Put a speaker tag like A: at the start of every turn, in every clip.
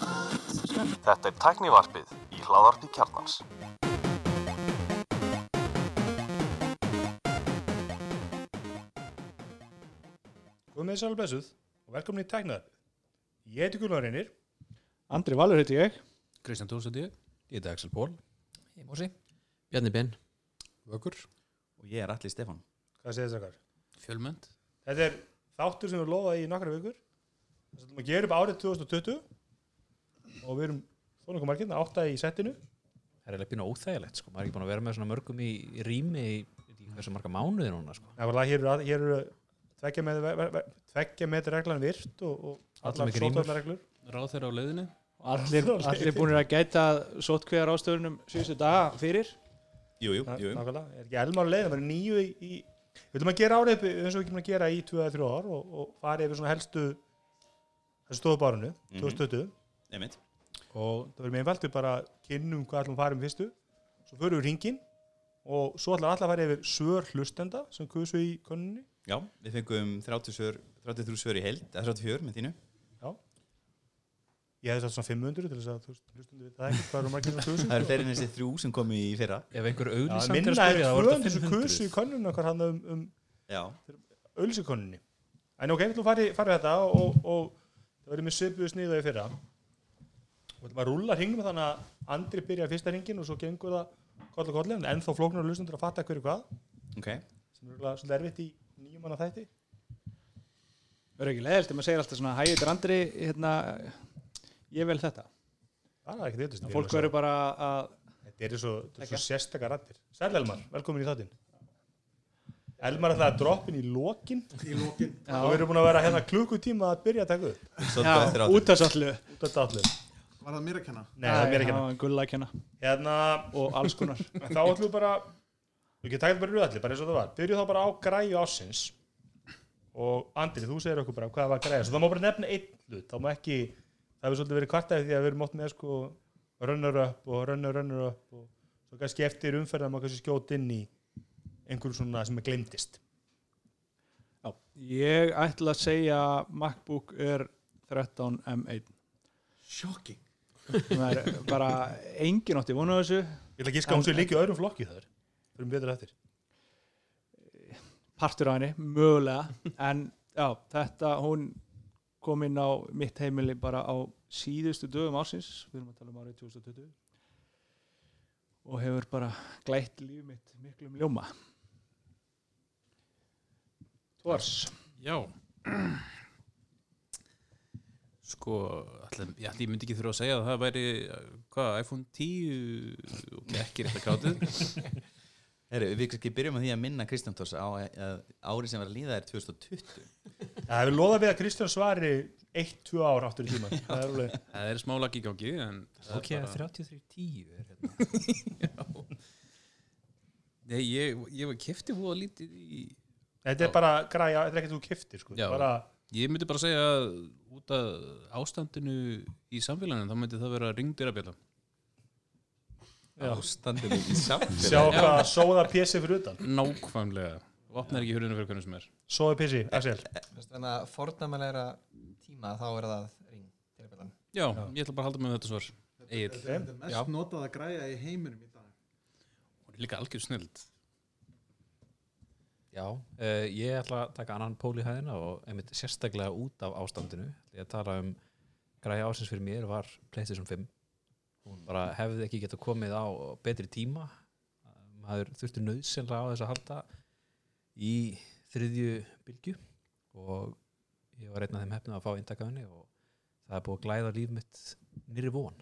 A: Þetta er tæknivarpið í hláðarpi kjarnans.
B: Góð með sælu blessuð og velkomin í tæknaðarpið. Ég heiti Gunnar Reynir
C: Andri Valur heiti ég
D: Kristján Tórsöndi,
E: Ég heiti Axel Pól,
D: ég mósi.
F: Bjarni Ben
E: vökkur.
G: og ég er Alli Stefán
B: Hvað segir þetta okkar?
D: Fjölmönd.
B: Þetta er þáttur sem við lofaði í nokkra vikur. Þess að maður gerir upp árið 2020 og við erum þó nokkuð margirna átta í settinu.
E: Það er alveg pínu óþægilegt, sko. Maður er ekki búin að vera með svona mörgum í í rými í ég veit ekki hversu marga mánuði núna, sko.
B: Nákvæmlega hér eru, hér eru tveggja með, ve- ve- tveggja með reglan virt og, og
E: Allar
B: allar
E: með grímur.
B: sótvarnareglur.
D: Ráð þeirra á leiðinu.
C: Allir, allir búinir að gæta sótkveðar ástöðunum síðustu daga fyrir
G: Jú, jú,
B: Ná-
G: jú, jú.
B: Nákvæmlega, er ekki elmar leið, það er nýju í, í við viljum að gera árið upp eins og við kemur að gera í 2-3 ár og, og farið yfir svona helstu þessu stofubárunu, 2020
G: Einmitt.
B: og það verður með einfalt við bara kynnum hvað ætlum að fara um fyrstu svo förum við ringin og svo ætlar allar að fara yfir svör hlustenda sem kusu í könnunni
G: Já, við fengum 30 svör, 33 svör í held, eða 34 með þínu.
B: já ég hefði satt svona 500 til þess að þú veist, hlustandi við það ekki hvað eru margir sem kusu
G: Það eru fleiri en þessi þrjú sem komu í fyrra.
E: Ef einhver
B: Já,
E: auðlýsand er að
B: minna er
E: spyrja, það voru
B: 200
E: þetta
B: sem kusu í
E: 500.
B: könnunna hvað hann um, um
G: Já,
B: ölsikoninni en ok, við ætlum að fara í- fara í þetta og, og það verður með svipuðu sniðu í fyrra og við ætlum að rúlla hringnum þannig að Andri byrja fyrsta hringin og svo gengur það koll og kolli en ennþá flóknar og lustendur að fatta hverju hvað
G: ok.
B: sem er örugglega svolítið erfitt í nýjum manna þætti
C: verður ekki leðilt ef maður segir alltaf svona hæ, þetta er Andri hérna, ég vel þetta
B: það er ekki þetta
C: fólk verður bara að
B: þetta er svo, þetta er svo
C: Takk.
B: sérstakar rættir Sæl Elmar, velkomin í þáttinn Elmar er það að droppin í lokin í lokin
C: Já.
B: og við erum búin að vera hérna klukkutíma að byrja að taka upp
G: Svolítið eftir
C: já,
G: átum.
C: út af sallu
B: út af dálum
H: Var það mér að kenna?
B: Nei, það er mér ekki hérna.
C: gullakjana
B: hérna
C: og alls konar
B: En þá ætlum við bara við getum takkt bara rauðalli, bara eins og það var byrjuð þá bara á græju ásins og Andri, þú segir okkur bara hvað var græja svo það má bara nefna einn hlut þá má ekki, það hefur svolítið verið kvartaði því að við erum mótt með sko runner up og runner runner up og svo kannski eftir umferðan má kannski skjóta inn í einhverjum svona sem er glemdist
C: já, ég ætla að segja MacBook Air 13 M1
H: Shocking.
C: það er bara engin átti vonu þessu
B: ég ætla að gíska að hún sé líka í öðrum flokki þar fyrir betur eftir
C: partur á henni, mögulega en já, þetta hún kom inn á mitt heimili bara á síðustu dögum ásins við erum að tala um árið 2020 og hefur bara glætt líf mitt miklum ljóma Tórs
D: Já. Sko, allir, ég, ætli, ég myndi ekki þurfa að segja að það væri, hvað, iPhone 10 og ekki rétt að krátið.
G: Herru, við kannski byrjum á því að minna Kristján Tórs á að árið sem var að líða er 2020.
B: það hefur loðað við að Kristján svari 1-2 ár áttur í tíma það er alveg
D: Það er smá lagi í gangi, en... það er
E: Ok,
D: bara-
E: 33.10 er hérna.
D: Nei, ég, ég kefti fóða lítið í...
B: Þetta er bara græja, þetta er ekkert þú kiftir sko.
D: Já.
B: bara,
D: Ég myndi bara segja að út af ástandinu í samfélaginu, þá myndi það vera ringdýrabjöla.
G: Ástandinu í samfélagi.
B: sjá hvað sóða pési fyrir utan
D: Nákvæmlega. Opnar ekki hurðinu fyrir hvernig sem er.
B: sóða pési, Axel
F: Þannig að fornamælegra tíma þá er það ring tilbæðan
D: Já, ég ætla bara að halda mig með þetta svar. Egil.
H: Þetta er þetta mest
D: Já.
H: notaða græja í heiminum í dag.
D: Hún er líka algjör snild.
E: Já, uh, ég ætla að taka annan pól í hæðina og einmitt sérstaklega út af ástandinu. Ég að tala um græja ásins fyrir mér var PlayStation 5. Hún bara hefði ekki getað komið á betri tíma. Maður þurfti nöðsynlega á þess að halda í þriðju bylgju og ég var einn af þeim hefnum að fá inntakaðunni og það er búið að glæða líf mitt nýri von.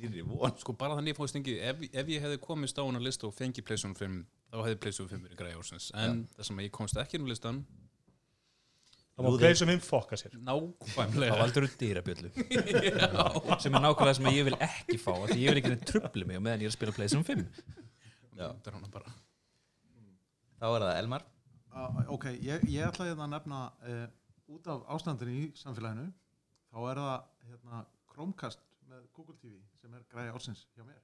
G: Nýrri von.
D: Sko bara þannig að ég fóði stingi, ef, ef ég hefði komist á hana lista og fengið Playsum 5, þá hefði Playsum 5 verið græði ársins. En ja. þess að ég komst ekki inn á listan,
B: það má pleið sem hinn fokka sér
E: Þá
D: nákvæmlega.
E: valdur þú dýrabjöllu sem er nákvæmlega sem ég vil ekki fá af því ég vil ekki neitt trubli mig á meðan ég er að spila PlayStation 5.
D: Já. Það er hana bara.
G: Þá er það Elmar.
H: Uh, ok, ég, ég ætla hérna að nefna uh, út af ástandinu í samfélaginu, þá er það hérna, Chromecast með Google TV sem er græja ársins hjá mér.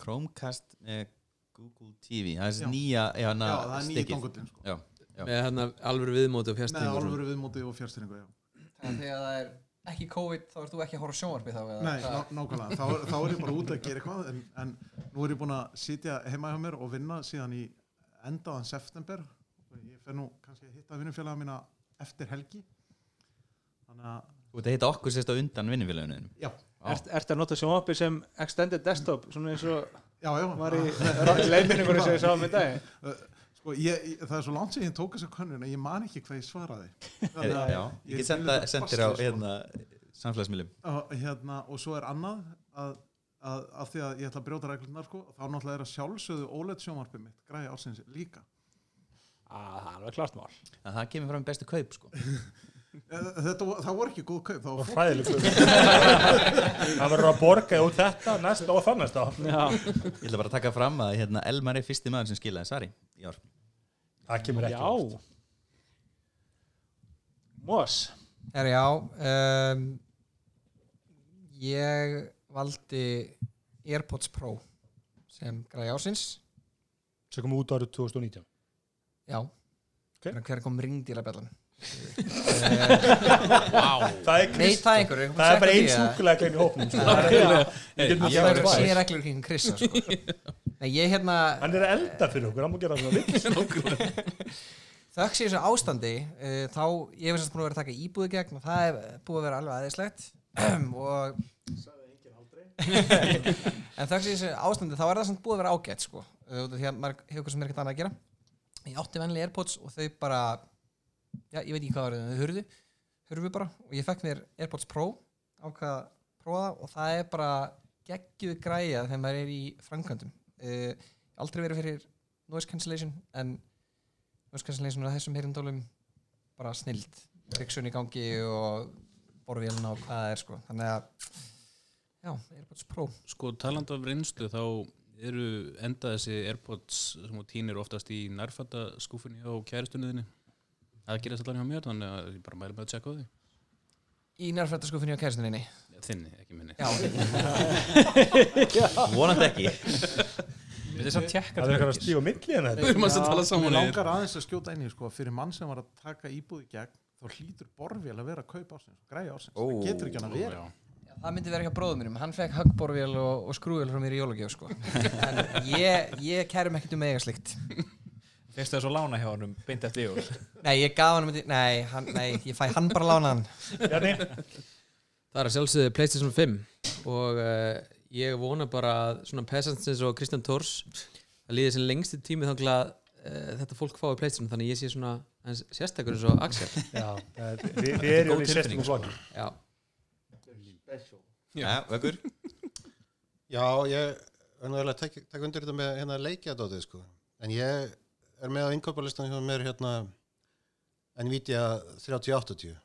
G: Chromecast eh, með Google TV. Það er
H: Já.
G: þessi nýja, já, na,
H: já, það er nýja
G: stikkið.
H: dongullin sko.
G: Já, já.
I: hérna
F: Með hann alveg viðmóti og
H: Með
F: fjastíð
H: alvöru viðmóti og fjárstyrningu, já.
F: Þannig að þegar það er ekki COVID þá ert þú ekki að horfa á sjónvarpi þá eða
H: Nei,
F: hvað?
H: ná, nákvæmlega, þá, er- þá er ég bara út að gera eitthvað en, en nú er ég búin að sitja heima hjá mér og vinna síðan í endaðan september og ég fer nú kannski að hitta vinnufélaga mína eftir helgi þannig að,
G: Þú veit að hitta okkur sérst á undan vinnufélaginu
H: já,
G: Já.
C: Ert, ert að nota sjónvarpið sem extended desktop svona eins og
H: já, já
C: var í leifinningur sem ég sá um í dag
H: Sko, ég, ég, það er svo langt sem ég tók þessa könnun að ég man ekki hvað ég svaraði Þannig að-
G: Eh, Já, ég get senda- sent þér á
B: sko.
G: hérna, samfélagsmiðlum
H: og, hérna, og svo er annað að, að, að því að ég ætla að brjóta reglunar sko, þá náttúrulega er að sjálfsögðu OLED sjónvarpið mitt græði ársins líka
C: Það er alveg klart mál
G: að það kemur fram í bestu kaup sko.
H: Eh, Þetta, vo- það voru ekki góð kaup það
B: Það
H: var
B: var hræðileg hræðilegur Það verður að borga út þetta næsta og þann næsta ár.
C: Já,
G: ég ætla bara að taka fram að hérna, Elmar er fyrsti maður sem skilaði svari í ár
B: Það kemur ekki
C: já.
B: óvart.
C: Mós
F: Herra, já um, Ég valdi AirPods Pro sem græði ásins
B: sem kom út árið 2019
F: Já
B: Ok.
F: Hver- Hver kom ringdýrabjallan?
B: Það er,
F: Nei,
B: Krist,
F: það er einhverju ég kom að
B: það
F: checka
B: er bara
F: því
B: einn
F: að-
B: súkulega gleim í hópnum sko. Það er- Við getum ekki
F: Það
B: haft
F: er
B: tvær.
F: sér reglur kring Krissa sko. Nei, ég hérna
B: Hann er að elda fyrir okkur, hann má gera það svona vill
F: þökk sér þessu ástandi uh, þá ég hef sérst búin að vera að taka íbúðu gegn og það er búið að vera alveg aðeinslegt og en þökk sér þessu ástandi þá er það samt búið að vera ágætt sko eh, út af því að maður hefur eitthvað sem er ekkert annað að gera ég átti venlega Airpods og þau bara já, ég veit ekki hvað var þau, þau hurðu hurfu bara og ég fekk mér Airpods Pro ákvað að prófa það og það er bara geggjuð græja þegar maður er í framkvæmdum uh, aldrei verið fyrir noise cancellation en noise cancellation er að þessum heyrindólum bara snild riksun í gangi og borðvélina og hvað það er sko þannig að já, Airpods Pro
D: Sko taland af reynslu þá eru enda þessi Airpods sem þú tínir oftast í nærfætta skúfinni á kæristunniðinni það gerast allan hjá mér þannig að ég bara mæli með að tjekka á því
F: í nærfættaskúfinni á kæristuninni
D: þinni, ekki minni
F: já,
G: vonandi ekki
E: Þetta er samt tjekka
B: Það er eitthvað að stíga á milli hérna. en þetta
D: við erum að tala
H: Mér
D: saman
H: langar aðeins að skjóta inn í sko, fyrir mann sem var að taka íbúð í gegn þá hlýtur borfél að vera að kaupa ásins græja ásins, það getur ekki hann að vera
D: Já.
F: það myndi vera eitthvað bróðum mínum hann fekk höggborvél og, og skrúvél frá mér í jólagjöf sko. en ég, ég kærum ekkert um að eiga slikt
E: Fyrstu það svo lána hjá honum beint eftir jól
F: nei, ég gaf hann um nei, hann, nei, ég fæ hann bara lánaðan
B: Bjarni,
I: Það er að sjálfsögðu PlayStation 5 og uh, ég vona bara að svona peasants og Kristján Tors að líði sem lengsti tími þannig að uh, þetta fólk fái PlayStation þannig að ég sé svona aðeins sérstakur eins og Axel
B: já, það er- við við erum
G: góð
B: í sérstum
G: tilfinning, sko.
B: og flokki
I: Já,
G: Já, vökkur
J: Já, ég er náttúrulega að tek- taka undir þetta með hérna leikjadótið sko. En ég er með á innkaupalistan hjá mér hérna Nvidia 3080.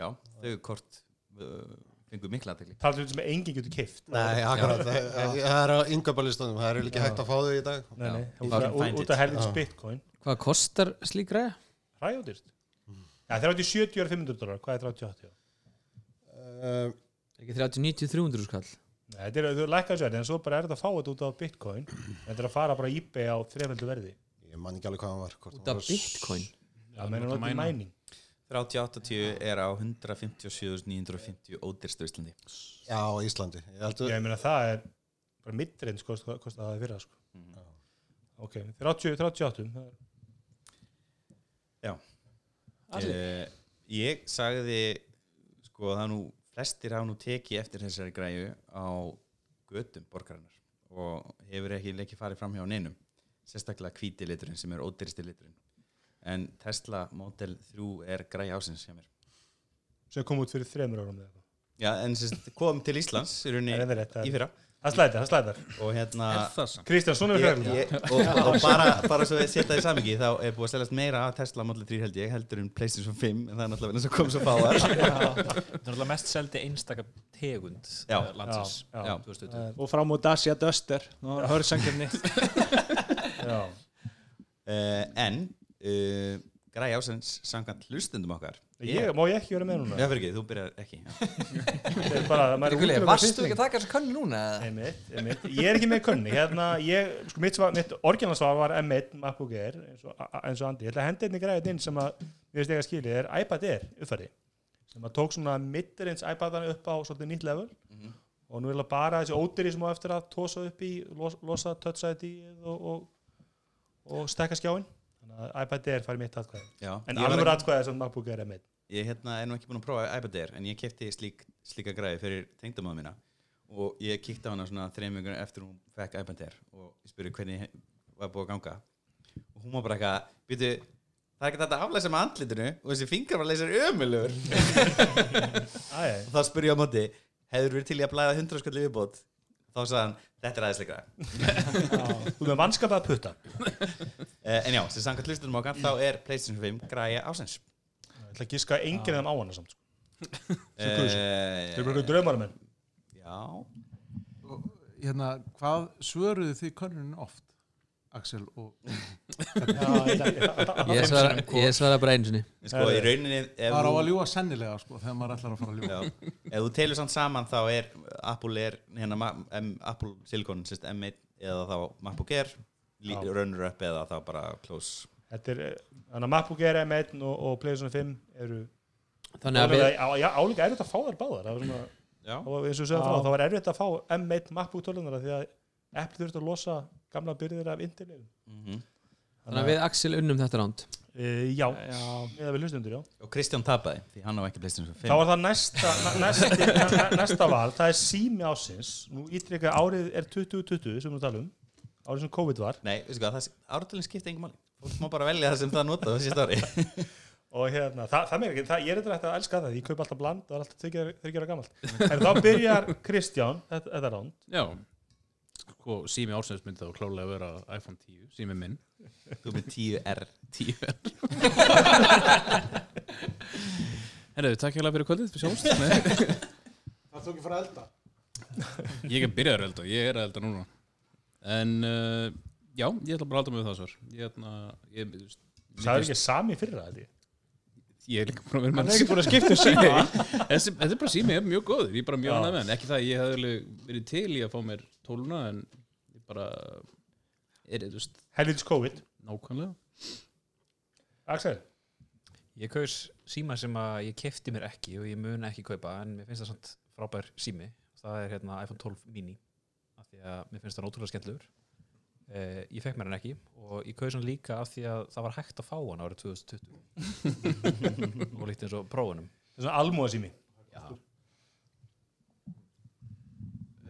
G: já, þau kort uh, fengu mikla aðtekli
B: Það er þetta sem enginn getur keift
J: Nei, akkurat, það, það er á innkaupalustanum, það er ekki hægt að fá þau í dag.
B: Nei, nei,
G: Já,
B: út
G: you
B: af-
G: can find
B: út af helvins
J: Já.
B: bitcoin
I: hvað kostar slík græja?
B: Hræjóttist
J: Mm.
B: Já, það er átti 70 og 500 dólar, hvað er 38?
I: Eh,
J: Uh,
I: Ekki 30, 90, 300 skall
B: Nei, þetta er, þú lækkar sér, en svo bara er þetta að fá þetta út af bitcoin Þetta er að fara bara á ebay á þreföldu verði
J: ég man ekki alveg hvað hann var. hvort
I: út
J: hann
I: af
J: var s-
I: bitcoin
B: Það meina náttúrulega mæning
G: 3080 er á 157.950 ódyrstu Íslandi
J: Já, á Íslandi. Ég heldur,
B: Ég meina það er bara mittreins kostaði kosta það í fyrra sko.
J: Mhm.
B: Ok, 30, 38 það er-
G: uh, ég sagði sko það er nú flestir hafa nú tekið eftir þessari græju á götum borgarinnar og hefur ekki leikið farið fram hjá neinum sérstaklega hvíti liturinn sem er ódyrsti liturinn en Tesla Model 3 er græja ásins hjá mér
B: sem kom út fyrir þremur árum eða eitthvað.
G: Já, en sérst, kom til Íslands í rauninni
B: Það er rétt, það er
G: í fyrra
B: Það slæðir, það slæðir
G: og hérna
D: Er það samt?
B: Kristján, svona er
G: ég,
B: fræðilega
G: ég, og, og bara, bara svo við setja í samingi þá er búið að seljast meira af Tesla Model 3 held ég heldur en Playstation 5 en það er náttúrulega verið að koma svo fáar
E: Þetta er alltaf mest seldi einstaka tegund
G: Já.
E: eh, landsins
B: Já, já.
G: Já.
D: Eh,
E: 2020.
C: og fram út Asia Duster og hörsangjörni
B: Já,
G: uh, en uh, græði ásens samkvæmt hlustendum okkar
B: ég, má ég ekki vera með núna
G: Já, fyrir ekki, þú byrjar ekki
B: Þetta er bara, maður er
F: Guðlega,
B: útilokaður
F: varstu
B: fyrstling.
F: ekki að taka þessa könnu núna? eða?
B: um Einmitt, einmitt. Ég er ekki með kunni hérna, ég, sko, mitt, svar- mitt orginalsvar var M1 MacBook Air eins og, eins og Andi, ég ætla að henda einni græðið inn sem að við veist ekki að skilja er iPad Air uppfæri sem að tók svona midderins iPadana upp á svolítið nýtt level
G: Mhm.
B: og nú er það bara þessi ódýri sem á eftir að tósa upp í los, losa touchsæti og, og, og stekka skjáin þannig að iPad Air fær mitt atkvæði
G: Já,
B: en
G: ég var
B: alveg
G: ekki-
B: atkvæði sem MacBook Air er mitt
G: ég hérna, er nú ekki búin að prófa iPad Air en ég kefti slík, slíka græði fyrir tengdamáð mína og ég kíkti á hana svona þreymjöngur eftir hún fekk iPad Air og ég spurði hvernig var búið að ganga og hún var bara eitthvað býtu, það er ekki þetta að aflæsa með andlitinu og þessi fingar var að leysa ömulur og
B: Æ,
G: þá spurði ég á móti hefur verið til í að blæða 100 skalli viðbót þá sagði hann, þetta er aðeins líka
B: þú með mannskapað að putta
G: uh, en já, sem samkvæmt hlustunum okkar þá er PlayStation 5 græja ásins
B: ég ætla að gíska að enginn af þeim á hana samt sko.
G: uh,
B: þau eru draumarum minn
G: já,
H: Og, hérna, hvað svöruðu þið könnunin oft Axel og
I: Ég svara, ég svara bara einu sinni
G: sko í rauninni ef
H: það er á
G: þú-
H: að ljúa sennilega sko, þegar maður ætlar að fara að ljúa
G: Já, ef þú telur samt saman þá er Apple er hérna ma- M, Apple Silicon sérst M1 eða þá MacBook Air lí-
B: Já.
G: runner up eða þá bara close
B: Þetta er, eh, þannig að MacBook Air M1 og, og PlayStation 5 eru
I: Þannig að við,
B: álíka, á, já, álíka erfitt að fá þær báðar það var svona,
G: Já,
B: og eins og við sögum frá, þá var erfitt að fá M1 MacBook 12 því að Apple þurfti að losa gamla byrðir af Intel
I: þannig að við Axel unnum þetta ránd Eh,
B: Uh, já, eða við hlustundur, já.
G: og Kristján tapaði því hann á ekki PlayStation 5
B: Þá var það næsta, næ- næsti, næ- næ- næsta val, það er sími ásins. Nú ítrykka árið er 2020 sem við talum, árið sem COVID var.
G: Nei, veistu hvað, það ártalinn skipti engum máli Fólk má bara velja það sem það nota þessi stóri
B: Og hérna, það, það meira ekki, það, ég er eitthvað að elska það, ég kaup alltaf bland, það er alltaf þryggjara gamalt. En þá byrjar Kristján, þetta, þetta ránd,
D: Já, sko, sími ársins myndi þá klálega vera iPhone 10, sími minn
G: Þú með 10R
D: 10 Herðu, takk hérlega fyrir kvöldið, við sjáumst Nei,
H: það tók ég fara að elda
D: Ég er byrjaður að elda, ég er að elda núna En, uh, já, ég ætla bara að halda með það svar Ég ætla, ég, þú veist, mér
B: það er
D: finnst-
B: ekki sami fyrra, held ég.
D: Ég er líka búin að vera með
B: Hann er ekki búinn að
D: skipta um síma Þessi, Þetta er bara sími, ég er mjög góður Ég er bara
B: Já.
D: mjög annað með hann Ekki það, að ég hef alveg verið til í að fá mér tóluna En ég bara Er þetta veist,
B: Helvits COVID.
D: nákvæmlega
B: Axel,
E: Ég kaus síma sem að ég kefti mér ekki og ég mun ekki kaupa en mér finnst það samt frábær sími það er hérna iPhone 12 mini af því að mér finnst það ótrúlega skemmtilegur eh, ég fekk mér hann ekki og ég kaus hann líka af því að það var hægt að fá hann árið 2020 og líkt eins og prófunum
B: það er svona almúa sími.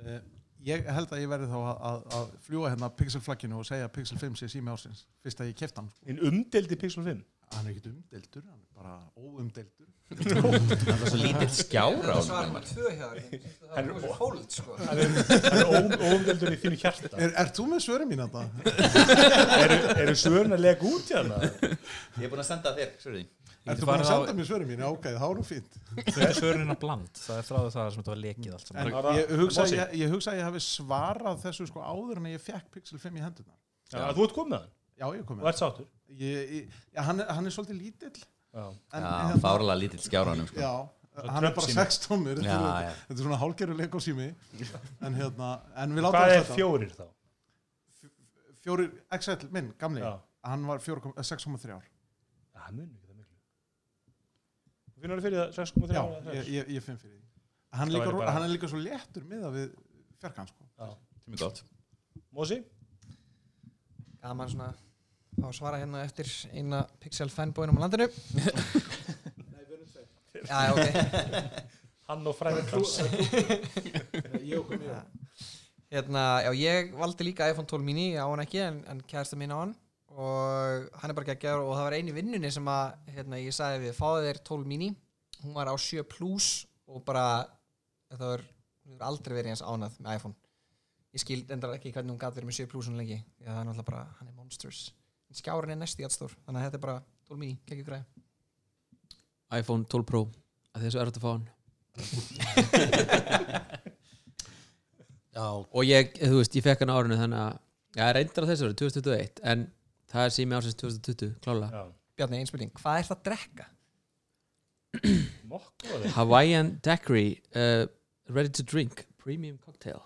H: Eh, ég held að ég verði þá að, að, að fljúa hérna pixelflagginu og segja að Pixel 5 sé sími ásins fyrst að ég kefti hann
B: En umdeldi Pixel 5.
H: hann er ekkert umdeldur, hann er bara óumdeldur
G: Það var svo lítill skjára á
F: Svar
G: honum.
F: nummer tvö hjá þér Það er rosa fóld sko
B: Það er, það er ó- óumdeildur í þínu hjarta.
H: er, er þú með svörum mín þetta?
B: eru, eru svörin að lega út hérna?
G: Ég er búin að senda þér, sverði
H: er þú búin að senda mér svörum mín? já ok, þá er hún fínt
E: það er svörunina bland það er þráðu það sem þetta var lekið allt
H: en
E: saman
B: Bara- um
H: ég hugsa, að
B: Bossi.
H: ég, ég hugsa að ég hafi svarað þessu sko áður en ég fekk Pixel 5 í hendurna
B: Já, þú ert komið með hann
H: já, ég kom
B: og
H: með
B: ert sáttur.
H: ég, ég, já, hann, er- hann er svolítið lítill
B: Já.
H: en,
G: Já,
H: hérna,
G: fárlega lítill skjára á honum sko.
H: já, hann er bara 6
B: Trump-sími.
H: tómur
G: Já,
H: þetta
G: já.
H: er- þetta er svona hálgerur á sími en hérna, en við látum
B: Hvað
H: þess
B: er fjórir þá?
H: fjórir, XL minn, gamli
B: Já.
H: hann var 4,- eh, 6,3 ár
B: Það munir ekki það miklu. Þú finnur það fyrir það 6,3
H: já,
B: ára
H: ég,
B: þess.
H: ég, ég finn fyrir því hann,
B: Það
H: líka,
B: væri
H: bara...
B: bara-
H: hann er líka svo léttur miða við fjarkan sko.
G: Sem er gott.
B: Mósi?
F: Gaman svona Þá svara hérna eftir eina pixel fanbóinum á landinu Já, já, ok
B: Hann og fræðin hans.
F: Hérna, já, ég valdi líka iPhone 12 mini, ég á hann ekki en, en kærasta mín á hann og hann er bara geggjaður og það var einu vinnunni sem að hérna, ég sagði við fáðu þér 12 mini hún var á 7 plus og bara það var, hún hefur aldrei verið eins ánað með iPhone ég skil endar ekki hvernig hún gat verið með 7 plus hún lengi já, það er náttúrulega bara, hann er monsters en skjárin er næst í allstór, þannig að þetta er bara 12 mini, geggjur greið
I: iPhone 12 Pro að þessu er þetta að fá hann
J: Já,
I: og ég, þú veist, ég fekk hann á árinu þannig að, já, reyndar á þessu ári 2021 en það er sími ásins 2020 klála,
B: Já.
F: Bjarni, einspurning, hvað er það að drekka?
B: Mokkaði.
I: Hawaiian Daiquiri uh, ready to drink, premium cocktail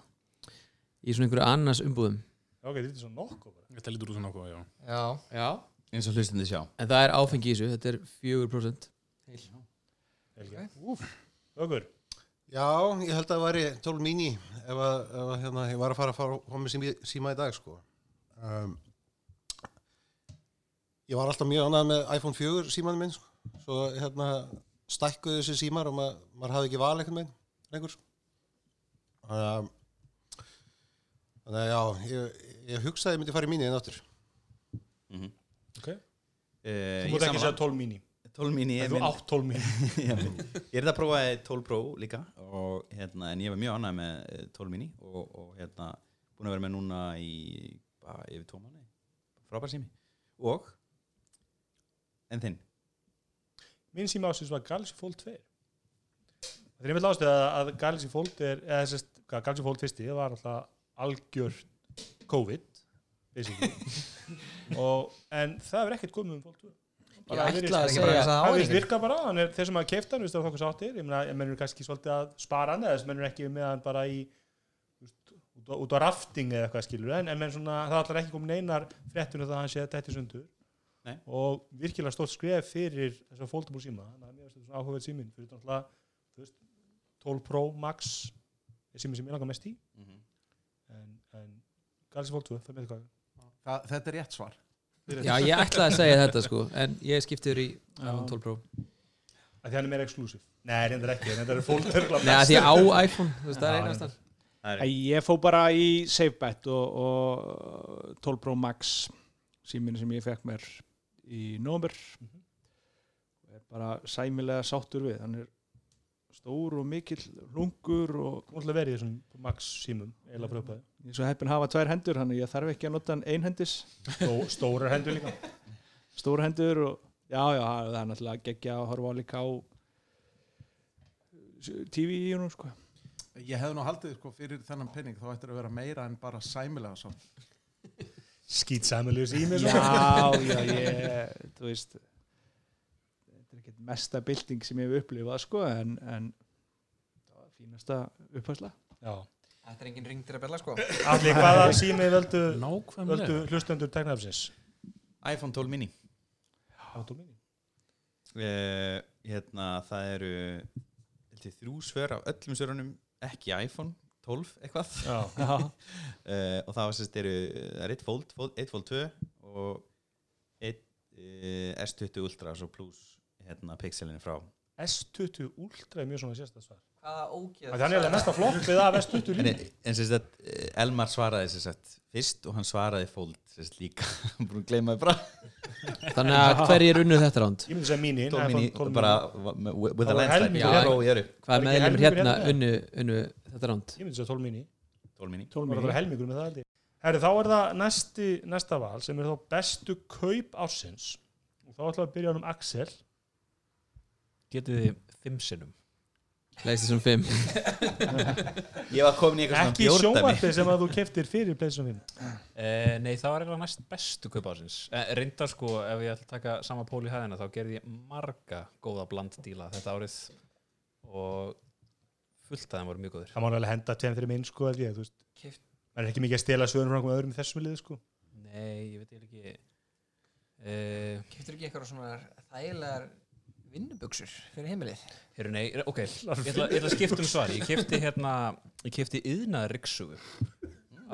I: í svona einhverju annars umbúðum
B: Ok, þetta er svo nokkuð bara.
D: Þetta lítur út sem nokkuð, já
F: Já,
I: já,
G: eins og hlustandi sjá
I: En það er áfengi í þessu, þetta er 4%
B: Helgi. Ögur,
J: Já, ég held að það væri 12 mini ef, að, ef að, hérna, ég var að fara að fara fá með síma, síma í dag sko. um, Ég var alltaf mjög annað með iPhone 4 símanum minn sko. svo hérna stækkuðu þessi símar og maður, maður hafði ekki val einhvern veginn lengur sko. um, Þannig að já, ég, ég hugsaði ég myndi fara í mini en áttur
G: Eh,
B: þú
G: ég
B: mútt ekki
G: sammála.
B: segja 12 mini
G: 12 mini ég
B: En Þú
G: minn-
B: átt 12 mini
G: Já, minn. ég er það að prófa 12 Pro líka og, hérna, en ég var mjög annað með eh, 12 mini og, og hérna, búin að vera með núna í bara yfir tvo mánu frábær sími og en þinn
B: Minn síma ásins var Galaxy Fold 2 Það er einmitt lástu að, að Galaxy Fold er, eða sérst, hvað, Galaxy Fold fyrsti það var alltaf algjör COVID basically. og, en það hefur ekkert komið um Fold 2 Bara
I: Ég
B: virðist-
I: ætla að
F: ekki bara
I: segja
F: þess að
B: Það
F: ári
B: virðist virka bara, hann er þeir sem að keifta hann, veist það hvað sáttir, ég meina, ég mennur kannski svolítið að spara hann eða þess mennur ekki með hann bara í þú veist, út á, út á rafting eða eitthvað skilur en, en menn svona, það allar ekki komin einar fréttunum um það hann sé þetta eftir sundur
G: Nei.
B: og virkilega stórt skref fyrir þess að fóldum úr síma, þannig að mér finnst þetta svona áhugað símin fyrir þetta alltaf, þú veist 12 Pro Max er símin sem ég langar mest í en, en Galaxy Fold 2, það með eitthvað
H: Það, þetta er rétt svar.
I: Já, ég ætla að segja þetta sko En ég skiptiður í iPhone 12 Pro
B: að því hann er meira exclusive, nei, reyndar ekki reyndar er Fold örugglega
I: Nei,
B: best.
I: því á iPhone, þú veist, það
B: Já,
I: er einastan
C: Æ, Ég fó bara í SafeBet og, og 12 Pro Max síminu sem ég fekk mér í nómur
B: Mhm.
C: og er bara sæmilega sáttur við hann er stór og mikill lungur og
B: Hún ætla að vera í þessum Max símum eða pröfaði,
C: ég er svo heppin að hafa tvær hendur hann ég þarf ekki að nota hann einhendis
B: Stó, stórar hendur líka
C: stór hendur og já, já, það er náttúrulega geggja að horfa á líka á TV í húnum sko
H: Ég hefði nú haldið sko, fyrir þennan penning þá ættir að vera meira en bara sæmilega svo.
B: skýt samiljus í mig sko. svona.
C: Já, já, ég, þú veist þetta er ekkert mesta bylting sem ég hef upplifað, sko, en, en það var fínasta upphæsla.
B: Já.
F: Þetta er engin ringdir að bella sko
B: Alli, hvaða sími völdu, völdu
D: Nákvæmlega.
B: hlustendur teknafsins?
G: iPhone 12 mini
B: Þetta
G: uh, hérna, það eru held ég, þrjú svör af öllum svörunum ekki iPhone 12 eitthvað
C: Já,
G: uh, og það var sérst eru það er eitt fold, fold, eitt fold 2 og eitt uh, S20 Ultra svo pluss hérna, pixelinu frá
B: S20 Ultra er mjög svona sérstasvar
F: Hvaða ógeð
B: Þannig er það mesta floppið af S20
G: En,
B: líka
G: en sem sagt, eh, Elmar svaraði sem sagt fyrst og hann svaraði fóld sem sagt líka, hann búin að gleyma þið bara
I: Þannig að hverjir unnu þetta ránd?
B: Ég myndi segja mínin
G: tól mín í,
B: iPhone 12
G: bara
B: mini.
G: wa- með- with a
B: Það var
G: landslide,
B: helmingur
G: já,
I: hérna.
G: frá í öru
I: Hvað
B: Var ekki
I: meðlum
B: helmingur
I: hérna
B: hérna?
I: unnu, unnu þetta ránd?
B: Ég myndi segja 12 mini
G: tól minni,
B: Það var bara helmingur með það held ég Herri, þá er það næsti, næsta val sem er þá bestu kaup ásins og þá ætlum við að byrja um Axel
E: Getið þið fimm sinnum
I: Leistisum 5
G: ég var komin í eitthvað
B: ekki
G: svona bjórdæmi
B: sjónvarpið sem að þú keftir fyrir Playstation 5
E: Eh, nei, það var eiginlega næst bestu kaup ásins. Eh, reyndar sko, ef ég ætla að taka sama pól í hæðina, þá gerði ég marga góða blanddíla þetta árið og fullt að þeim voru mjög góður.
B: Það má alveg henda tveim fyrir minn sko held ég, þú veist
F: Keypt.
B: Það er ekki mikið að stela sögur frá einhverjum öðrum í þessum liði sko
E: Nei, ég veit eiginlega ekki... Eh,
F: Keftur ekki eitthvað svona þægilegar vinnuböksur fyrir heimilið
E: heyrðu, nei, re- ok, ég ætla, ég ætla að skipta um svar. Ég kefti hérna, ég kefti yðnaðar riksugu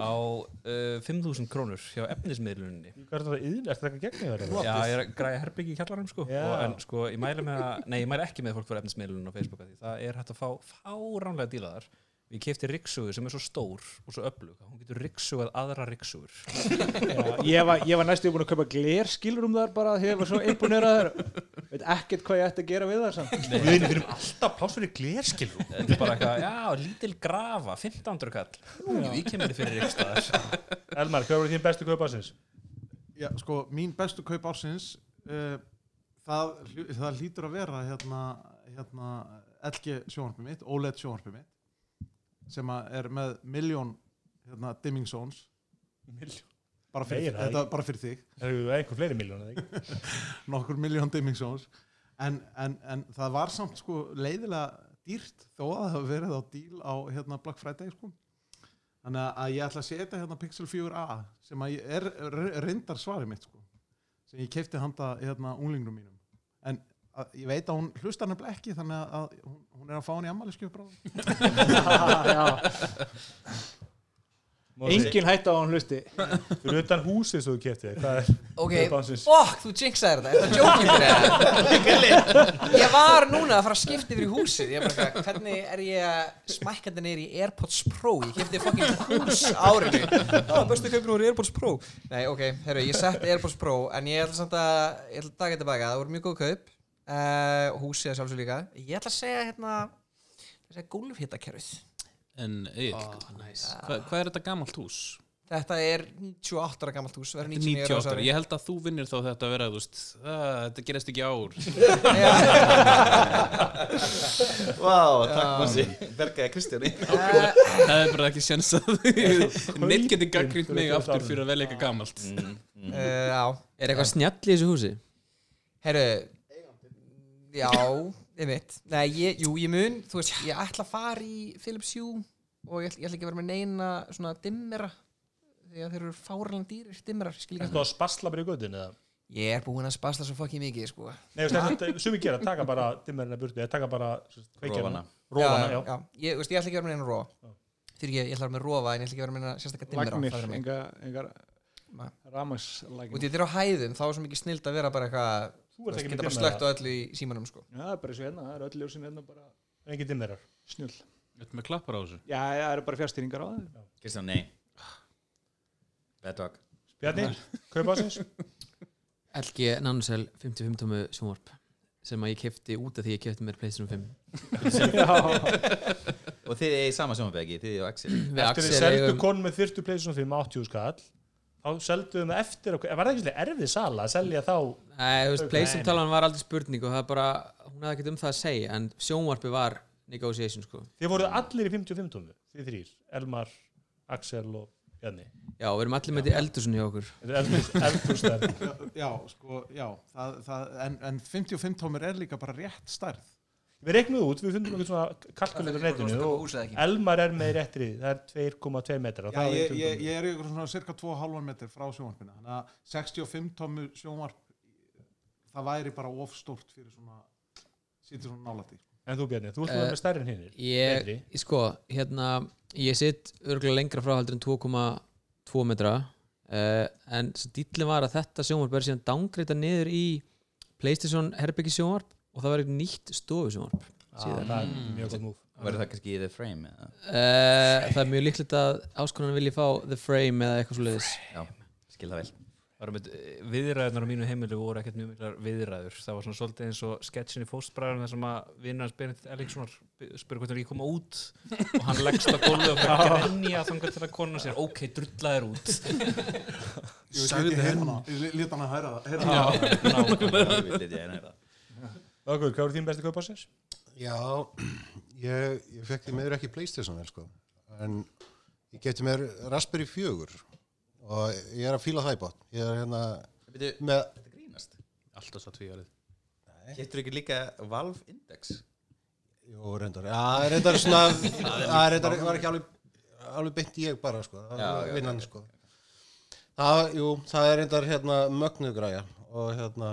E: á uh, 5.000 krónur hjá efnismiðluninni.
B: Hvað er þetta yðn? Er þetta eitthvað gegn yfir?
E: Já, ég er að græja herbyggi í kjallarum sko
B: Já.
E: og, en sko, ég mæli með að, nei, ég mæli ekki með að fólk fyrir efnismiðlunum á Facebook af því það er hægt að fá fáránlega dílaðar Við kefti riksugu sem er svo stór og svo öflug að hún getur riksugað aðra riksugur
C: ég var, ég var næstu búin að kaupa gler skilur um þar bara því að ég var svo einbúineraður veit ekkert hvað ég ætti að gera við það samt.
B: Við erum- við erum alltaf pláss fyrir glerskilu
E: Þetta er bara eitthvað, já, lítil grafa 1500 kall, Ú, ég kemur þið fyrir rikstaðar
B: Elmar, hvað voru þín bestu kaup ásins?
H: Já, sko, mín bestu kaup ársins uh, það, hljó- það hlýtur að vera hérna, hérna LG sjónvarpið mitt, OLED sjónvarpið mitt sem að er með miljón hérna, dimming zones bara fyrir,
B: Meira,
H: þetta,
B: ekki?
H: bara fyrir þig
B: Það eru einhver fleiri miljónu
H: nokkur miljón dimming zones en, en, en það var samt sko leiðilega dýrt þó að það hafi verið á díl á hérna Black Friday sko þannig að ég ætla að setja hérna Pixel 4a sem að ég er re- reyndar svarið mitt sko sem ég kefti handa hérna, unglingrum mínum en að, ég veit að hún hlustar nefnilega ekki þannig að hún, hún er að fá hann í ammæliskjöf bráðum
C: Engin hætta á að hann hlusti
B: Fyrir utan húsið sem þú kefti Hvað er
F: Ok,
B: Ég bara syns-
F: okk, þú jinxaðir þetta Þetta jókir þér Ég var núna að fara að skipta yfir í húsið Ég bara, eitthvað, hvernig er ég að smækandi neyri í Airpods Pro Ég kefti fokkin hús árinu Það var bestu kaupin úr Airpods Pro Nei, ok, herru, ég setti Airpods Pro En ég ætla samt að, ég ætla að daga tilbaka Það voru mjög góð kaup uh, Húsið að sjálfsög líka Ég ætla að segja, hérna ég ætla að segja Gólfhittakerfið
D: En Egil,
H: Ah,
I: nice.
D: hva, hvað er þetta gamalt hús?
F: Þetta er 98 ára gammalt hús verður 99 ára á þessu
D: 98,
F: ári.
D: ég held að þú vinnir þá þetta að vera, þú veist, að, þetta gerist ekki í ár.
G: Vá, takk Massi Bergaði Kristjáni
F: Eh,
D: Það er bara ekki séns að neitt getur gaggrínt mig aftur fyrir að velja eitthvað gamalt.
G: Mm,
F: Eh, Já,
I: Er eitthvað snjall í þessu húsi?
F: Herru Já, einmitt Nei, ég, jú, ég mun, þú veist, ég ætla að fara í Philips Hue og ég ætla, ég ætla ekki að vera með neina svona dimmera því að þeir eru fáralan dýrir dimmerar, skil
B: Er
F: ekki
B: það að spasla bara í göttin eða?
F: Ég er búinn að spasla svo fokkið mikið, sko
B: Nei, veist, þetta sumi gera, taka bara dimmerina burtu eða taka bara sem sagt, kveikjarana
G: Rófana.
B: Rófana, já,
F: já Ég, þú veist, ég ætla ekki að vera með neina rofa Fyrir ekki, ég ætla að vera með rofa en ég ætla ekki að vera með neina sérstakka dimmera
C: Lagnir,
F: það er mér.
C: engar, engar
F: Nei.
C: ramaslagnir
F: Út í þetta er á hæðum, þá er svo mikið snild að vera bara eitthvað
B: Þú
F: þú veist,
B: ert
F: Geta
B: ekki með
F: bara
B: dimmera
F: slögt á öllu í símanum, sko
C: Já, það er bara eins og hérna, það er öll ljósin hérna bara
B: Engin dimmerar
C: snull
D: Þetta með klappar á þessu.
C: Já, það eru bara fjárstýringar á það
G: Kristján, nei Bad dog
B: Bjarni, kaupa ásins
I: LG Nanosell 55 tómu sjónvarp sem að ég kefti út af því ég kefti mér Playstation 5
G: Og þið eigið sama sjónabæki, þið og Axel
I: Við
B: Eftir þið
I: Axel
B: seldu
I: eigum-
B: konum með 40 pleysum fyrir með 80 skall þá seldu við með eftir okkur var það ekki svolítið erfið sala að selja þá
I: Nei, þú veist,
B: Nei,
I: Playstation
B: nei.
I: talan var aldrei spurning og það er bara, hún hefði ekkert um það að segja en sjónvarpi var negotiation sko
B: þið voruð allir í 55 tómu, þið þrýr Elmar, Axel og Bjarni
I: Já, við erum allir með þetta í eldursun hjá okkur
B: þetta er eldurstæð
H: já, sko, já það, það, en, en 55 tómur er líka bara rétt stærð
B: við reiknum út, við fundum okkur svona kalkulegur netinu og Elmar er með réttri það er 2,2 metra
H: Já,
B: það um
H: ég,
B: er 20
H: ég, ég er ykkur svona cirka 2,5 metri frá sjónvarpinu þannig að 65 tómmu sjónvarp það væri bara ofstórt fyrir svona sýttur svona nálætti
B: en þú Bjarni, þú ert uh,
I: Eh,
B: með stærri en hinnir
I: Ég,
B: Betri.
I: sko, hérna ég sitt örgulega lengra frá heldur en 2,2 metra uh, en svo dýllin var að þetta sjónvarp er síðan dangreita niður í Playstation herbyggi sjónvarp og það var eitt nýtt stofu sjónvarp
B: Ah, það er mjög gott múf
G: Verður það kannski í The Frame eða?
I: Uh, það er mjög líklegt að áskonan vilji fá The Frame eða eitthvað svo leiðis
G: Já, skil það vel
E: viðræðunar eh, á mínu heimilu voru ekkert mjög miklar viðræður það var svona svolítið eins og sketchin í fóstbræðan þar sem að vinnur hans Benedikt Ellingssonar spurði hvernig hann er ekki að koma út og hann leggst á gólfi og fyrir að grenja þangar til að konan sér ok, drullaðir út
H: Sagði henn Lít hann að hæra það heyra það.
G: Ég vil þetta, ég er næra
B: Okkur, hvað eru þín besti kaupa ásins?
J: Já, ég, ég fekk því meður ekki Playstation vel sko en ég geti mér Raspberry 4 og ég er að fíla það í bótt ég er hérna
G: Býtu,
J: með,
G: þetta grínast
D: Alltaf svo tvíjarið.
G: Getur ekki líka Valve Index?
J: jú reyndar já, reyndar svona já, reyndar var ekki alveg alveg beint ég bara sko það
G: Já,
J: var
G: já,
J: vinnan sko það, jú, það er reyndar hérna mögnuð græja og hérna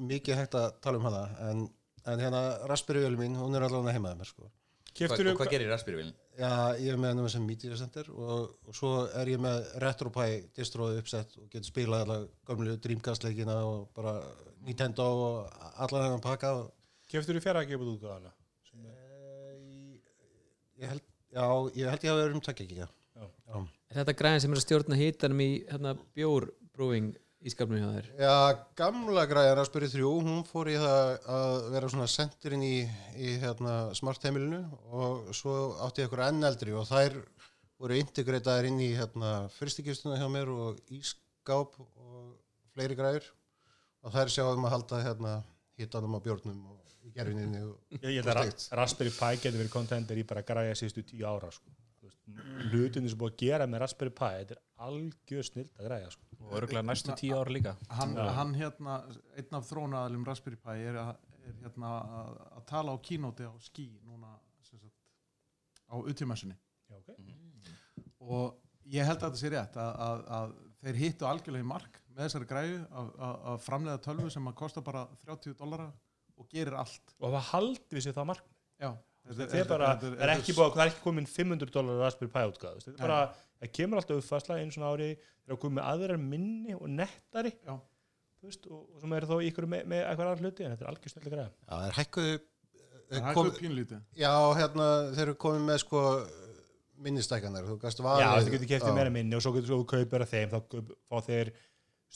J: mikið hægt að tala um hana en, en hérna Raspberry vélum mín, hún er allavega heimaði mér sko
G: Hva,
B: Keftur
G: og hvað gerir Raspberry-vilin?
J: Já, ég er með hennum sem Media Center og, og svo er ég með RetroPie distróið uppsett og getur spilað alla gömlu Dreamcast leikina og bara Nintendo og allan hennan pakka og,
B: þú fjara að gefa út útgáðana?
J: e, ég held já, ég held ég hafa verið um takk ekki já. Já.
I: Er þetta græðin sem er að stjórna hitanum í hérna, bjórbrúing í skapnum hjá þér?
J: já, gamla græðan að spyrja þrjú hún fór í það að vera svona senturinn í, í hérna, smart heimilinu og svo átti ég ykkur enn eldri og þær voru integritaðar inn í hérna, fyrstikistuna hjá mér og ískáp og fleiri græður og þær sjáum að halda hérna, hittanum á bjórnum og í gerfininni og
B: Ég, ég held að Ra- Raspberry Pi getur verið kontender í bara græja síðustu tíu ára sko. Þú veist, hlutinni sem búið að gera með Raspberry Pi þetta er algjör snild að græja sko.
E: og örgulega næstu tíu ár líka
H: hann, hann hérna, einn af þrónaðalum Raspberry Pi er, að- er hérna að að tala á kínóti á skí núna sem sagt, á utimessunni
B: Já, ok.
H: Mhm. og ég held að þetta sé rétt að, að, að þeir hittu algjörlega í mark með þessari græju að, að, að framleiða tölvu sem að kosta bara 30 dollara og gerir allt
B: og það haldi við sér það mark
H: Já,
B: þetta er bara,
H: þetta
B: það er ekki búið að- það er ekki komin 500 dólar Raspberry Pi útgáð þetta er bara, það kemur alltaf uppfærsla einu svona ári það er að koma með aðrar minni og nettari
H: Já.
B: Þú veist, og, og sem eru þá ykkur með, með eitthvað aðra hluti en þetta er algjör snillig greið
J: Já, það er hækkuðu
H: Það
J: eh,
H: er hægt
J: kom-
H: upp pínlítið
J: Já, hérna, þeir eru komið með sko minnistækkanar, þú gæst
B: já,
J: valið
B: þú getur
J: Já.
B: kæftið meira minni og svo getur svo þú kaupir að þeim þá kaup- fá þeir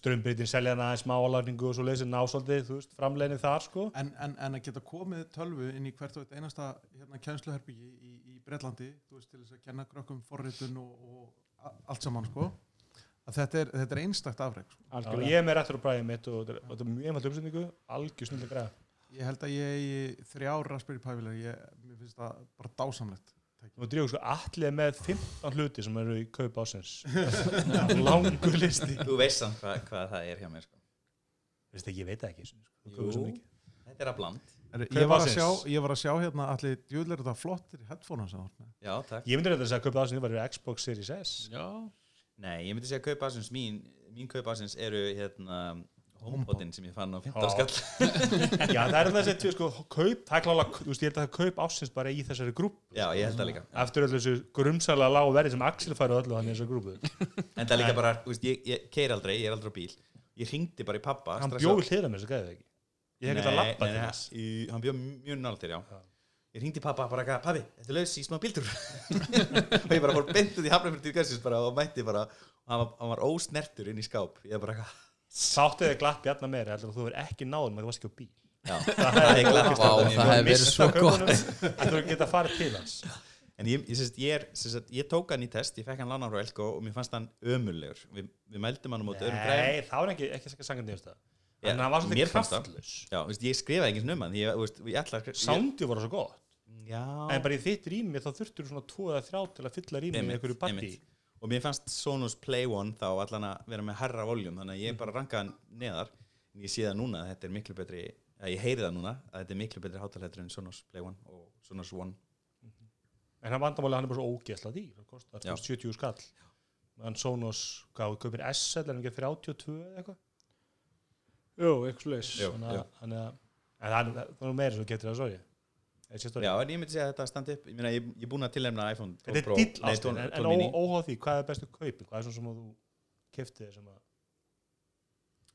B: strömbritin selja hana aðeins smá álagningu og svo leysir násaldið, þú veist, framleginu þar sko
H: en, en, en að geta komið tölvu inn í hvert og eitt einasta hérna, kennsluherbyggi í, í Bretlandi þú veist, til þess að kenna krökkum forritun og, og a- allt saman sko. að þetta er, þetta er einstakt afreg sko.
B: Já, ég er með réttur á bræðið mitt og þetta er- og þetta er mjög einfalt uppsetningu, algjör snillig greið
H: ég held að ég eigi þrjár Raspberry Pi vilar mér finnst það bara dásamlegt
B: Nú drífum sko allir með 15 hluti sem eru í kaup ásins langur listi
G: Þú veist samt hvað, hvað það er hjá mér sko.
B: Veist ekki, ég veit það ekki sko. Þú
G: Jú.
B: kaupir svo mikið.
G: Þetta er að bland
H: Er,
B: Kaup
H: ég, var að
B: ársins.
H: sjá, ég var að sjá hérna allir djúðlega þetta flottir headphone sem þú ert með.
G: Já, takk
B: Ég myndi reynda að segja að kaupa ásins var fyrir Xbox Series S
D: Já,
G: Nei, ég myndi segja að kaupa ásins mín Mín kaupa ásins eru hérna Homebotin sem ég fann á
B: Já.
G: 15 skall
B: Já, það er þessi tvö, sko, kaup það er klálega, þú veist, ég held að það er kaup ásins bara í þessari grúpp
G: Já, ég held það líka
B: eftir öllu þessu grumsalega lág verði sem Axel færi öllu hann í þessari grúpu
G: En það er líka bara, þú veist, ég, ég keir aldrei, ég er aldrei á bíl Ég ringdi bara í pappa
B: Hann
G: strax á-
B: bjóði hlera mér, svo gæði það ekki Ég hef ekki að
G: Nei,
B: lappa
G: nei,
B: til
G: nei,
B: þess
G: í- Hann bjóð mjög nált þér, já Ég ringdi í pappa bara eitthvað, pabbi, þetta er laus í smá bíltúr og ég bara fór beint út í hafnafyrir til gassis bara og mætti bara og hann var, hann var ósnertur inn í skáp ég bara eitthvað,
B: Sáttið er glatt bjarna meira, heldur að þú verð ekki náðum að þú varst ekki á bíl
G: já, það er glatt
I: Vá, það hefði verið svo gott
B: Það þú geta farið til hans
G: En ég, ég, sérst, ég, er, sérst, ég tók hann í test, ég fekk hann lánan frá Elko og mér fannst hann ömurlegur. Vi, við mældum hann á móti öðrum græðum.
B: Nei, það var ekki, ekki sækja sangandi yfir það
G: Já,
B: En hann var
G: mér
B: svolítið
G: fannst það.
B: kraftlaus
G: Já, veist, ég skrifaði ekki um hann, ég, þú veist, ég ætla að... ég-
B: Sándið voru svo gott En
G: Já,
B: bara í þitt rými þá þurftur svona tvo eða þrjá til að fylla rými með
G: Einmitt,
B: einhverju parti
G: einmitt. og mér fannst Sonos Play One þá allan að vera með herra voljum, þannig að
B: Mhm.
G: ég bara rankaði hann neðar. En ég sé það núna að þetta er miklu betri, að ég heyri það núna að þetta er miklu betri hátalættur en Sonos Play One og Sonos One.
B: En hann vandamáli hann er bara svo ógeðsla dýr Það kostar
G: Já.
B: 70 skall En Sonos gaf kaupir S eða hann ekki 32 eða eitthvað
C: Jú, eitthvað leis
G: Jú,
B: Þannig að- þannig að- En það er- það er nú meira svo getur það svo ég
G: Já,
B: Þetta
G: en ég myndi segja að þetta standi upp, ég meina, ég, ég er búin að tilhemna iPhone 12
B: er
G: Pro,
B: dill
G: nei,
B: ástin
G: 12
B: En,
G: 12
B: en
G: mini.
B: ó- óháð því, hvað er bestu kaupin? Hvað er svona sem að þú keftið sem að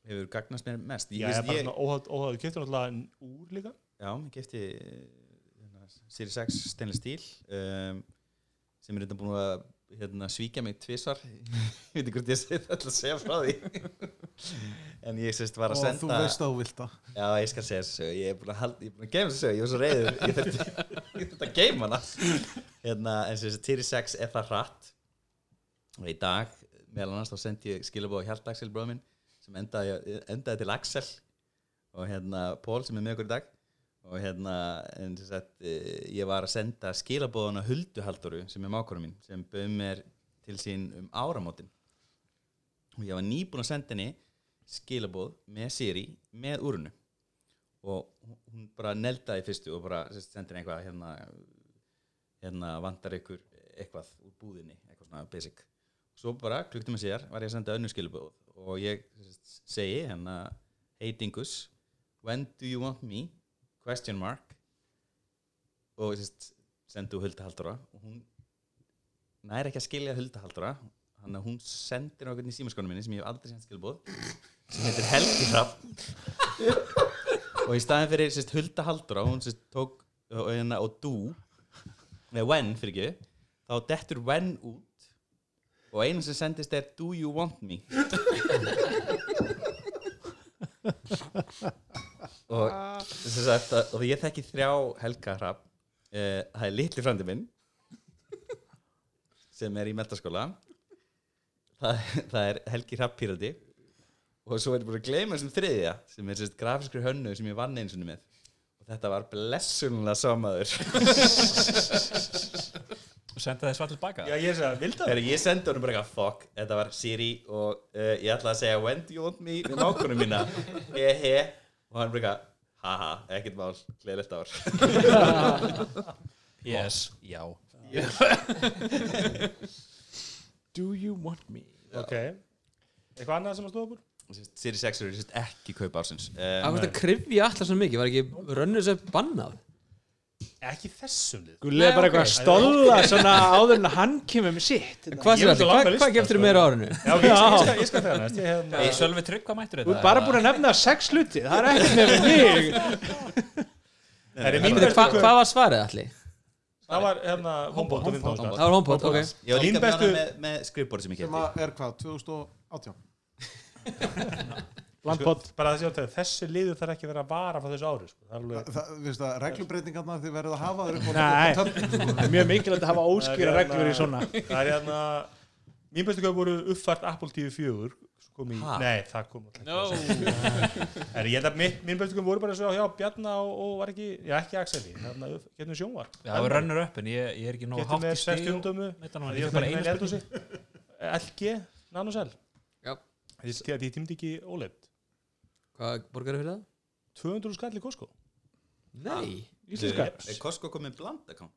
G: hefur gagnast mér mest.
B: Já, ég er bara svona óháð, óháð Þú keftið náttúrulega úr líka
G: Já, ég kefti hérna, Series 6 stainless steel um, sem er þetta búin að hérna, svíkja mig tvisvar ég veit ekki hvort ég segi það ætla að segja frá því en ég sérst var að
H: og þú
G: senda
H: veist að þú vilt það
G: Já, ég skal segja þessu sögu, ég er búin að, halda, ég er búin að geima þessu sögu, ég var svo reyður ég þurfti ég þurfti að geima hana hérna, en þessi Series 6 er það hratt og í dag meðal annars þá sendi ég skilabóð Hjaldaxel bróðum minn sem endaði, endaði til Axel og hérna Pól sem er með okkur í dag og hérna en sem sagt, eh, ég var að senda skilabóðana Huldu Haldoru sem er mákurum mín sem bauð mér til sín um áramótin og ég var nýbúin að senda henni skilabóð með Siri með úrunu og hún- hún bara neldaði fyrstu og bara sem sagt, sendi henni eitthvað hérna, hérna vantar ykkur eitthvað úr búðinni, eitthvað svona basic svo bara klukktum að sér var ég að senda önnu skilabóð og ég sem sagt, segi hérna hey Dingus, when do you want me question mark og sérst, sendu huldahaldara og hún næri ekki að skilja huldahaldara þannig að hún sendir okkur í símaskonum minni sem ég hef aldrei sent skilbúð sem heitir Helgi Hrafn og í staðin fyrir sérst, huldahaldara hún sérst, tók og, og, og dú með when fyrir ekki þá dettur when út og einu sem sendist er do you want me og, sem sagt, að- og ég þekki þrjá Helga Hrafn Eh, það er litli frændi minn sem er í mentaskóla það, það er Helgi Hrafn Pírati og svo er ég búin að gleyma þessum þriðja sem er sérst grafiskur hönnu sem ég vann eins og með og þetta var blessunlega samaður
E: og senda þið svar tilbaka
B: Já, ég er að vilda
G: þegar ég sendi honum bara eitthvað fuck, þetta var Siri og uh, ég ætlaði að segja when do you want me við nákvæmum mína he he og hann bara eitthvað haha, ekkert mál, gleðilegt ár
E: yes, já
C: Do you want me?
B: Ok Eitthvað annað sem að stóða búr?
G: Series 6 eru sérst ekki kaup ásins um,
I: Af hverju þetta krifja alltaf svona mikið Var ekki runners up bannað?
B: Ekki þessum lið
C: Gulli er bara eitthvað að stóla svona áður en hann kemur með sitt
I: Hvað
B: Ég
I: sér
B: myndi
I: þetta?
B: langa
I: Hvað
B: lista,
I: hva geftur þú
C: sko.
I: meira á árinu?
B: Já, ok, ég skal- ég skal- ég skal þegar næst Ég hérna- hef
E: Hey, Sölvi Trygg, hvað mættur
C: hérna- Þú
E: þetta?
C: ert bara búin að nefna sex hluti Það er ekkert með mig
B: Það er mín
I: Hvað
B: bestu
I: hva var svarið allir?
B: Það var hérna Homebot og Vindows
I: Það var homebot, ok
G: Ég var
B: Mín
G: líka bestu...
B: bestu-
G: með, með skrifbóri sem ég
H: sem
G: kefti
H: að er hvað, 2018
C: Landpott
B: Bara þessi átæði Þessi liður þarf ekki að vera að vara frá þessu ári sko. Það er alveg
H: það, veist það, reglubreitingarna þið verðið að hafa þér upp
C: Nei.
H: á töfnum, sko.
C: Það er mjög mikilvægt að hafa óskýra
B: Það er hérna-
C: reglur í svona
B: Það er hérna Mín bestu kaup voru uppfært Apple TV 4 svo sko, kom í,
G: Ha?
B: Nei, það kom alltaf
D: No.
B: Er, ég held að mín, mín bestu kaup voru bara svo hjá Bjarna og, og var ekki Já, ekki Axeli Hérna, getum sjónvar
E: Það var runnur upp en ég, ég er ekki nóg
B: Getum
E: hátt í
B: við
E: stig
B: 60 umdömu
E: Ég er bara einu spurning
B: LG, Nanosell
I: Já.
B: Ég því að ég tímdi ekki E óleipt
I: Hvað borgar fyrir það?
B: 200 skall í Costco
I: Nei
B: Íslenska
G: Er Costco komið bland account?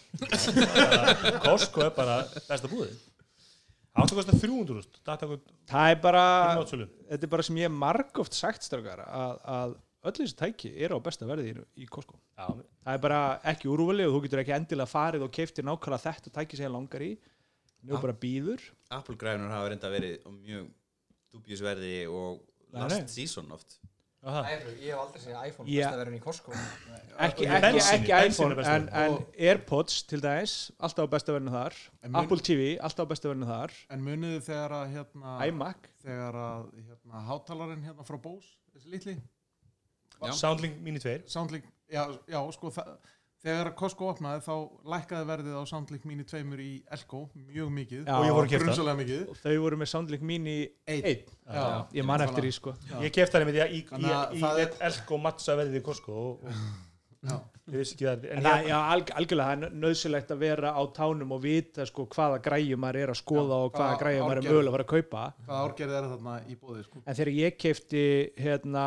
B: Costco er bara besta búðið Áttu kosta 300 úst Data okkur
C: Það er bara
B: nátsölu
C: Þetta er bara sem ég hef margóft sagt strákar að, að öll þessi tæki eru á besta verði í- í Costco Það er bara ekki úrvali og þú getur ekki endilega farið og keiftir nákvæmlega þetta tæki sem ég langar í Nú bara býður
G: Apple grænur hafa reynda verið á mjög dubjusverði og last
C: nei.
G: season oft
F: Ég hef aldrei séð iPhone
C: Já.
F: besta verðin í Costco
C: ekki,
B: Og
C: ekki,
B: bensín,
C: ekki
B: bensín er
C: iPhone
B: besta
C: en,
B: verðið.
C: en Airpods til dæmis alltaf á besta verðinu þar
H: En mun-
C: Apple TV, alltaf á besta verðinu þar
H: en muniðu þegar að hérna,
C: iMac,
H: þegar að hérna, hátalarinn hérna frá Bose, þessi litli
B: Soundlink Mini 2
H: Soundlink, já, já sko það, þegar að Costco opnaði þá lækkaði verðið á Soundlink Mini 2 í Elko mjög mikið
C: Já. Og ég
B: fór að keypta.
H: Grunsamlega mikið
C: og þau voru með Soundlink Mini
H: Einn.
C: 1
H: Já.
C: ég man eftir því sko
B: Ég kefti það með því að í, í,
H: Þannig að
B: í,
H: það
B: í
H: er-
B: er... Elko matza verðið í Costco og,
H: Já.
B: og, Ég vissi ekki það
C: En
B: En
C: það,
B: ég
C: já, alg, algjörlega, það er nöðsilegt að vera á tánum og vita sko hvaða græju maður er að skoða og hvaða
H: hvaða
C: græju maður er
H: árgerð.
C: mögulega að fara að kaupa.
H: Hvaða árgerð er þarna í bóði sko?
C: En þegar ég keipti hérna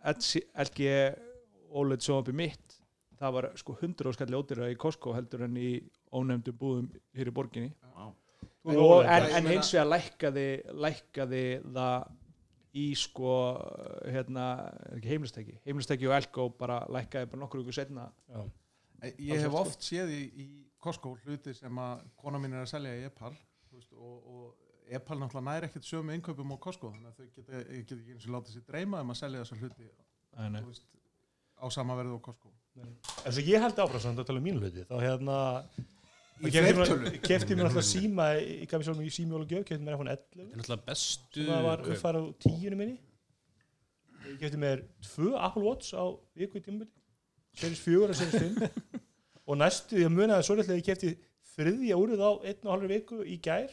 C: LG LG OLED sjónvapi mitt, það var sko 100 skall ódýra í Costco heldur en í ónefndum búðum hér í borginni.
G: wow.
C: Og,
B: OLED,
C: en,
H: ég
C: en
H: meina-
C: hins vegar lækkaði, lækkaði það í sko hérna, er ekki heimlistæki, heimlistæki og Elko bara lækkaði bara nokkur ykkur setna.
H: Ég
B: sko.
C: sko.
H: hef oft séð í, í Costco hluti sem að kona mín er að selja í Epal þú veist, og, og Epal náttúrulega næri ekkert sömu innkaupum á Costco þannig að þau geta, ég get ekki eins og láta sér dreyma um að selja þessa hluti þú veist, á sama verðið á Costco
B: En svo ég held áfram samt að tala um mínu hluti þá hérna
H: Í fleirtölu.
B: Kefti mér alltaf síma ég gaf mér sjálfum í símjóla gjöf kefti mér iPhone 11
D: er náttúrulega bestu
B: sem að var
D: kaup.
B: uppfæra á tíunum minni ég kefti mér tvö Apple Watch á viku í tímabili series 4 og series 5 og næstu, ég muna það svolítið að ég kefti þriðja úrið á einn og halvur viku í gær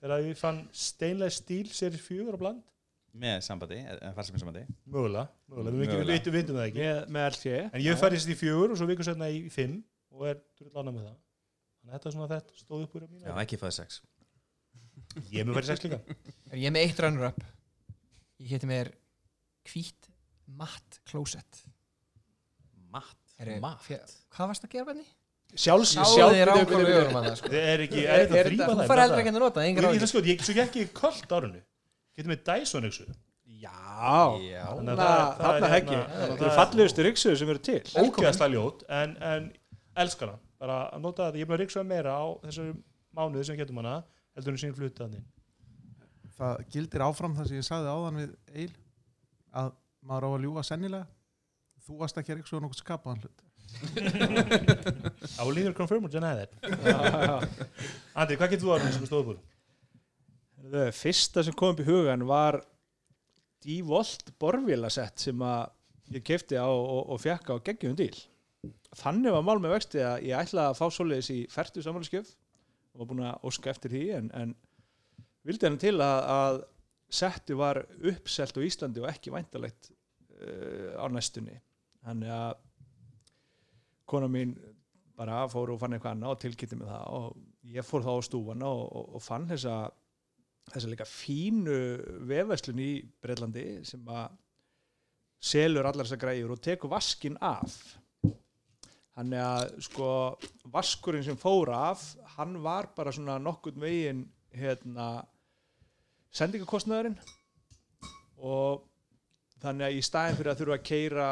B: þegar ég fann steinlega stíl series 4 á bland
G: með sambandi, farsami sambandi
B: mögulega, mögulega, við ekki
G: Mögulega.
B: vitum, vitum það ekki
C: Með, með LG.
B: en ég færði sér í fjögur og svo viku setna í fimm og er drull ánað með það þannig að þetta er svona þetta stóð upp úr á mínu
G: Já, ekki fæði sex
B: ég hef mér færði sex líka
F: Er ég með eitt runner up Ég héti mér hvít matt closet
G: Matt
F: Heru,
E: Matt?
F: Hvað varst að gera benni?
C: Sjálfs,
F: Sjáðu þér
C: sjálfs,
F: ákvæmlega öðrum að það sko.
B: það er ekki,
F: Er
B: er þetta
F: þetta-
B: þrýma það
F: Þú fær heldur ekki að nota það,
B: Ég
F: engar
B: ætla að
F: ákvæmlega
B: skoða, ég svo gekk ég kvöld árunni Getur með Dyson yksu
C: Já,
G: Já.
B: Þannig að
C: þarna
B: það- það er
C: þarna heggi
B: hérna-
C: Þetta
B: það
C: eru
B: er-
C: fallegustu ryksuðu sem eru til
B: Ógeðslega ljót en, en elskar hann Bara að nota þetta, ég er búin að ríksuða meira á þessari mánuði sem getum hana heldur hún sín flutaðni
H: það gildir áfram það sem ég sagði áðan við Eil að maður á að ljúga sennilega þú varst ekki að ríksu nokkuð skapaðan hlut
B: I will either confirm or deny that
C: Það
B: Andri, hvað getur þú árunni sem stóðu búin?
C: fyrsta sem kom upp í hugan var Divolt borvílasett sem að ég kefti á og, og fekk á geggjum díl Þannig var mál með vexti að ég ætlaði að fá svoleiðis í fertu samanlískjöf og var búin að óska eftir því en, en vildi hann til að, að settu var uppselt á Íslandi og ekki væntalegt uh, á næstunni þannig að kona mín bara fór og fann eitthvað annað og tilkynnti mig það og ég fór þá á stúfana og, og, og fann þessa þessa líka fínu vefverslun í Breitlandi sem að selur allar þessar græjur og tekur vaskin af þannig að sko vaskurinn sem fór af hann var bara svona nokkurn veginn hérna sendingakostnaðurinn og þannig að í staðin fyrir að þurfa að keira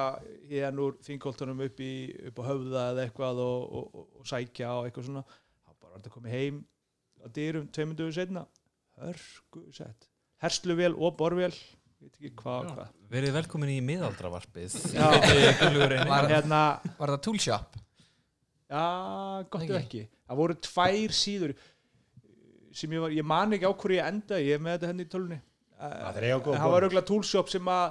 C: hérna úr þingoltunum upp, í, upp á höfða eða eitthvað og, og, og, og sækja og eitthvað svona þá bara var þetta komið heim að dyrum tveimunduðu setna hörgu sett hersluvél og borvél veit ekki hvað og hvað
E: Verið velkomin í miðaldravarpið
C: Já.
F: Var-
C: hérna,
F: Var það toolshop?
C: Já, gott
F: Ekki?
C: ef ekki. Það voru tvær síður sem ég var, ég man ekki á hverju ég endaði, ég er með þetta henni í tölunni.
B: Það er eiga góð
C: það var auðvitað toolshop sem að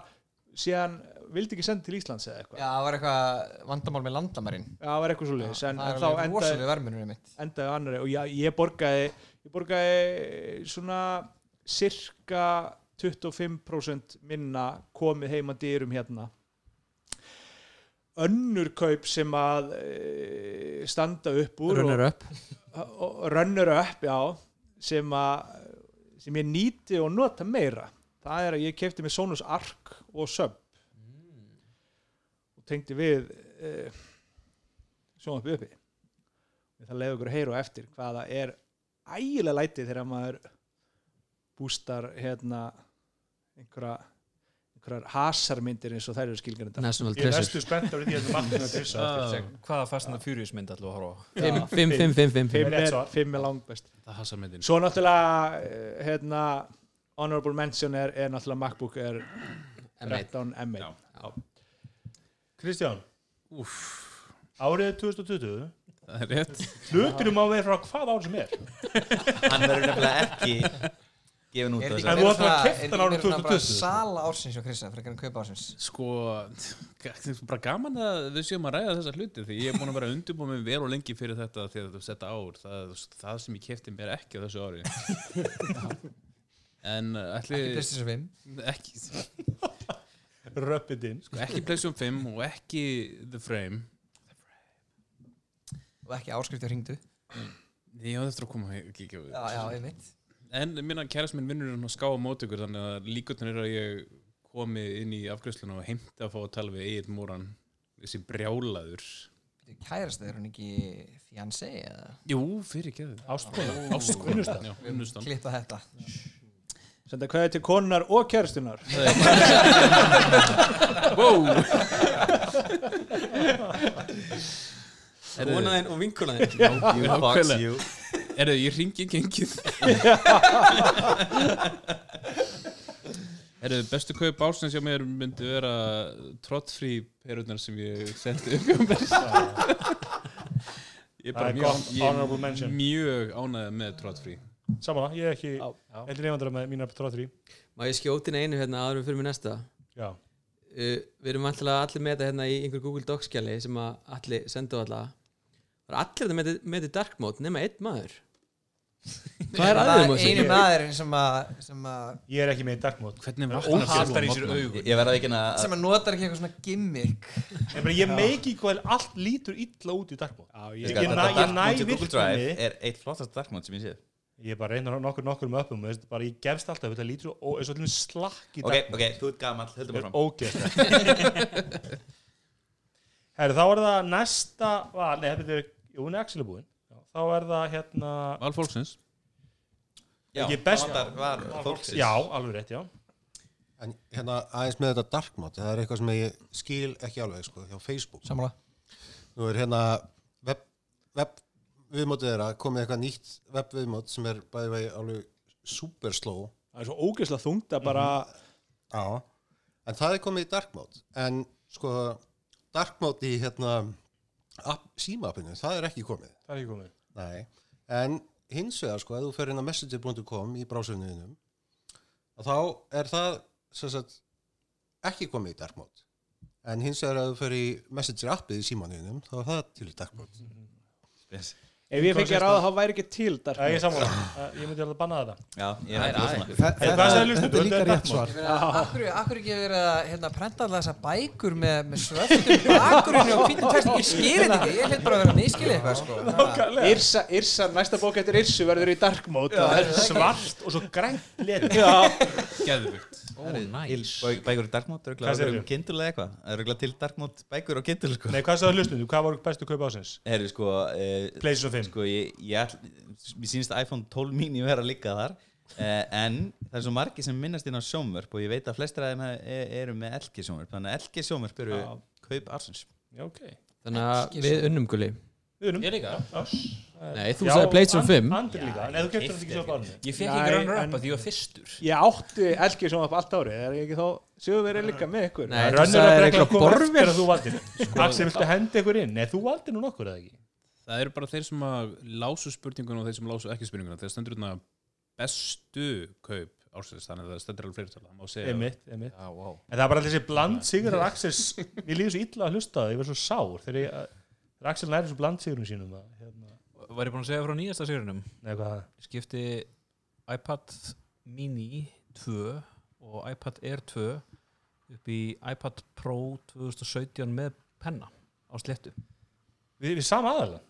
C: síðan vildi ekki senda til Íslands eða
F: Já,
C: eitthvað.
F: það var eitthvað vandamál með landamærin
C: Já, það var eitthvað svo leiðis, en, en þá
F: Það er
C: endaði,
F: rosalega vermunur einmitt
C: endaði á annari og ég, ég borgaði, ég borgaði svona cirka 25% minna komið heima dyrum hérna önnur kaup sem að e, standa upp úr og-
I: runner up
C: og runner up já, sem, að, sem ég nýti og nota meira það er að ég kefti með Sonos Arc og Sub
I: Mm.
C: og tengdi við uh, sjónvarpið uppi Ég ætla að leiða ykkur að heyra á eftir hvað það er ægilega læti þegar maður bústar hérna einhverja einhverjar hasarmyndir eins og þær eru skilgjörnda
I: National
B: Ég er
I: Treasure
B: næstu spennt að við því að þetta markmið að
C: Ah.
B: trissa
E: Ah. Hvaða fastan að fjúriðismynd ætlum við að horfa á?
I: 5, 5, 5, 5, 5
C: fimm
B: Rétt
C: er,
B: svar.
C: fimm er langbest
D: það hasar myndin
C: Svo náttúrulega eh, hérna, honorable mention er, er náttúrulega MacBook er
I: M1
C: 13 M1
G: Já.
B: Kristján Árið 2020
D: það er rétt
B: Hluturum á við frá hvað ár sem er
G: hann verður nefnilega ekki gefin út
F: Er
G: af
F: þetta
G: þessu.
F: meira
B: En þú ætlar að
F: svona-
B: keypta
F: er þetta
B: hann árið
F: meira svona bara
B: 2020?
F: Sala ársins hjá Kristján, frekar en kaupa ársins
D: sko það
G: Sko,
D: er bara gaman að við séum að ræða þessa hluti því ég er búin að vera að undirbúa mig vel og lengi fyrir þetta því að þetta ár það, það sem ég kefti mér ekki á þessu ári en uh, ætli
F: Ekki PlayStation 5
D: ekki, sko,
B: Röppið inn
G: Sko,
D: ekki Playstation 5 og ekki The Frame
F: og ekki áskrift og hringdu
D: ég hafði eftir að koma og kíkja á
F: Já, já, einmitt
D: En minna kærast minn vinnur hérna hann að skáa mót ykkur þannig að líkotnir er að ég komi inn í afgjöfsluna og heimta að fá að tala við Egil Múran þessi brjálaður
F: Kærast er hún ekki fiancé eða
D: Jú, fyrir ekki
B: Ástkona
D: Ástkona Já, unnustan
F: klippa þetta
C: Senda kveði til konunar og kjærstunar
D: Wow,
I: Konaðinn og vinkonaðinn
G: You fucks you
D: er ég ringi gengið Er bestu kaup ásins hjá mér myndi vera trottfrí perurnar sem ég sendi um Ég er
B: Ah. Það
D: bara
B: er
D: mjög,
B: gott honorable
D: ég,
B: mention.
D: mjög ánægð með trottfrí
B: Saman, ég er ekki
C: Já.
B: Endur nefndara með mínar tróðri
I: Má ég skjóti inn einu hérna aðrum fyrir mig næsta
B: Já
I: uh, Við erum alltaf allir með þetta hérna í einhver Google Docs skjali sem að allir sendu alltaf Það er allir þetta með, með þetta dark mode nema einn maður Hvað er aðeins um maður
F: einu
I: sér?
F: maðurinn sem að sem að
B: Ég er ekki með í dark mode
D: Hvernig vaknar
B: hatar í sér
D: augun
G: ég verða ekki að
F: sem að notar ekki eitthvað svona gimmick
B: Ég, bara, ég meiki hvað allt lítur illa út í dark mode
C: Já,
B: Ég-
C: ég,
G: Þetta
B: næ-
G: dark
B: ég næ
G: mode í Google Drive
B: virkni.
G: er eitt flottast darkmót sem ég séð
B: Ég bara reyna nokkur nokkur um öppum veist, bara, Ég gefst alltaf, þetta lítur og eins og allir slakk í
G: ok,
B: dark
G: ok, þú ert gamall, höldum
B: mode
G: bara
B: er
G: fram
B: ógeðslega Herru, þá er það næsta val, nei, þetta er, jú, hún er Axel búin Já, þá er það hérna
D: Valfólksins
G: já,
B: ekki best-
G: það var fólksins
B: Já, alveg rétt, já
J: En hérna aðeins með þetta dark mode, það er eitthvað sem ég skil ekki alveg sko, hjá Facebook.
F: samanlega
J: Nú er hérna web, web viðmótið þeirra komið eitthvað nýtt web viðmót sem er bæði vegi alveg super slow. Mhm.
C: það er svo ógeðslega þungt að bara
J: Já. En það er komið í dark mode. En sko dark mode í hérna app, símappinu, það er ekki komið.
B: Það er ekki komið
J: Nei. En hins vegar sko, ef þú fer inn á messenger.com í brásöfniðinum og þá er það sem sagt ekki komið í dark mode. En hins vegar ef þú fer í messenger appið í símanuðinum þá er það til í dark mode.
C: ef ég fengi að ráða þá væri ekki til dark
B: Já, ég er
C: mode
B: sammála, Eh, ég myndi alveg banna þetta
G: já, ég er ekki svona
B: Hey, hvað sagði hlustendur?
H: Þetta er líka
B: Þetta er
H: rétt svar
F: Akkur, akkur ekki verið að hérna, prenta alltaf þessa bækur með, með svöftum bakurinn og hvítum test ég skil þetta ekki, ég hlut bara að vera að miskili eitthvað sko.
C: Yrsa, Yrsa, næsta bók eftir Yrsu verður í dark mode
B: Það er svart og svo grænt lit
D: Geðvikt
E: Ó, næs
G: Bæ- bækur í darkmót,
B: Hvað
G: örgulega
B: segirðu?
G: um kindle eða eitthvað Það er örgulega til darkmót bækur og kindle sko.
B: Nei, hvað sagði hlustundu? Hvað voru bestu kaup ásins?
G: Herri, sko, eh,
B: Playstation 5
G: sko ég, ég all, mér sýnist að iPhone 12 mini vera líka þar Eh, en það er svo margi sem minnast inn á sjómvörp og ég veit að flestir af þeim ha- e- eru með elki sjómvörp þannig að elki sjómvörp eru
C: Já.
G: kaup arsins
B: Já, ok.
I: Þannig að Hérna, við unnum gulli
B: Við erum.
E: Ég líka
I: Nei, þú sagði PlayStation 5
B: Eh, Andri líka. Nei, þú keftur hann ekki svo bárni.
E: Ég fekk
C: Nei,
E: ekki runner up
C: en-
E: að því ég var fyrstur
C: Ég átti elki sem upp allt árið, er ég ekki þá sögum verið líka með ykkur
I: Nei, þú
B: Rönnur að
I: sagðir
B: bregla
I: eitthvað
B: kom eftir
I: borvél
B: að þú valdir.
E: Sko.
C: Sko,
B: Axel, viltu henda ykkur inn? Nei, þú valdir nú nokkur eða ekki?
D: Það eru bara þeir sem að lásu spurninguna og þeir sem lásu ekki spurninguna. Þeir stendur hérna bestu kaup ársins, þannig að það stendur alveg fleirtala. Það má segja
B: Einmitt, einmitt.
E: Já, wow
B: En það er bara þessi bland sigrar Axel, ég líður svo illa að hlusta á það, ég verð svo sár þegar, ég, þegar Axel læri svo bland sigurum sínum. að, Hérna,
E: Var ég búin að segja frá nýjasta sigurinnum?
B: nei, hvað það?
E: Ég skipti iPad mini 2 og iPad Air 2 upp í iPad Pro 2017 með penna á slettu
B: Við, við sama aðalann.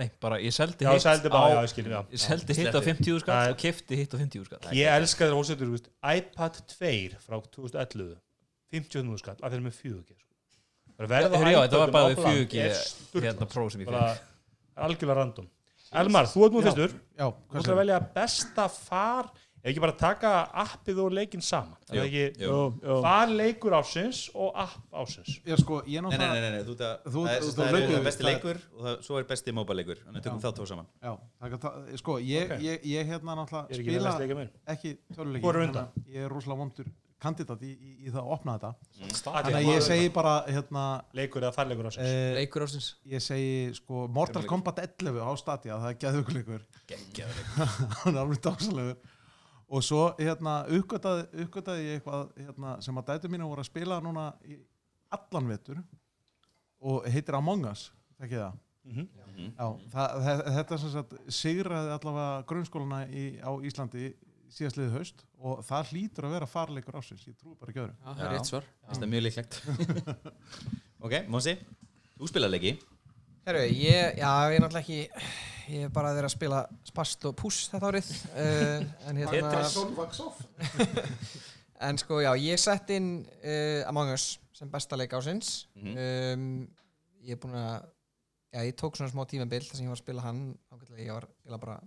E: Nei, bara ég seldi
B: Já,
E: hitt
B: seldi bara, já,
E: á,
B: ég skilum, já.
E: ég seldi hitt á 50 skall
B: Nei.
E: og kefti hitt á 50 skall
B: Ég elska þér hósetur, þú veist, iPad 2 frá 2011, 50 skall, að þeir eru með 4G, sko. Það er verð á
E: Herri, Eh, já, þetta var
B: iPadum
E: bara
B: á
E: við
B: bland,
E: 4G
B: er sturlað,
E: hérna Pro sem ég
B: bara
E: fekk
B: algjörlega random. Elmar, þú ert nú fyrstur.
H: Já,
B: Þú
H: hvað
B: ætlar að
H: segir
B: velja besta far ef ekki bara taka appið og leikinn saman það er ekki
G: Jú.
B: far leikur ásins og app ásins
H: Já, sko, ég
G: Nei, nei, nei,
H: náttúrulega
G: nei, nei, þú, það,
H: Þú-
G: það, er,
H: þú-
G: það,
H: þú
G: er,
H: leikur-
G: það er besti
H: það er-
G: leikur og það, svo er besti móbaleikur þannig að tökum
H: Já.
G: þá tvo saman
H: Já, það, gat- það, sko, ég, ég, ég hérna
B: ég
H: náttúrulega
B: er ekki með
H: spila
B: besta leika minn
H: ekki töluleiki
B: Hvor er undan?
H: þannig að Ég er rosalega vondur kandidat í, í, í það að opna þetta
B: Allir,
H: Þannig að ég segi bara, hérna
B: leikur eða farleikur ásins
H: eh,
I: Leikur ársins
H: Ég segi, sko, Mortal Kombat 11 á Stadia, það er geðvökuleikur Hann er alveg dásalegur Og svo, hérna, uppgötaði, uppgötaði ég eitthvað hérna, sem að dætu mínu voru að spila núna í allan vetur og heitir Among Us, ekki það?
B: Mhm.
H: Já, það, þe- þetta sem sagt sigraði allavega grunnskólana í, á Íslandi síðastliðið haust og það hlýtur að vera farleikur ásins, ég trúi bara ekki öðru.
I: Já, það er
G: Já.
I: rétt svar
G: það er mjög líklegt ok, Mósi, þú spilar leiki
F: Herru, ég, já, ég er náttúrulega ekki, ég hef bara verið að spila spast og púss þetta árið, uh, en hérna, en sko, já, ég sett inn uh, Among Us sem besta leik ásins,
G: Mhm.
F: um, ég er búinn að, já, ég tók svona smá tímabil þar sem ég var að spila hann, ágætlega, ég var, ég var bara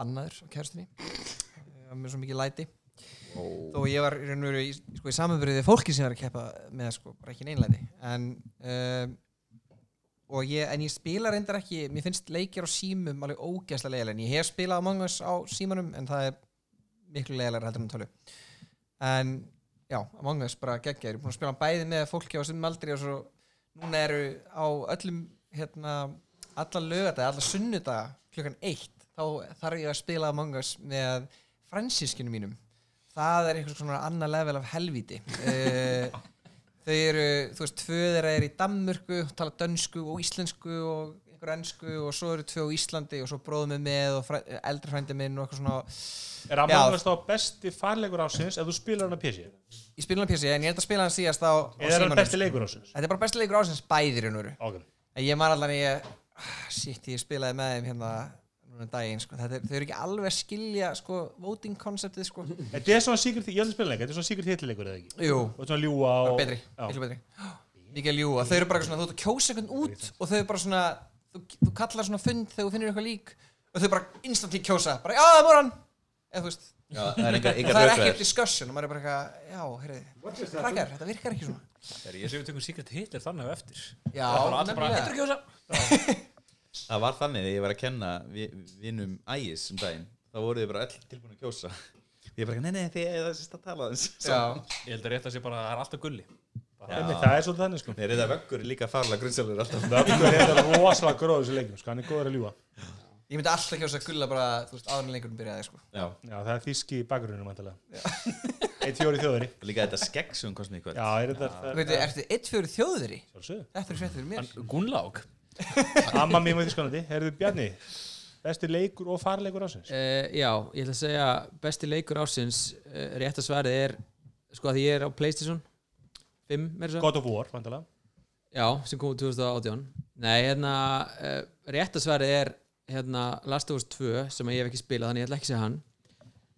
F: bannaður á kæristinni, uh, með svo mikið læti, þó ég var í raun og veru í, sko, í samanbyrðið fólki sem ég var að keppa með, sko, bara ekki neinlæti, en, um, og ég, en ég spila reyndar ekki mér finnst leikir á símum alveg ógeðslega leiðilega en ég hef spilað Among Us á símanum en það er miklu leiðilega heldur en á tölvu en já, Among Us bara geggja ég er búin að spila hann bæði með fólki á sem aldrei og svo núna eru á öllum hérna, alla lögadaga alla sunnudaga klukkan eitt þá þarf ég að spila Among Us með fransískinu mínum það er einhvers svona annað level af helvíti uh, þau eru, þú veist, tvö þeirra er í Danmörku, tala dönsku og íslensku og einhver ennsku og svo eru tvö á Íslandi og svo bróðum við með og fræ, eldri frændi minn og eitthvað svona
B: er að
F: Já.
B: maður þá besti farleikur ásins ef þú spilar hann á PC
F: ég spila hann pjössi en ég held að spila hann síðast á, á
B: eða er hann
F: símanum.
B: besti leikur ásins
F: þetta er bara besti leikur ásins bæðir í raun og veru.
B: ok,
F: en ég man allan að ég sítt ég spilaði með þeim hérna núna um daginn sko. þetta, er- þau eru ekki alveg að skilja sko, voting konceptið sko.
B: þetta er svona sigur ég held að spila leika, þetta er svona sigur hittileikur eða ekki
F: jú,
B: og svona ljúa
F: Það
B: og
F: var betri,
B: Já.
F: miklu betri mikið að ljúa, þau eru bara svona, þú ert að kjósa einhvern út og þau eru bara svona þú, þú kallar svona fund þegar þú finnir eitthvað lík og þau bara instantly kjósa, bara já, það er moran eða þú veist,
G: já, það er engar,
F: það er ekkert discussion og maður er bara eitthvað, já, heyrðu krakkar, þetta virkar ekki svona
E: Ég sé við tökum Secret Hitler þannig á eftir
F: já,
E: Það var allir bara,
F: nefnilega,
E: heitur kjósa
G: það var þannig þegar ég var að kenna vi- vinum ægis um daginn þá voru þið bara all tilbúin að kjósa ég bara, nei, nei, þið er það um." sérst að tala þess
F: já,
E: Ég held að rétt að sé bara, það er alltaf gulli
B: Einmitt, það er svolítið þannig sko
G: Nei, reyða vöggur er líka farlega grunnsalur alltaf
B: Vöggur er rosalega gróður þessu leikum sko, hann er góður að ljúa
F: ég myndi alltaf kjósa gulla bara, þú veist, áður en leikurinn byrjaði sko.
G: Já,
B: já, það er þíski í bakgruninu mæntalega eitt fjóri þjóðari
G: og líka þetta skegg sem hún kost mig í kvöld
B: já, er þetta það-
F: veitu, ertu eitt fjóri þjóðri?
B: Sjálfsögðu.
F: þetta er frétt fyrir mér
E: Gunnlák
B: Amma mín var í Þískanandi, heyrðu Bjarni besti leikur og farleikur ásins
I: Uh, já, ég ætla að segja besti leikur ársins uh, rétt að svarið er sko að ég er á Playstation 5 meira svo,
B: God of War, vandalega
I: já, sem kom úr 2018 Nei, hérna uh, rétt að svarið er hérna Last of Us 2 sem að ég hef ekki spilað þannig ég ætla ekki að segja hann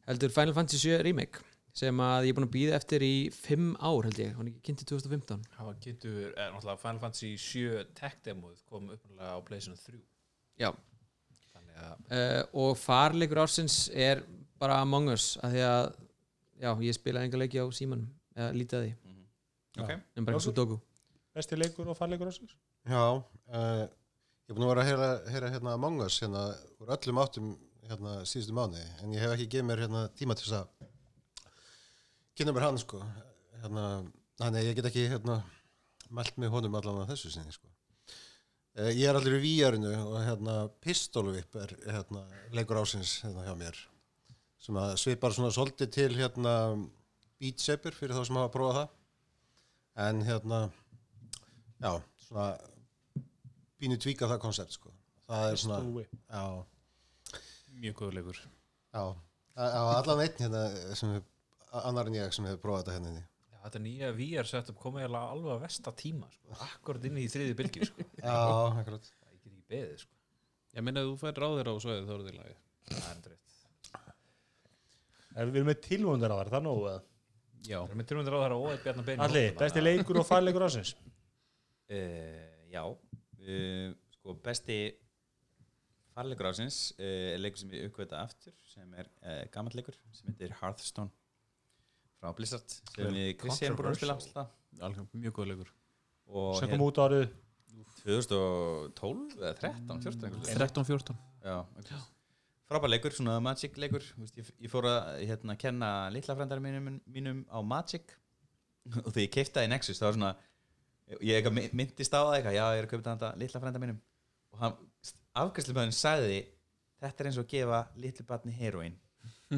I: heldur Final Fantasy 7 Remake sem að ég er búin að býða eftir í 5 ár held ég, hún er ekki kynnt í 2015
E: Það var kynntur, eh, náttúrulega Final Fantasy 7 tech demoð kom uppnáttúrulega á Playstation 3
I: Já,
E: þannig að
I: uh, og farleikur ársins er bara Among Us af því að já, ég spilaði enga leiki á símanum eða lítið að því,
D: Mhm.
G: Ok,
I: en bara
B: Jósef?
I: svo doku
B: Besti leikur og farleikur ásins
J: Já, uh, ég er búin að vera að heyra, heyra hérna Among Us hérna úr öllum áttum hérna síðustu mánu en ég hef ekki gefið mér hérna tíma til þess að kynna mér hann sko hérna, þannig að ég get ekki hérna mælt með honum allan að þessu sinni sko uh, Ég er allir í VR-inu og hérna Pistolvip er hérna leikur ásins hérna hjá mér sem að svipar svona svolítið til hérna Beat Saber fyrir þá sem hafa prófað það en hérna já, svona pínu tvíka það koncept sko. það er svona já,
D: Mjög góður leikur.
J: já, það var allan einn hérna sem hef, annar en ég sem hefur prófað þetta hérna inni.
E: Já, þetta nýja VR setup komið eiginlega alveg að vesta tíma sko. akkurat inn í þriði bylgju sko.
J: já, akkurat
E: ég get ekki beðið sko.
D: Ég meina að þú fær ráðir á svæðið þá eru þið lagi.
E: það er endur rétt
B: Við erum með tilvöndar á þar, það er nógu eða?
D: Já.
E: það er með tilvæmdur á það að óætt bjarnar beinu
B: Alli, besti leikur og farleikur ásins
G: Uh, já, uh, sko besti farleikur ásins uh, er leikur sem ég uppgöta aftur sem er uh, gammal leikur sem heitir Hearthstone frá Blizzard sem
E: Vel,
G: við Krissi erum búin að spila alltaf
D: Alveg Mjög góður leikur.
G: og
B: sem kom
G: hérna
B: út árið
G: 2012 eða 13, 14 einhvers staðar.
D: 13-14.
G: Já, einhvers staðar. frábær leikur, svona Magic leikur Þú veist, ég, ég fór að hérna, kenna litla frendar mínum, mínum á Magic og þegar ég keiptaði Nexus það var svona ég eitthvað my- myndist á það eitthvað já, ég er að kaupa þetta litla frænda mínum og hann, afgæslumöðin sagði þetta er eins og að gefa litlu barni heroin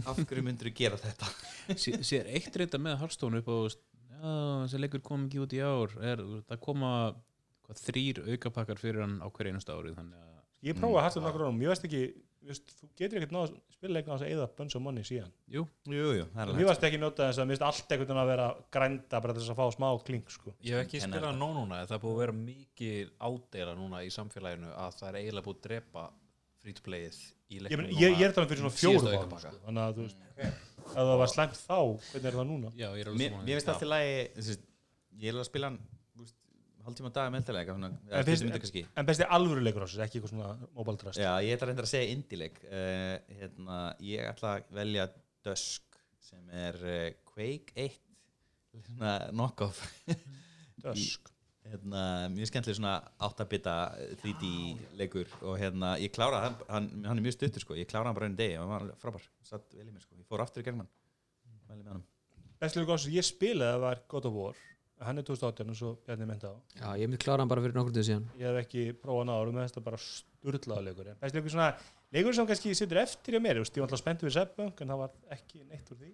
G: af hverju myndir þú gera þetta
D: Sé- Sér eitt reynda með Harstón upp á þú veist, já, þessi leikur kom ekki út í ár. Er, það koma hvað, þrýr aukapakkar fyrir hann á hverju einasta ári. Þannig að,
B: Ég
G: Mm.
B: prófaði að hættu nokkur ánum, ég veist ekki Just, þú getur ekkert náð að spila leikna á þess að eða bunch of money síðan.
D: jú,
G: jú, jú, það er
B: Mér varst ekki njóta þess að mér finnst allt einhvern veginn að vera grænda bara til þess að fá smá kling sko.
E: ég hef ekki
G: Kenna
E: spilað
G: þetta.
E: nó núna en það er búið að vera mikið ádeila núna í samfélaginu að það er eiginlega búið að drepa free to playið í
B: Ég,
E: leiknum
B: meni, ég, ég er þannig fyrir svona
E: Síðasta
B: fjórum árum
E: aukapakka.
B: sko. Þannig að þú veist, ef það var slæmt þá, hvernig er það núna?
D: já, ég er alveg
G: mér,
D: sammála.
G: mér finnst allt í lagi þessi, ég er alveg að spila hann úst, hálftíma á dag með eitthvað svona, eða
B: En,
G: 20 mínútur
B: finnst,
G: kannski.
B: en, en besti alvöru leikur ásins, ekki eitthvað svona mobile trust.
G: já, ég ætla reyndar að segja indileg uh, hérna, ég ætla að velja Dusk sem er uh, Quake 1 svona knockoff
B: Dösk.
G: hérna, mjög skemmtileg svona 8-bita 3D leikur og hérna, ég klára hann, hann, hann er mjög stuttur sko, ég klára hann bara einu degi og hann var alveg frábær, satt vel í mér sko, ég fór aftur í gegnum hann mæli með hann
B: Besti leikur ásins, ég spilaði var God of War, hann er 2018 og svo Bjarni menta á.
I: já, ég myndi klára hann bara fyrir nokkur tíu síðan
B: Ég hef ekki prófað náður með þetta bara sturlaða leikur. En besti leikur svona, leikur sem kannski situr eftir hjá mér, þú veist, ég var alltaf spenntið við Seppunk en það var ekki neitt úr því.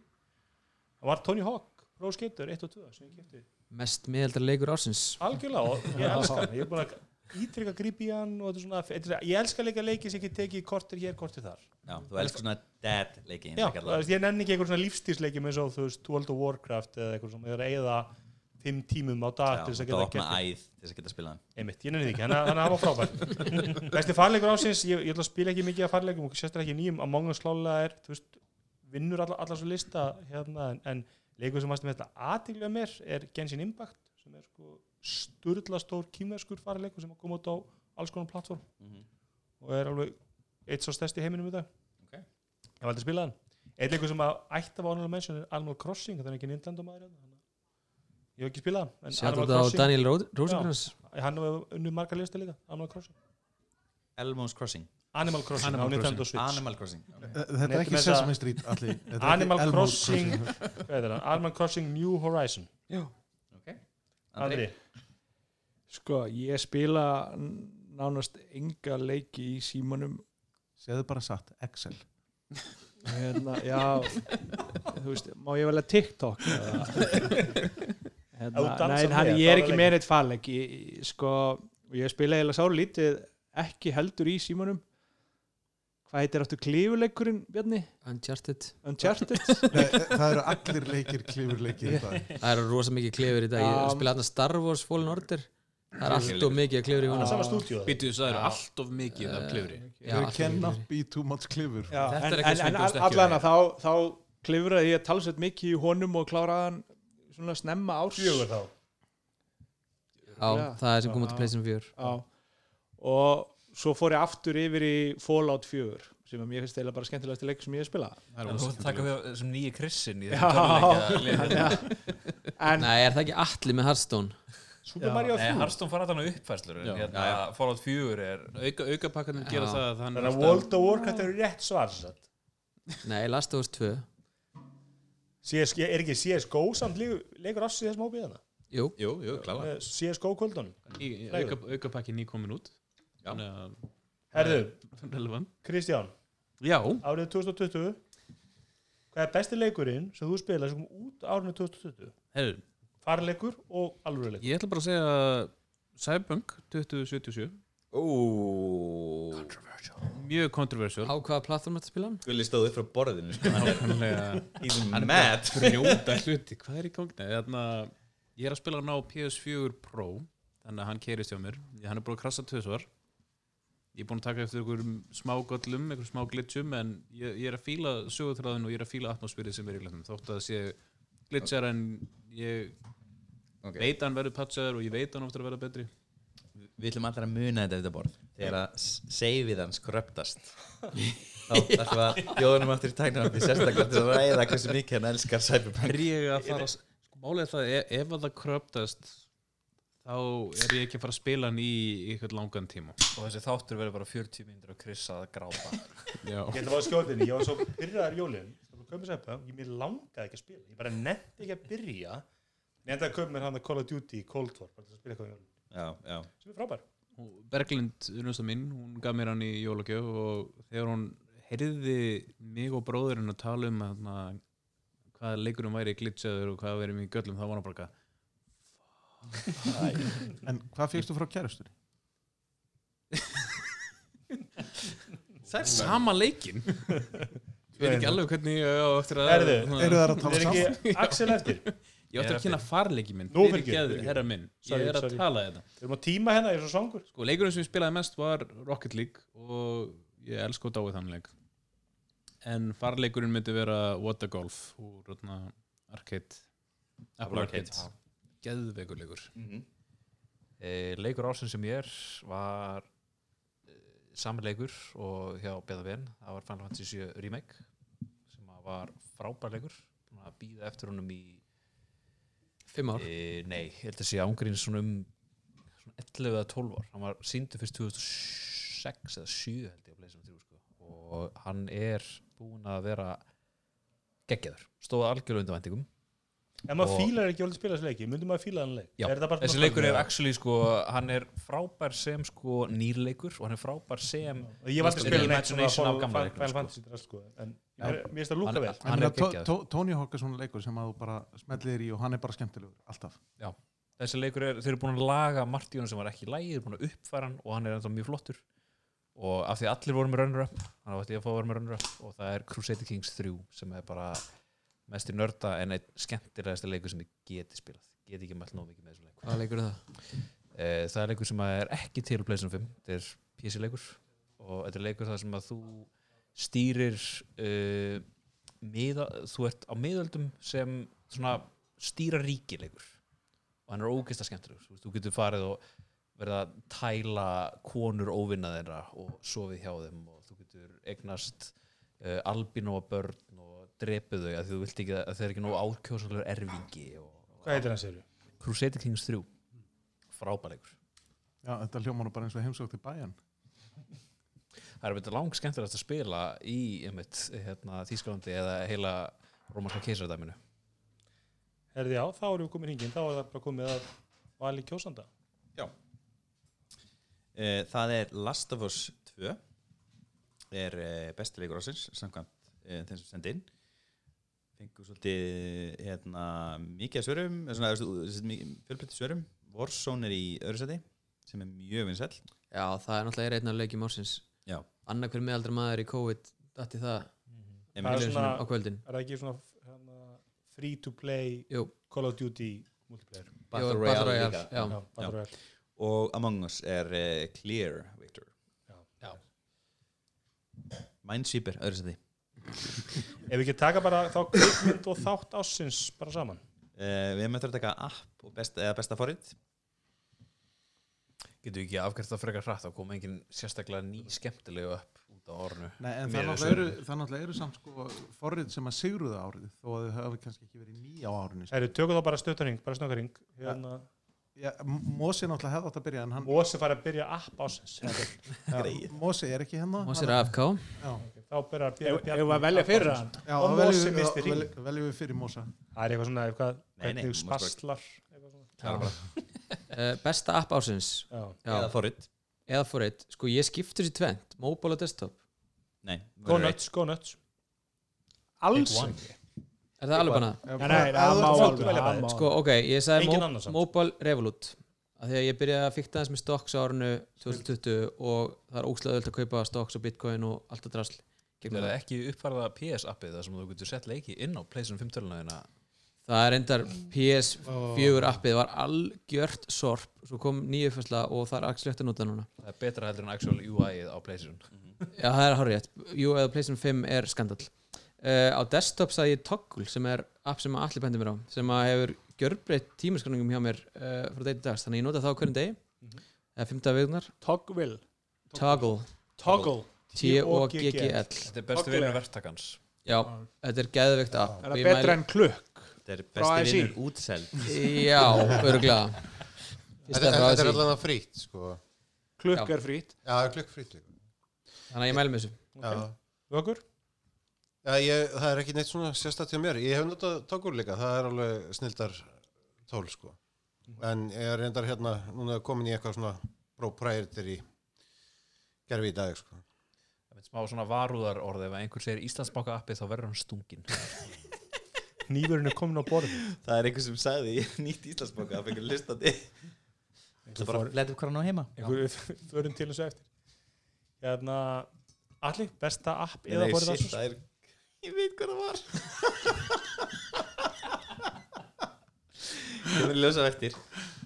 B: Það var Tony Hawk, Pro Skater 1 og 2 sem ég kæfti.
I: mest meðaldar leikur ársins
B: Algjörlega, og ég elska hann, ég er búin að ítrykka grípi hann og þetta er svona, þetta er- ég elska leika leiki sem ekki tekið kortir hér, kortir þar.
G: já, þú elskar svona dead leiki eins
B: Já,
G: og
B: þú
G: kalla það.
B: veist, ég nenni ekki einhver svona lífstísleikjum eins og þú veist World of Warcraft eða eitthvað sem er að eyða fimm tímum á dag
G: já,
B: til þess að
G: þú
B: geta
G: opna
B: gert
G: æð til þess að geta spilað hann
B: einmitt, ég nenni því ekki, þannig að- þannig að það var frábært Besti farleikur ásins, ég, ég ætla að spila ekki mikið af farleikum og sérstaklega ekki nýjum, að mánga slála er þú veist, vinnur alla, alla svo lista hérna, en, en leikur sem varst með þetta aðtíklega mér er Genshin Impact sem er sko sturla stór kímerskur farleikur sem að koma út á alls konar plattform
G: Mhm.
B: og er alveg eitt svo stærst í heiminum í dag
G: Ok.
B: ég valdi að spila hann eitt leikur sem að ætti að vara ánæglega mennsjón er Animal Crossing, þannig ekki Nintendo maður hérna, þannig að ég hef ekki spilað hann en
I: sjátt á
B: Animal Crossing,
I: Daniel Ro- Rosengrens
B: hann hefur unnið margar listi líka Animal Crossing,
G: Elmo's Crossing,
B: Animal Crossing
D: Animal
B: á Nintendo Switch
G: Animal Crossing okay.
H: Þetta er
B: Nei,
H: ekki
B: þetta-
H: Sesame Street allir Þetta er ekki
B: Animal
H: Elmo
B: Crossing, Hvað heitir hann? Animal Crossing New Horizon
G: Andri,
B: Andri,
C: sko, ég spila n- nánast enga leiki í símanum
H: Segðu bara satt, Excel
C: hérna, já þú veist, má ég velja TikTok eða?
B: Ef þú
C: hérna,
B: dansar
C: nein, hann,
B: með,
C: ég
B: þá
C: er
B: er
C: ekki
B: það
C: með neitt farleik ég, ég- sko, og ég spila eiginlega sáru lítið ekki heldur í símanum hvað heitir aftur klífuleikurinn Bjarni?
I: Uncharted,
C: Uncharted?
H: Nei, Það eru allir leikir, klifur leikir í dag.
I: það er rosa mikið klefur í dag
C: Já.
I: ég spila hann Star Wars Fallen Order það er allt og mikið klefur í
B: það
I: honum
B: er sama Eh, stúdíu það
D: Býtu, það eru allt of mikið af klifri.
I: Já,
H: There
I: allt of mikið
H: cannot
I: klifur.
H: be too much klifur
C: Já,
I: Þetta er
C: en,
I: eitthvað
C: en,
I: sem
C: en
I: ég bjóst ekki
C: allan
I: við.
C: að þá, þá klifraði ég talsveit mikið í honum og kláraði hann svona snemma árs
B: fjögur þá
I: já, það er sem kom út
C: Já.
I: til Playstation 4
C: Já. og svo fór ég aftur yfir í Fallout 4 sem að mér finnst eða bara skemmtilegast leikur sem ég hef spilað
D: Það er
E: Þú
D: ósað
E: ert að taka
D: skemmtilegur.
E: við sem nýji krissin í
C: Já.
E: þessum tölvuleikja
C: en
I: Nei, er það ekki allir með Hearthstone?
B: Super Mario
E: Nei,
B: 3
E: Hearthstone fara þannig uppfærslur
D: Já.
E: en hérna, Fallout 4 er
D: Auka, aukapakkarnir gera
I: Já.
D: það að hann
B: Þannig að World of Warcraft eru rétt svar sem sagt.
I: Nei, Last of Us 2
B: CS, er ekki CSGO samt leikur, leikur ásins í þessum hérna? Eh, hópið hana
I: Jú,
G: Jú, jú, klára
B: Með CSGO kvöldun
D: í- auka, aukapakkin ný komin út
G: Já.
D: þannig að
B: Herðu,
D: Eh, relevant
B: Kristján,
D: Já,
B: árið 2020 Hvað er besti leikurinn sem þú spilaði sem kom út árinu 2020?
D: herru,
B: Farleikur og alvöru leikur
D: ég ætla bara að segja Cyberpunk 2077
G: Ó,
D: mjög kontroversial
I: á hvaða plattform ertu að spila hann?
G: Gulli stóð upp frá borðinu sko.
D: Nákvæmlega
G: He's mad
D: grjóta hluti, hvað er í gangi? Þarna, ég er að spila hann á PS4 Pro þannig að hann keirist hjá mér ég, hann er búin að krasa tvisvar ég er búin að taka eftir ykkur smá gollum ykkur smá glitchum en ég, ég er að fíla sögutræðin og ég er að fíla atmosfærið sem er í leiknum þótt að það sé glitchar en ég
G: Ok.
D: veit að hann verður patchaður og ég veit að hann ofta að verða betri
G: Við ætlum allir að muna þetta eftir borð Þegar að save-ið hans kröptast Þá ætlum við að bjóðunum aftur í tæknum Því sérstaklega til að ræða hversu mikið hann elskar Cyberpunk
D: er ég að fara að- sko málið er það, e- ef að það kröptast þá er ég ekki að fara að spila hann í ykkur langan tíma
E: og þessi þáttur verður bara 40 mínútur að krissa að gráta
D: Já.
B: Ég ætla að fá að skjóta inn í, ég var svo pyrraðar jólin Það var að köpa sæpa, ég mér langaði ekki að spila Ég bara nefndi ekki að byrja Ég enda að köpa mér hann að Call of Duty Cold War bara til að spila eitthvað í jólin,
G: Já, já
B: sem er frábær
D: Og Berglind, unnvösta mín, hún gaf mér hann í jólagjöf og þegar hún heyrði mig og bróðurinn að tala um hana, hvað leikurum væri glitchaður og hvað væri mig í göllum, þá var hann bara eitthvað,
H: En hvað fyrstu frá kærustur?
D: það er sama leikin ég veit ekki alveg hvernig ég á eftir að
B: Herðu,
D: svona-
H: Eru þær að
B: Það
H: tala
B: er
H: saman?
B: ekki Axel eftir
D: ég átti að kynna farleiki minn
B: Nú,
D: fyrir
B: fyrirgefðu,
D: geður,
B: fyrirgefðu.
D: herra minn
B: Sorry,
D: ég er að
B: sorry.
D: tala þetta
B: Við erum á tíma hérna, ég er svo svangur
D: sko, leikurinn sem ég spilaði mest var Rocket League og ég elska og dáið þann leik en farleikurinn myndi vera Water Golf úr rotna, Arcade Apple Arcade, Arcade. geðveikur leikur
E: e, leikur ásinn sem ég er var e, samleikur og hjá Beða Ben það var Final Fantasy 7 Remake sem að var frábær leikur Búinn að býða eftir honum í
I: Fimm ár
E: e, nei, ég held að sé ángríns svona um svona 11 eða 12 ár hann var síndu fyrst 2006 eða 7 held ég að blei 3 sko. og hann er búinn að vera geggjaður, stóð algjörlega undir væntingum
B: Ef maður
E: Og-
B: fílar ekki jólin spila þessi leiki, myndum maður fíla þann leik
E: Já,
B: Er þetta bara
E: þessi
B: svona-
E: leikur er actually sko, hann er frábær sem sko nýrleikur og hann er frábær sem
B: Ég valdi að spila neitt sem að
E: Imagination af
B: fóru
E: gamla
B: Final
E: leiknum,
B: Final
E: sko.
B: Fantasy drast, sko. En mér mér finnst það lúka
E: Hann-
B: vel
E: hann er
H: Tó-
E: geggjaður
H: Tó- hérna, Tony Hawk er svona leikur sem að þú bara smellir í og hann er bara skemmtilegur, alltaf
E: þessi leikur er, þeir eru búin að laga Martíun sem var ekki í lægi, þeir eru búin að uppfæra hann og hann er ennþá mjög flottur og af því að allir voru með runner-up hann átti ég að fá að vera með runner-up og það er Crusader Kings 3 sem er bara mest í nörda en eitt skemmtilegasti leikur sem ég geti spilað geti ekki mælt nóg mikið með þessum leikur
I: Hvað leikur það?
E: Eh, Það er leikur sem að er ekki til Playstation 5, þetta er PC leikur og þetta er leikur þar sem að þú stýrir uh, miða, þú ert á miðöldum sem svona stýra ríki leikur og hann er ógeðslega skemmtilegur þú, veist, þú getur farið og verið að tæla konur óvinna þeirra og sofið hjá þeim og þú getur egnast uh, albinóa börn og drepu þau að því þú vilt ekki að þeir eru ekki nógu ákjósanlegur erfingi og,
B: Hvað heitir hann, segirðu?
E: Crusader Kings 3 frábæleikur
H: Já, þetta hljómar nú bara eins og heimsókn til bæjan
E: það er einmitt langt skemmtilegast að spila í einmitt, hérna, Þýskalandi eða heila rómarska keisardæminu
B: Herði, já, þá erum við komin hringin Þá er það bara komið að vali kjósanda
G: Eh, Það er Last of Us 2 er eh, besti leikur ásins samkvæmt eh, þeim sem sendi inn fengur svolítið hérna, mikið af svörum eh, svona, fjölbreytti svörum Warzone er í öðru seti sem er mjög vinsæll
I: Já, það er náttúrulega er einn af leikjum ársins
G: Já.
I: Annað hver meðaldra maður í COVID Datti það
G: Emil,
B: Það er
I: milljón
B: svona-
I: sinnum á kvöldin
B: Er það ekki svona hérna, free to play
I: Jú,
B: Call of Duty multiplayer?
I: Jú,
G: Battle Royale líka.
I: Já,
B: Já, Battle Royale.
G: og Among Us er uh, Clear Victor
B: Já.
I: Já.
G: Minesweeper, öðru seti
B: Ef við ekki taka bara þá kvikmynd og þátt ásins bara saman
G: uh, Við möttum að taka app og besta, eða besta forrið
E: getur við ekki afgært það frekar hratt þá kom engin sérstaklega ný skemmtilegu upp út út á árunu
H: Nei, en
E: Miðað
H: það
E: við
H: náttúrulega eru,
E: söguna.
H: það náttúrulega eru samt sko forrið sem að sigruða árið þó að þau hafi kannski ekki verið nýja á árinu sko.
B: Herru, tökum þá bara stöttaring, bara snökkaring hérna,
H: ja, M- Mosi náttúrulega hefði átt að byrja en hann,
B: Mósi fær að byrja app ásins
H: ja, Mosi er ekki hérna
I: Mósir AFK
H: Já,
B: þá byrjar að
C: Ef ef að velja fyrir hann
H: já
B: Og
H: þá
B: Mosi
H: veljum
B: missti
H: við-
B: hring.
H: vel- veljum við fyrir Mosa
B: Það er eitthvað svona, eitthvað,
G: Nei, nei,
B: hvernig
G: þú mátt bara-
B: spaslar eitthvað svona.
I: uh, Besta app ásins
B: Já.
I: Já,
G: eða forrið
I: eða for it Sko ég skiptur sér tvent, mobile og desktop
G: nei,
B: Go
G: verður eitt.
B: nuts, go nuts
C: Alls ekki
I: Er það alveg bara?
H: Já,
C: Nei, nei,
H: bara-
C: það má
B: þú-
C: alveg
B: þú-
C: það
B: þú-
C: má
I: Sko
C: alveg.
I: ok, ég sagði
B: Engin
I: mo-
B: annar samt.
I: mobile revolut af Því að ég byrjaði að fykta aðeins með stocks á árinu 2020 og það er óslega öll að kaupa stocks og bitcoin og allt að drasl
E: Þú
I: Gegnum
E: er
I: það.
E: ekki uppfarða PS appið þar sem þú getur sett leiki inn á PlayStation 5 töluna þína.
I: Það er endar PS4 appið var algjört sorp, svo kom nýjufæsla og það er axli hægt að nota núna
E: Það er betra heldur en actual UI-ið á PlayStation.
I: Já, það er hárið Jú, eða PlayStation 5 er skandal uh, Á desktop sagði ég Toggle sem er app sem allir bendi mér á sem að hefur gjörbreytt tímaskráningum hjá mér uh, frá degi til dags, þannig að ég nota það á hverjum degi
J: Mhm.
I: eða fymta vegnar
C: Toggle
I: Toggle,
C: Toggle
I: T-O-G-G-L
E: Þetta er bestu vinur verktakans.
I: Já, þetta er geðveikt app
C: Ah. Er
I: og
C: það
I: ég
C: betra
I: mæli-
C: en klukk?
G: þetta er
C: Frá
G: besti
C: ASI.
G: vinnur útseld
I: Já, öruglega
J: Þetta þetta er allavega frýtt, sko.
C: Klukk
I: Já.
C: er frýtt
J: Já, það er klukkfrýtt líka.
I: Þannig að ég mæli með þessu
J: Já.
B: Vökur?
J: Já, ég, það er ekki neitt svona sérstætt hjá mér. Ég hef notað tókur líka, það er alveg snildar tól, sko. En ég er reyndar hérna, núna komin í eitthvað svona proprietary gerfi í dag, sko.
E: Það er smá svona varúðar orðið. Ef einhver segir Íslandsbanka appið þá verður hann stungin.
B: Nýfurinn er komin á borð
G: það er einhver sem sagði ég hef nýtt Íslandsbanka það fengur listandi
F: Það bara letum hvað hann á heima
B: Einhver- Við förum til þessu eftir Hérna, allir besta app
G: Nei,
B: eða
G: nei,
B: borð
G: shit,
B: ásins
G: það er ég veit hvað það var það er ljósað eftir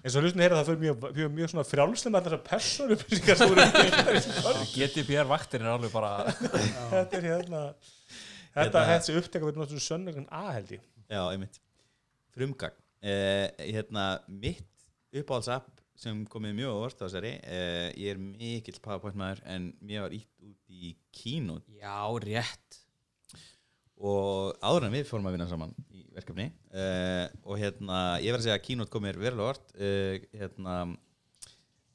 B: eins og hlustin heyra það fyrir mjög, mjög, mjög svona frjálslega með þessar persónupýsingar sem voru
E: GDPR vaktin er alveg bara...
B: þetta er hérna þetta
G: Hérna-
B: þessi upptaka verður náttúrulega sönnögn A held ég
G: Já, einmitt. Frumgagn. Uh, hérna, mitt uppáhaldsapp sem komið mjög á orð á þessari, uh, ég er mikill PowerPoint maður en mér var ítt út í Keynote
I: Já, rétt
G: og áður en við fórum að vinna saman í verkefni uh, og hérna, ég verð að segja að Keynote kom mér verulega á orð uh, hérna,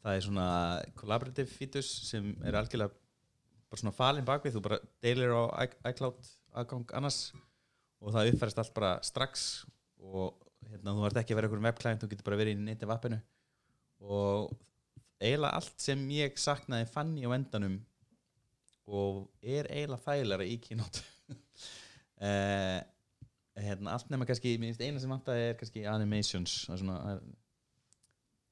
G: það er svona collaborative features sem er algjörlega bara svona falin bakvið, þú bara deilir á i- iCloud aðgang annars og það uppfærist allt bara strax og hérna, þú ert ekki að vera einhverjum webklænt þú getur bara verið í native appinu og eiginlega allt sem ég saknaði fann ég á endanum og er eiginlega þægilega í kynót uh, hérna, allt nema kannski mér finnst eina sem vantaði er kannski animations það er svona, það er,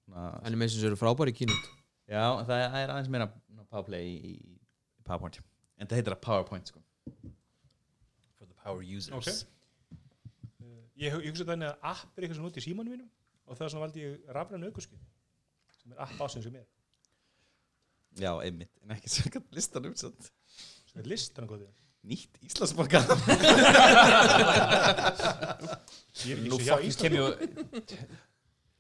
G: svona
I: Animations eru frábæri kínut
G: já, það er, það er aðeins meira ná, powerplay í, í powerpoint en það heitir að powerpoint sko.
E: For the power users.
B: Eh, ég, ég hugsa þannig að app er eitthvað svona út í símanum mínum og það er svona valdi ég rafrænu aukurskip sem er app ásins sem er
G: já, einmitt, en ekki samkvæmt listanum samt.
B: sem er listan góði
G: nýtt Íslandsbanka
B: ég
E: Nú
B: er ekki svo hjá
E: fucking
B: Ísland
E: kem ég...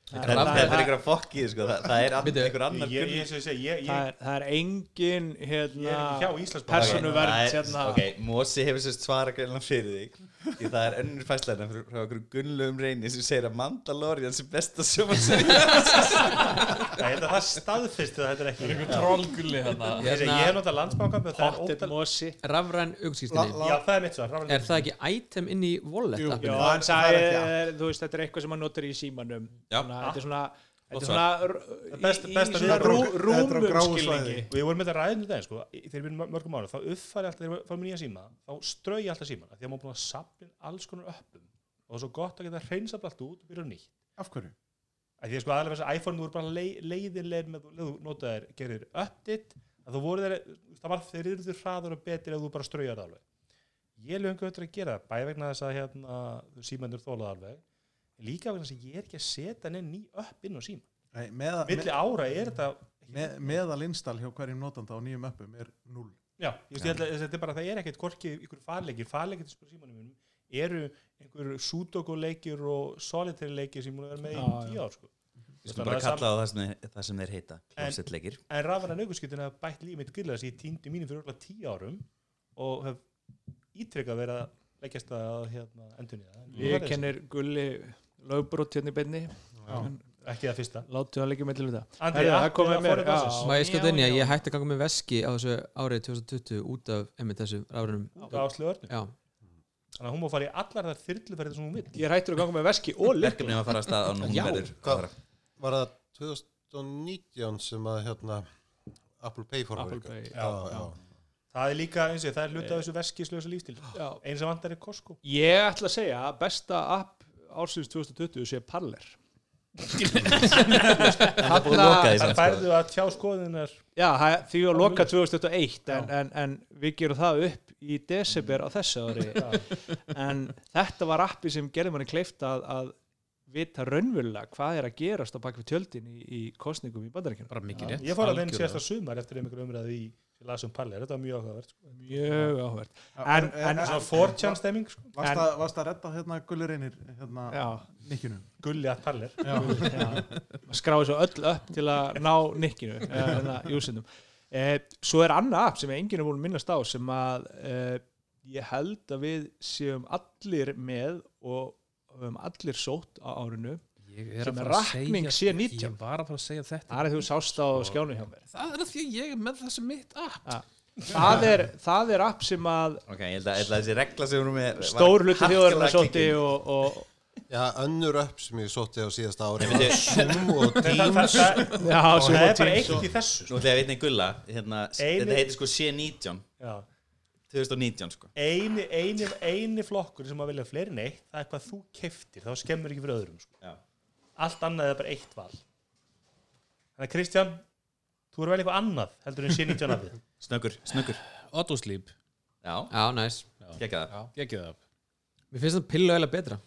G: Það er- það er einhverja fokkið sko, það, það er ann- einhver annar
B: ég, ég, ég, ég, segi, ég,
C: Það
B: ég,
C: er, það er enginn
B: ég er ekki
C: hérna,
B: hjá Ísland
C: persónu- persónuvernd
G: Það er-
C: hérna.
G: ok, Mosi hefur sérst svara greinlega fyrir þig því það er önnur fæslega frá, frá okkur gunnlegum reyni sem segir að Mandalorian sem besta sjómanseri
B: ég held að það staðfist að þetta er ekki ég,
E: Trollgulli hérna.
B: ég, ég hef notað landsbanka með það er
C: Pottet
B: ótal
C: Mosi
I: Rafræn augskýrstinni
B: já það er mitt svo
I: Er það ekki item inn í wallet
H: Jú.
I: appinu?
C: Já,
H: Já,
C: hann
H: það
C: sagði,
H: er ekki
C: þú veist, þetta er eitthvað sem hann notar í símanum
G: Já.
C: Svona, Þetta er svona, þetta er
G: Flott
C: svona
B: er
C: r-
B: best-
C: í-
B: besta
C: í svona
B: viðbrögð.
C: rú,
H: Þetta er á
C: rúmum
H: gráu
C: skilningi
B: við vorum með þetta ræðinu daginn sko, í- þegar við erum mörgum ára þá uppfæri alltaf, þegar við fáum nýja síma þá ströi ég alltaf símana, því að maður búin að sapna alls konar öppum og það er svo gott að geta hreinsað bara allt út og byrja á nýtt
H: Af hverju?
B: að því að sko aðalega þess að iPhone voru bara lei, leiðinleir með leið, notaðir, gerir update að þú voru þeir, það var þeir eru þér hraður og betur ef þú bara straujar það alveg ég löngu öllur að gera það, bæði vegna þess að hérna, símandur þólað alveg líka vegna þess að ég er ekki að setja neinn ný upp inn á síma,
H: Nei, meða,
B: milli ára er þetta
H: með, meðal install hjá hverjum notanda á nýjum öppum er 0
B: Já, ég veist, ég held að þetta er bara, það er ekkert hvorki ykkur farleikir, farleikir til símanum mínum eru einhver sudoku leikir og solitary leikir sem múlið vera með
C: Já,
B: í tíu ár sko.
G: Við
B: Þannig
G: skulum bara
B: að sam-
G: kalla það það sem, þeir- það sem þeir heita Klósettleikir
B: En rafana naukuskjötin hafa bætt líf mitt grillega sem ég týndi mínum fyrir okkur tíu árum og hef ítrekkað verið að leggjast það að hérna, endunni það.
C: Ég kennir gulli lögbrot hérna í beinni En
B: Ekki það fyrsta.
C: Látum það leikja með til þetta
B: Andri,
C: Herðu, það
B: Atli
C: komið
B: að
C: mér
B: forrita
C: já.
B: þessu.
I: Má ég skjóta
E: Já,
I: inn í að
E: já.
I: ég hætti að ganga með veski á þessu árið 2020 út af einmitt þessu rafrunum
B: Það áslöðu örnum.
I: Já,
B: Þannig að hún má fara í allar þær þyrluferðir sem hún vil.
C: Ég er hættur að ganga með veski og lykla
G: Verkefni að fara að stað á núna
J: Já.
G: verður
J: Hvað? Var það 2019 sem að hérna Apple Pay fór
C: Apple
J: ykkur?
C: Pay,
J: Já,
C: já,
J: já.
B: Það er líka, eins og ég, það er hluti af þessu veskislösa lífstíl.
C: Já.
B: Eins og vantar er Costco.
C: Ég ætla að segja að besta app ársins 2020 sé Parler
G: Það er búið að loka því
B: Það
G: samt sko.
B: færðu að tjá skoðunar
C: Já, það- því að loka 2021 en, en, en við gerum það upp í desember á þessu ári en þetta var appi sem gerði manni kleift að, að vita raunverulega hvað er að gerast á baki við tjöldin í, í kostningum í bandaríkjunum
E: bara mikið rétt
B: Ég fór að vinna
E: algjörlega.
B: sérsta sumar eftir einhver umræði í ég las um parleir, þetta var mjög áhugavert sko.
C: Mjög áhvert En- en-
B: Svona 4chan stemming, sko.
H: Varst
C: En-
H: að, varst að redda hérna gullir einir hérna
C: Já,
H: nikkinu?
B: gulli að parleir
C: já skráði svo öll upp til að ná nikkinu uh, júsindum uh, Svo er annað app sem enginn er búin að minnast á sem að uh, ég held að við séum allir með og höfum allir sótt á árinu
E: Ég er
C: sem
E: að
C: er
E: fara að
C: rakning
E: segja-
C: sé 19.
E: Ég Sko- var að fara að segja þetta
C: Það er að þú sást á skjánu hjá mér
E: Það er að því að ég er með þessu mitt app
B: Ah.
C: það er, það er app sem að
G: Ok, ég held að, ég held að þessi regla sem hún er með var
C: stór hluti
G: harkalega
C: þjóðurinn sótti
G: klikkin.
C: og, og
J: Já, önnur upp sem ég sótti á síðasta ári var Zoom og
B: Það
J: Teams.
B: það-
C: já,
B: það
C: sem
B: er
C: að
B: bara
C: tíms
B: eitt í þessu sko.
G: Nú ætla ég að vitna í gulla hérna, s-
B: Eini-
G: Þetta heitir sko C19
B: Já.
G: 2019 sko
B: eini, eini, eini flokkur sem að vilja fleiri en eitt, það er hvað þú keftir þá skemmur ekki fyrir öðrum sko.
G: Já.
B: allt annað er bara eitt val Þannig að Kristján þú er vel eitthvað annað heldur en sé 19 af því
G: Snöggur, snöggur
D: Autosleep,
G: Já,
I: já, næs
G: gekk það
D: geggjöð það
I: Mér finnst það pillu eða betra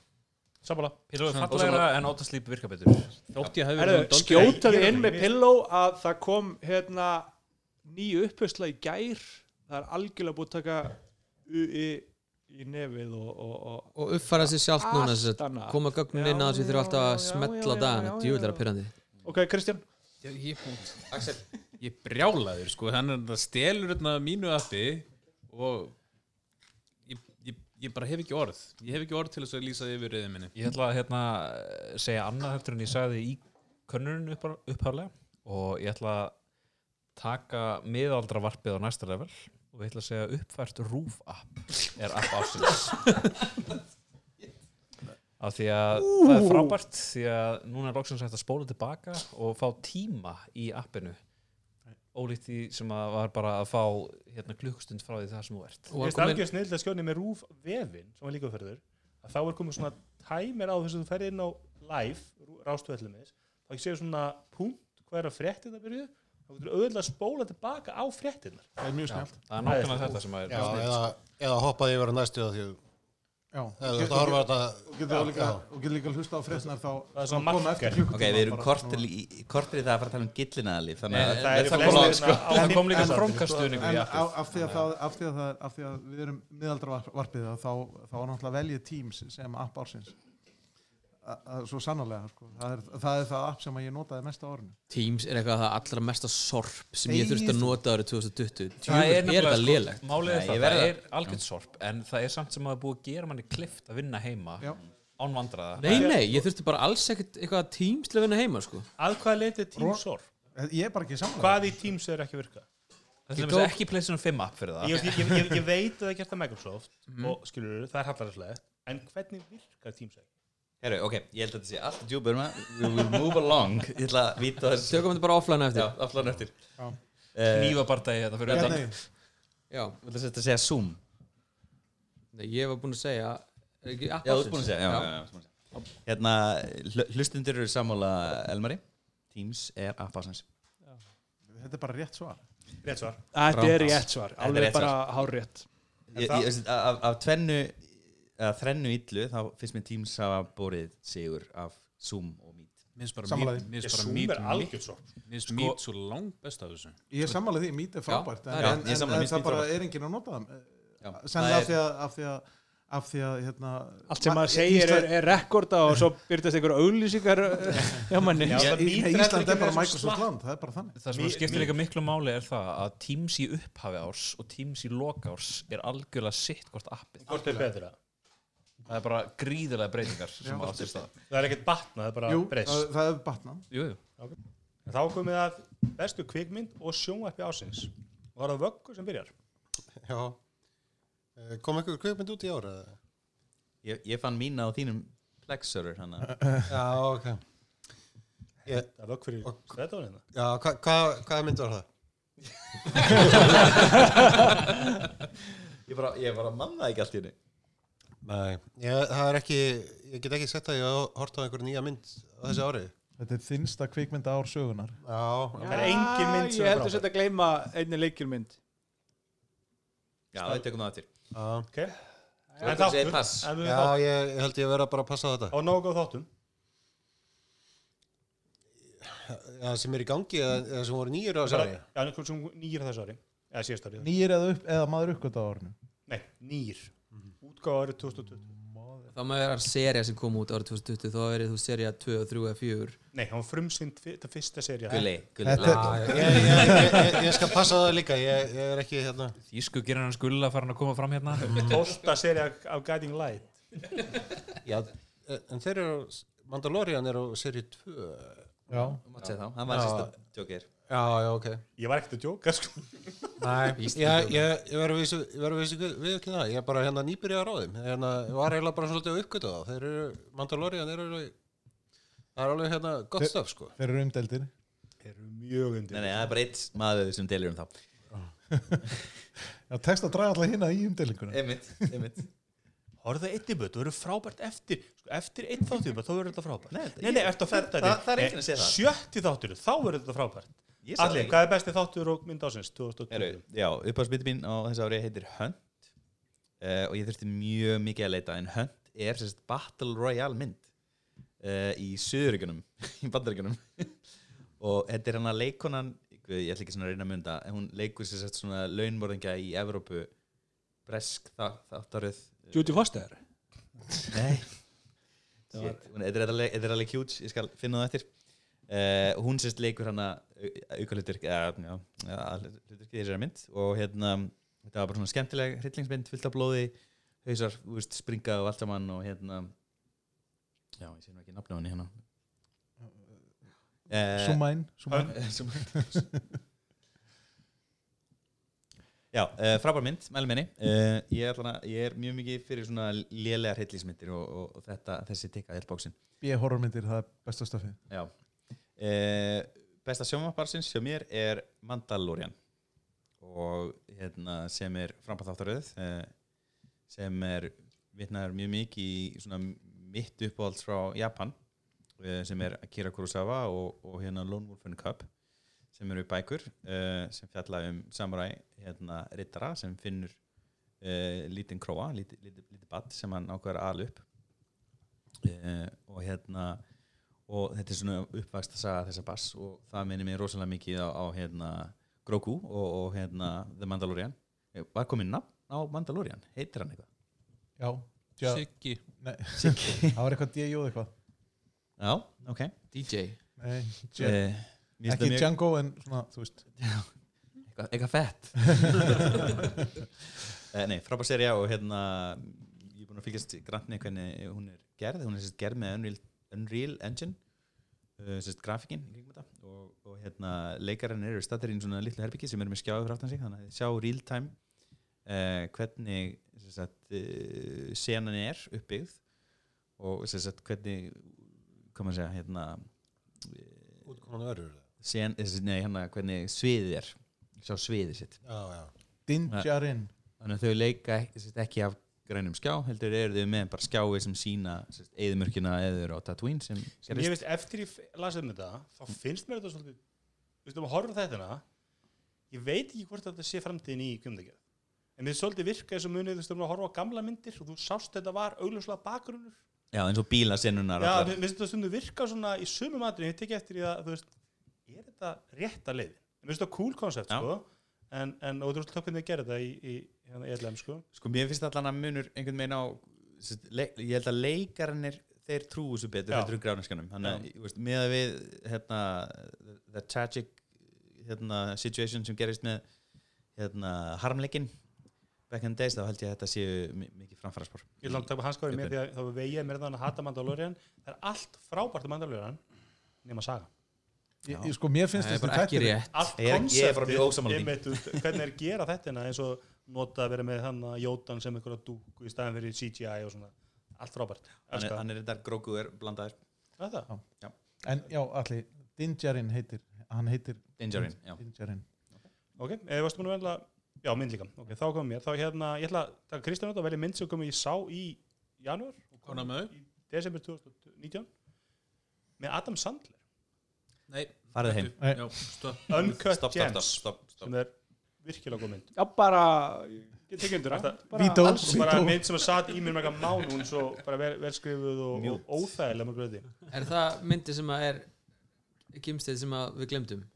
B: Sammála
E: Pillow er fallegra en Autosleep virka betur
D: Þótt ég hefði
C: Herðu,
D: verið með Dolby-
C: skjótaði inn með Pillow að það kom hérna nýju upphauðsla í gær það er algjörlega búið að taka UI í nefið og, og, og
I: Og uppfæra sér sjálft núna þess
C: Allt annað.
I: að koma gögnin inn að þessu þurfa alltaf að smetla dagana Djúvillara pyrrandi
C: ok, Kristján,
D: Ég, ég, Axel Ég brjálaður sko, hann er að stelur hérna mínu appi og ég, ég, ég bara hef ekki orð ég hef ekki orð til þess að lýsa yfir reyðin minni
E: Ég ætla að hérna, segja annað heldur en ég sagði í könnurinn upphaflega og ég ætla að taka miðaldra varpið á næsta level og ég ætla að segja uppfært rúf app er app ásins af því að það er frábært því að núna er loksins hægt að spóla tilbaka og fá tíma í appinu ólíkt því sem að var bara að fá hérna, klukkstund frá því það sem þú ert
I: Og
B: Ég
I: að
B: veist
I: koma inn
B: algjör snill að skjóni með rúf vefin sem var líka ferður að þá er komið svona tæmir á þess að þú ferði inn á live rástöðallum þess þá ekki séu svona punkt hvað er að fréttina byrju þá getur auðvitað að spóla tilbaka á fréttinnar
H: Það er mjög snjált.
E: það er nákvæmlega þetta sem að
J: Já, eða, eða hoppaði yfir að næstu að því
H: Já.
J: eða þú ert að horfa á þetta
H: Og getur líka, og getur líka hlusta á fréttnar þá
B: Það er svona
H: sem koma
B: marker.
H: eftir klukkutíma
G: Ok, við erum
H: bara.
G: kortir, í- kortir í það að fara að tala um gillinaðalíf Þannig að
B: það er
G: það kom
B: flestir hérna á
E: það kom líka
B: fimmtán
E: framkastuðningur
H: En á- af því að það- af því að það- af því að við erum miðaldravarpið þá, þá, þá er náttúrulega veljið Teams sem app ársins. A- a- Svo sannarlega, sko. það, er, það er það app sem að ég notaði mest á árinu.
I: Teams er eitthvað það allra mesta sorp sem ég
H: Þegið
I: þurfti að
H: þú.
I: nota árið 2020
E: það er
I: Djúvillara er þetta
E: nefnilega
I: lélegt
E: sko, málið
G: Nei,
E: er
G: ég
E: það,
G: verð
E: það
G: að-
E: er algjörð sorp en það er samt sem að það er búið að gera manni klift að vinna heima
H: Já.
E: án vandraða
I: Nei, nei, ég þurfti bara alls ekkert eitthvað Teams til að vinna heima sko
B: að hvað leiti Teams orð
H: Eh, Ég er bara ekki samanlega.
B: hvað í Teams er ekki að virka
E: það er
I: tók-
E: ekki PlayStation 5 app fyrir það Mhm.
B: ég, ég, ég, ég, ég veit að það er gert að Microsoft og skilur það er hallaræslega en hvernig virkar Teams ekki?
G: Herru, ok, ég held að þetta sé allt djúbur maður We will move along Ég ætla að víta þess
I: Tökum þetta bara offline á
G: Já,
I: eftir
G: allan eftir
H: Já.
G: Eh,
E: nýfabardagi þetta fyrir
H: Nei,
E: utan
H: nei,
I: Já,
G: Þú ætla að segja Zoom
I: Nei, ég var búinn að segja er ekki app
G: Já, þú ert
I: ársins?
G: búin að segja já, já, já, þú ert búin að segja. Hérna, hl- hlustundur eru sammála Elmari Teams er app ásins
H: þetta er bara rétt svar.
B: rétt svar
C: þetta
I: Frábært.
C: er rétt svar
G: er
C: alveg
G: rétt
C: bara hárétt
G: Ég- ég-
B: það-
G: ég- Af af tvennu að þrennu illu, þá finnst mér Teams hafa borið sigur af Zoom og Meet
D: minnst bara
H: Sammála því.
D: mít
H: Sko-
D: minnst bara
B: Zoom
D: mít
B: er algjörð svo
D: minnst mít svo langt best af þessu
H: Ég er samanlega því, mít er frábært,
I: það
H: en,
I: er
H: en,
G: rétt. Ég er
H: en,
G: sammála,
H: en
G: Meet
H: það
G: er
H: bara
G: frábært.
H: er enginn að nota það.
G: Já.
H: Sennilega
G: Það
H: af því að, af því að af því að hérna,
C: Allt sem
H: ma-
C: maður segir er,
H: Ísland-
C: er rekorda og svo byrtast einhver auglýsingar já manni
B: Já,
H: Ég-
B: það mýtir
H: Ísland,
B: heldur ekki
H: er bara
B: þessum slapp.
H: Microsoft land, það er bara þannig
E: Það sem
B: Mér-
E: skiptir
B: mér-
E: líka miklu máli er það að Teams í upphafi árs og Teams í loka árs er algjörlega sitt hvort appið.
B: Hvort er betra?
E: Það er bara gríðilega breytingar sem átt sér stað.
B: Það er ekkert batna, það er bara
H: Jú, það,
B: breyst.
H: það er batnað
E: Jú, jú.
B: En Þá komið að bestu kvikmynd og sjónvarpi ásins. Og það er það vöggu sem byrjar.
J: Já. Eh, Kom einhver kveikmynd út í ára?
G: ég, ég fann mína á þínum plexurur hann að
J: Já, ok. Ég,
B: Það er vöggu fyrir
J: Og-
B: strætónina.
J: já, hva, hva, hvaða mynd var það?
G: ég bara, ég bara mann það ekki allt í henni
J: Nei. Ég, það er ekki, ég get ekki sett að ég hafa hort á einhverja nýja mynd á þessi ári.
H: Þetta er þinnsta kvikmynda ár sögunar
J: Já,
B: Það er engin mynd sem
C: ég
B: er
C: heldur
B: frábær.
C: sett að gleyma einni leikjulmynd
G: já, við tökum það eftir
J: já.
B: Ok?
G: Þú
B: En
G: ert að segja
B: þáttur,
G: pass.
B: en við
J: Já,
B: þáttum.
J: ég, ég held ég verið að bara passa á þetta.
B: Á nógu góð þáttum.
J: Já, sem er í gangi, eða, eða sem voru nýjur á þessi
B: Bara-
J: ári.
B: Já, nýjir sem nýjir á þessu ári. Eða síðast ári.
H: Nýr eða, upp, eða maður uppgöta á árinu
B: Nei, nýjir. Útgáð árið 2020.
I: þá maður er seria sem kom út árið 2020 þá er þú seria 2, 3 eða 4
B: Nei, hann frumsýnd það fyrsta serið.
G: gulli, gulli
H: Þetta-
I: Ah,
G: láttu.
J: Ég, ég, ég, ég, ég skal passa á það líka, ég, ég er ekki hérna.
E: Þýsku gerir hann skulla að fara hann að koma fram hérna.
B: 12. serið af Guiding Light.
J: Já, eh, en þeir eru, á- Mandalorian er á serið 2.
H: Já,
G: Þú mátt segja þá, hann var sérsta tjókir
J: Já, já, ok.
B: Ég var ekkert að djóka, sko.
J: Nei, ég, ég, ég verður vissu, ég verður vissu, við ekki það, ég er bara hérna nýbyrja á ráðum, hérna, ég var eiginlega bara svolítið að uppgöta það, þeir eru, Mandalorian eru alveg, það er alveg hérna gott
H: Þeir-
J: stöf, sko.
H: þeir eru umdeldir
B: Eru mjög
G: nei,
B: undir.
G: nei, það er bara eitt maður sem delir um þá
H: Já, tekst að draga alltaf hérna í umdelinguna
G: einmitt, einmitt
B: Horfðu það eitt í böt, þú verður frábært eftir sko, eftir einn þáttur, bara, þá verður þetta frábært
G: Nei,
B: Nei,
G: þetta-
B: nei, eftir að fæta
G: það- það er enginn að segja það.
B: Sjötti þáttur, þá verður þetta frábært
G: Ég sagði
B: Allir,
G: það
B: hvað er besti þáttur og mynd ásins?
G: Heru,
B: 2020
G: já, uppáðsbytti mín á þessu ári heitir Hunt uh, og ég þurfti mjög mikið að leita en Hunt er sérst Battle Royale mynd uh, í Suðuríkunum í Bandaríkunum og þetta er hann að leikonan guð, ég ætla ekki svona að reyna að mynda en hún leikur sérst svona launmorðingja í Evrópu bresk þa þáttaröð
C: Judy Foster
G: Nei Shit, hún- Þetta er alveg- þetta er alveg huge, ég skal finna það eftir uh, Hún sérst leikur hana auka hluturk hluturk í þessari mynd og hérna, þetta var bara svona skemmtileg hryllingsmynd, fullt af blóði hausar, þú veist, springa og allt saman og hérna já, ég sé nú ekki nafnum henni hérna Eh,
H: Súmæn, súmæn
G: Eh, sem- Já, uh, frábær mynd, mæli minni uh, ég, er allan að- ég er mjög mikið fyrir svona lélegar heillismyndir og, og, og þetta, þessi tikka heilbóksin
H: B-horrormyndir, það er besta stöfið
G: Já uh, Besta sjónvaparsins hjá mér er Mandalorian og hérna sem er frambáþáttaröð uh, sem er vitnaður mjög mikið í svona mitt uppáhalds frá Japan uh, sem er Akira Kurosawa og, og hérna Lone Wolf and Cub sem eru bækur uh, sem fjalla um samurai hérna rittara sem finnur uh, lítinn króa, lítið líti, líti batt sem hann ákveður að ala upp uh, og hérna og þetta er svona uppvægst að saga þessa bass og það minni mig rosalega mikið á, á hérna Grogu og, og hérna The Mandalorian Eh, var komið nafn á Mandalorian, heitir hann eitthvað
H: Já, tjá,
E: Siggi.
H: það var eitthvað D.I.O. eitthvað
G: Já, ok
I: DJ
H: Nei, J-
G: Eh, mér
H: ekki
G: finnst það mjög-
H: Django en svona, þú veist
G: eitthvað, eitthvað fett Eh, Nei, frábær serja og hérna ég er búin að fylgjast grantni hvernig hún er gerð, hún er sérst gerð með Unreal, Unreal Engine uh, sérst grafikinn í kringum þetta og, og hérna leikarinn eru stattir í svona litlu herbyggi sem er með skjáðu frá aftan sig þannig að þið sjá real time uh, hvernig sem sagt, uh, senan er uppbyggð og sem sagt, hvernig hvað maður að segja hérna eh,
J: Útkoman verður það.
G: sen, þessi- nei, hérna, hvernig sviðið er sjá sviðið sitt
J: Já, já.
H: Dinjarin
G: þannig að þau leika sérst, ekki af grænum skjá heldur eru þau með bara skjái sem sína eðumörkina eður á Tatooine sem
B: Ég veist, eftir ég lasið með þetta þá finnst mér þetta svolítið Þú veist, um að horfa á þetta ég veit ekki hvort þetta sé framtíðin í kjöndegjöð en við svolítið virka þessu munið þú veist, um að horfa á gamla myndir og þú sást þetta var augljóslega bakgrunnur
G: já, eins og bílasennunar
B: Já,
G: allar.
B: mér finnst þetta stundum virka svona í sumum atriðin, ég tek eftir í að, þú veist, er þetta rétta leiðin? Mér finnst þetta cool koncept,
G: Já.
B: sko, en, en og þú veist hvernig þið gerði þetta í, í hérna ELM sko
G: sko mér finnst allan að munur einhvern veginn á sest, leik, ég held að leikarnir þeir trúu svo betur
B: Já.
G: heldur en grániskanum þannig að þú veist, með að við hérna, the, the tragic hérna, situation sem gerist með hérna, harmleikin back in the days þá held ég að þetta séu mi- mikið framfæraspor
B: ég vil langt taka hans skóri með því að þá var vegið mér þannig að hata Mandalorian það er allt frábært um Mandalorian nema saga
H: ég, ég, sko, mér finnst
I: það er
H: þessi
I: bara ekki
H: þættir-
I: rétt
B: allt
G: Ég er- ég er bara
B: konceptið,
G: mjög ósammála því.
B: einmitt, þú veist, hvernig er að gera þetta hérna, eins og nota að vera með hann að Jótan sem einhverja dúku í staðan fyrir CGI og svona allt frábært
G: hann er,
B: Elska
G: hann er þetta grókuður blandaður
B: það. það
H: en já, allir, Dingerin heitir hann heitir
G: Dingerin, já
H: Dingerin
B: ok, eða varstu múin að velja já, mynd líka, ok, þá komum ég þá hérna, ég ætla að taka Kristján út og velja mynd sem komið ég sá í janúar og
D: Kona með þau?
B: í desember 2019 með Adam Sandler
D: Nei,
G: farið heim
H: Nei.
D: Já, stopp.
B: Uncut
G: stopp, stopp,
B: Gems
G: stopp, stopp, stopp.
B: sem er virkilega góð mynd
C: Já, bara
B: ég tekið undur það
C: bara-
H: Vító,
B: Alls, bara
H: Vító
B: mynd sem að satt í mér mega mán hún svo bara vel, velskrifuð og, og óþægilega mörg röði
I: Er það myndi sem að er gimsteð sem að við glemdum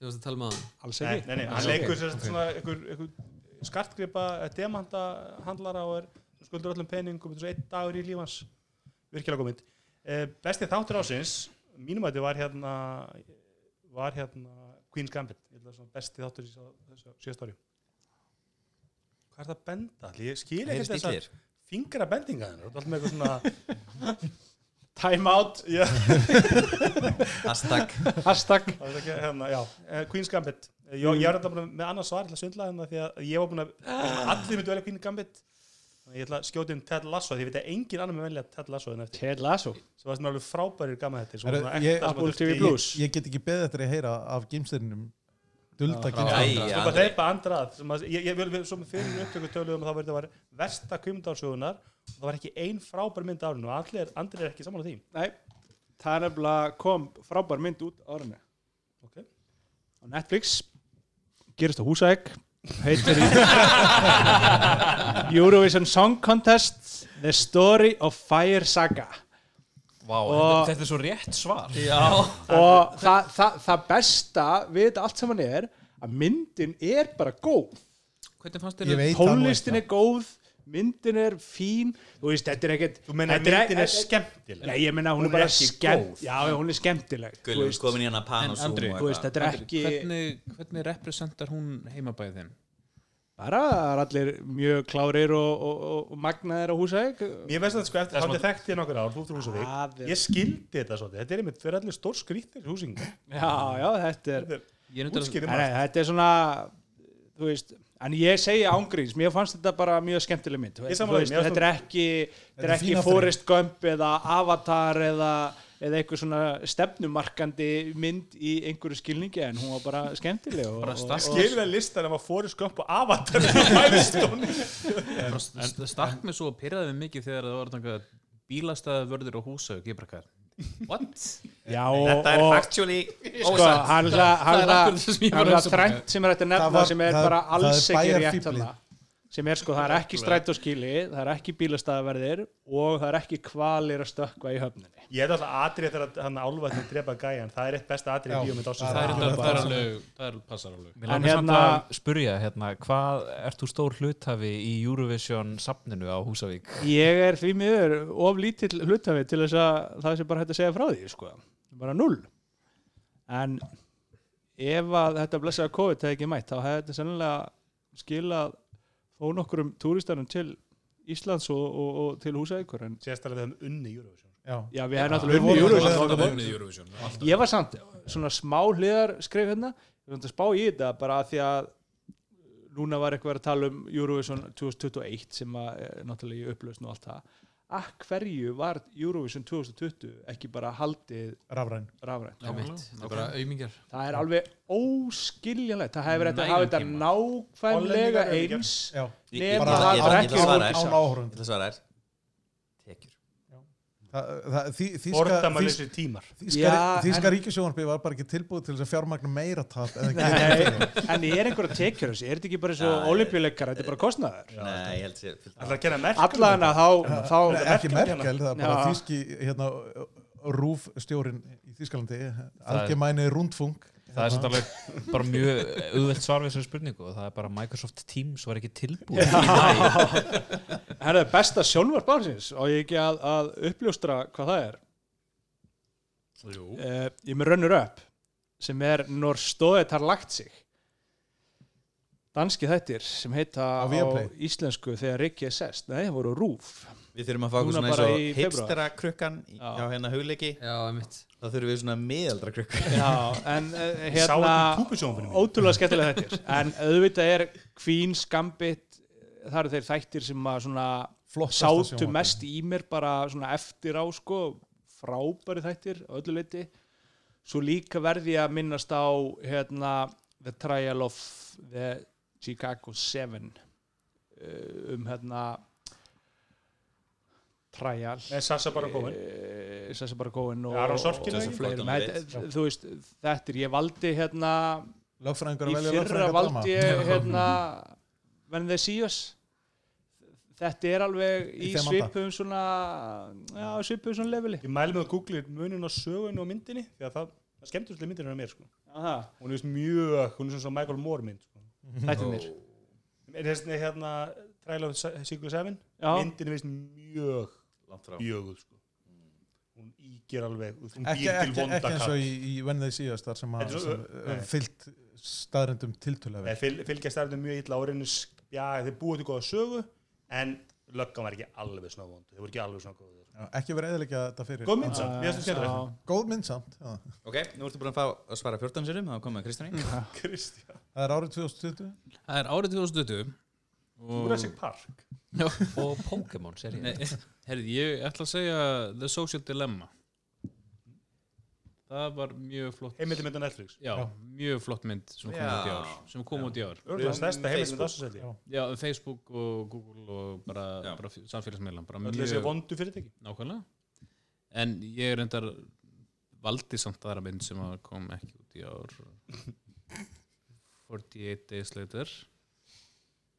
I: sem varst að tala um með hann
C: alls
B: nei,
C: ekki
B: nei, nei, hann leikur sér svona einhver, einhver skartgripa demanta handlara og er skuldur öllum pening og svo einn dagur í lífans virkilega góð mynd eh, besti þáttur ásins mínum að þetta var hérna var hérna Queen's Gambit Ég held að svona besti þáttur í þessu síðast ári hvað er það að benda? allir? ég skil ekki
G: heyrist í
B: þess að
G: þér
B: fingra bendinga þennar, þú ert alltaf með eitthvað svona
C: time out,
B: Já.
G: hashtag
C: hashtag
B: Það er ekki, hérna, já, eh, Queen's Gambit Eh, Jó, ég er þetta bara með annað svar, ég ætla að svindla hérna því að ég var búin að, allir myndu velja Queen's Gambit Þannig að ég ætla að skjóta inn Ted Lasso því ég veit að engin annar með velja Ted Lasso en eftir
C: Ted Lasso
B: sem varst mér alveg frábærir gaman þetta
H: Herru,
B: svona
H: ég-
B: ekta sem
C: Apple
B: að þurfti
C: TV
B: í-
C: Plus.
H: ég get ekki beðið eftir að heyra af gimstirinnum dulda
G: Æ,
H: gimstirinn
B: Svo Sko, bara
G: Andri.
B: hleypa andra að sem að- ég, ég, ég, Svo fyrir upptöku töluðum að það verður að vera versta kvimdársögunar og það var ekki ein frábær mynd árinu og allir, andri er ekki saman á því
C: Nei, það er nefnilega kom frábær mynd út árinu
B: Ok.
C: á Netflix gerist á Húsæk heitir í Eurovision Song Contest The Story of Fire Saga
E: Vá,
C: Og-
E: þetta er svo rétt svar
C: og það, það, það besta við þetta allt saman er að myndin er bara góð
E: Hvernig fannst
H: ég veit það nú
C: tónlistin er góð, myndin er fín þú veist, þetta er ekkert
B: Þú menna
C: þetta
B: myndin er
C: e- e-
B: skemmtileg
C: Nei, ég menna hún,
B: Hún
C: er
B: er
C: bara
B: ekki
C: skemmt
B: góð.
C: Já, já, hún er skemmtileg þú
G: Gullum
C: veist.
G: komin í hann að pan
E: En
G: og zoom
E: Andri,
G: og
C: þú
G: eitthvað.
C: veist, þetta er ekki
D: Hvernig, hvernig representar hún heimabæðið þinn?
C: bara það er allir mjög klárir og, og, og, og magnaðir á húsæk
B: Mér veist að sko eftir, þá er þekkt ég nokkur ár, þú ert úr húsavík
C: Það er-
B: Ég skildi þetta svolítið, þetta er einmitt fyrir allir stór skrýttir húsingar
C: já, já, þetta er
E: Ég er nefnilega-
B: Útskýrðu
C: Nei, nei, þetta er svona þú veist, en ég segi ángríns mér fannst þetta bara mjög skemmtileg mynd Þú
B: Ég
C: veist,
B: sammála
C: þú veist,
B: því, mér
C: þetta er ekki, þetta er
H: er
C: ekki
H: fín afþreying.
C: Forrest Gump eða Avatar eða, eða eitthvað svona stefnumarkandi mynd í einhverju skilningi en hún var bara skemmtileg og,
D: Bara
C: og,
D: stakk,
B: Skilvið listan ef að fóri skömp og avatar Milestone.
D: bara st- stakk mig svo og pyrraði mig mikið þegar það var þannig að bílastæða vörður og húsauk, ég bara hvað What?
C: já, og,
G: þetta er
C: og
G: actually
C: sko, hann er það- hann
E: það
C: er
E: er
C: það-
E: akkurat það sem ég var
C: hann er
E: að
C: það
E: hugsa um.
C: þrænt sem er þetta
H: Það
C: nefna
H: var-
C: sem er
H: það er-
C: bara
H: það er
C: alls ekki rétt
H: bæjarfíflið.
C: þarna sem er sko, það er ekki strætóskili það er ekki bílastæðaverðir og það er ekki kvalir að stökkva í höfninni
B: Ég hef alltaf atrið þegar hann álvætni drepa gæjan Það er eitt besta atrið í
H: Já,
B: bíómynd ásins
H: það
D: Það er
H: Akkurat
D: þetta, það er
H: það.
D: alveg, það er passar alveg
E: Mér
C: En
E: langar samt
C: hérna-
E: að spurja hérna, hvað ert þú stór hluthafi í Eurovision safninu á Húsavík?
C: ég er því miður of lítill hlutafi til þess að það sé bara hægt að segja frá því sko. bara null en ef að þetta blessaða COVID hefði ekki mætt þá hefði þetta sennilega skilað þó nokkrum túristanum til Íslands og, og, og til húsækur en
B: Sérstaklega þeim unni Eurovision
H: já,
C: já, við hefðum
H: við
C: náttúrulega
H: vorum
C: unni Eurovision
H: alveg-
D: Það er unnið Eurovision alltaf.
C: ég var samt svona smá hliðar skrif hérna, ég var samt að spá í þetta bara af því að núna var eitthvað að tala um Eurovision 2021 sem að er náttúrulega í upplausn og allt það að hverju var Eurovision 2020 ekki bara haldið
H: rafræn
C: rafrænt
E: Já, mitt.
D: já,
E: Það er bara auðmingar
C: það er alveg óskiljanlegt það hefur þetta að hafa
D: Nægan
C: þetta
D: tíma.
C: nákvæmlega
B: Og lendingar eru
C: eins
H: já,
G: Ég- ég-
C: nema
G: bara-
C: það
G: ég-
C: var
G: ég- ég-
C: ekki
H: án,
G: svaraði.
H: án áhórund
G: Þetta svar er tekjur
B: Ordaman
H: Þíska
B: þessir tímar
C: Já, en-
H: ríkisjónarbi var bara ekki tilbúið til þess að fjármagna meira tap en það
C: Nei,
H: gerir
C: en ég er einhverja tekjur þessi, er þetta ekki bara eins
G: Já,
C: og
G: ég-
C: olimpíuleikar, þetta er bara kostnaðar
G: Nei, ég held sér
B: Það er að kenna merkjum
C: allan að þá,
H: Nei,
C: þá
H: ekki Merkel, það er bara
C: Já.
H: þíski hérna, rúf stjórin í Þískalandi eh, algemeini rundfung
E: Það er svolítið alveg bara mjög auðvelt svar við þessari spurningu og það er bara Microsoft Teams var ekki tilbúið í mæ
C: Herra, besta sjálfvart bársins og ég ekki að, að uppljóstra hvað það er
D: Jú.
C: uh, ég er með runner up sem er Når stóðið þar lagt sig danski þættir sem heita á,
H: Viaplay?
C: íslensku þegar Rikki er sest nei, það voru rúf
G: Við þurfum að fá okkur
C: Núna
G: svona eins
C: bara
G: og
C: í
G: hipstera krukkan
C: Já.
G: hjá hérna hugleiki
I: Já, einmitt
G: þá þurfum við svona miðaldra krukkan
C: Já, en uh,
B: Ég sá
C: hérna
B: þetta í púpusjónfinu mín
C: ótrúlega skemmtilega þættir en auðvitað er Queen's Gambit það eru þeir þættir sem að svona sátu mest í mér bara svona eftir á sko frábæri þættir á öllu leiti svo líka verði ég að minnast á hérna The Trial of the Chicago 7 uh, um hérna Trial
B: Er Sassa bara komin?
C: Eh, Sacha Baron Cohen og,
B: Aron Sorkin,
C: og,
B: ekki?
C: og fleirum
G: Gordon
C: Þetta- þú veist, þetta er ég valdi hérna
H: Lögfræðingur
C: í
H: að velja
C: fyrra
H: lögfræðingur dæma.
C: valdi ég hérna When They See Us þetta er alveg í,
H: Í þeim anda.
C: svipum svona já, svipum svona leveli
B: Ég mæli með að googla munin á sögunni og myndinni því að það, það skemmtur svolítið myndinni mér sko.
C: Aha,
B: Hún er veist mjög, hún er svona svo Michael Moore mynd sko.
H: Mhm.
C: þættirnir
B: Er þessi hérna Trial of the Secret Seven?
C: Já.
B: Myndinni veist mjög
G: Langt frá
B: bjöguð sko. Hún íger alveg, hún
H: Ekki,
B: býr til
H: ekki,
B: vonda
H: ekki eins og
B: kall.
H: í, í When They See Us þar sem að
B: Þetta er svo-
H: sem, uh,
B: nei.
H: fyllt staðrendum tiltölu
B: Nei, fyl- Fylgja stærðum mjög illa árinu já, þeir búið til góða sögu en löggan var ekki alveg svona vond þeir voru ekki alveg svona góður.
H: ekki verið eðilegja þetta fyrir
B: Góð mynd samt, mér finnst þetta
C: Já.
B: skemmtilegt.
H: góð mynd samt já.
G: Ok, nú ertu búin að fá að svara 14 sérum þá komum við að Kristjáni
B: Kristján,
H: það er árið 2020
D: Það er árið 2020
B: Jurassic Park
E: og Pokémon serið
D: Nei, herrið, ég ætla að segja The Social Dilemma Það var mjög flott
B: heimildi myndan Netflix
D: Já, mjög flott mynd sem kom
G: Já.
D: út í ár sem kom út í ár
B: Örgulega
G: Um
B: stærsta heimildi
G: Facebook.
B: myndan ásins
H: Já.
D: Já, um Facebook og Google og bara,
G: Já.
D: bara samfélagsmiðlan bara
B: öll þessi
D: mjög
B: vondu fyrirtæki
D: nákvæmlega En ég er endar valdi samt aðra mynd sem að kom ekki út í ár 48 days later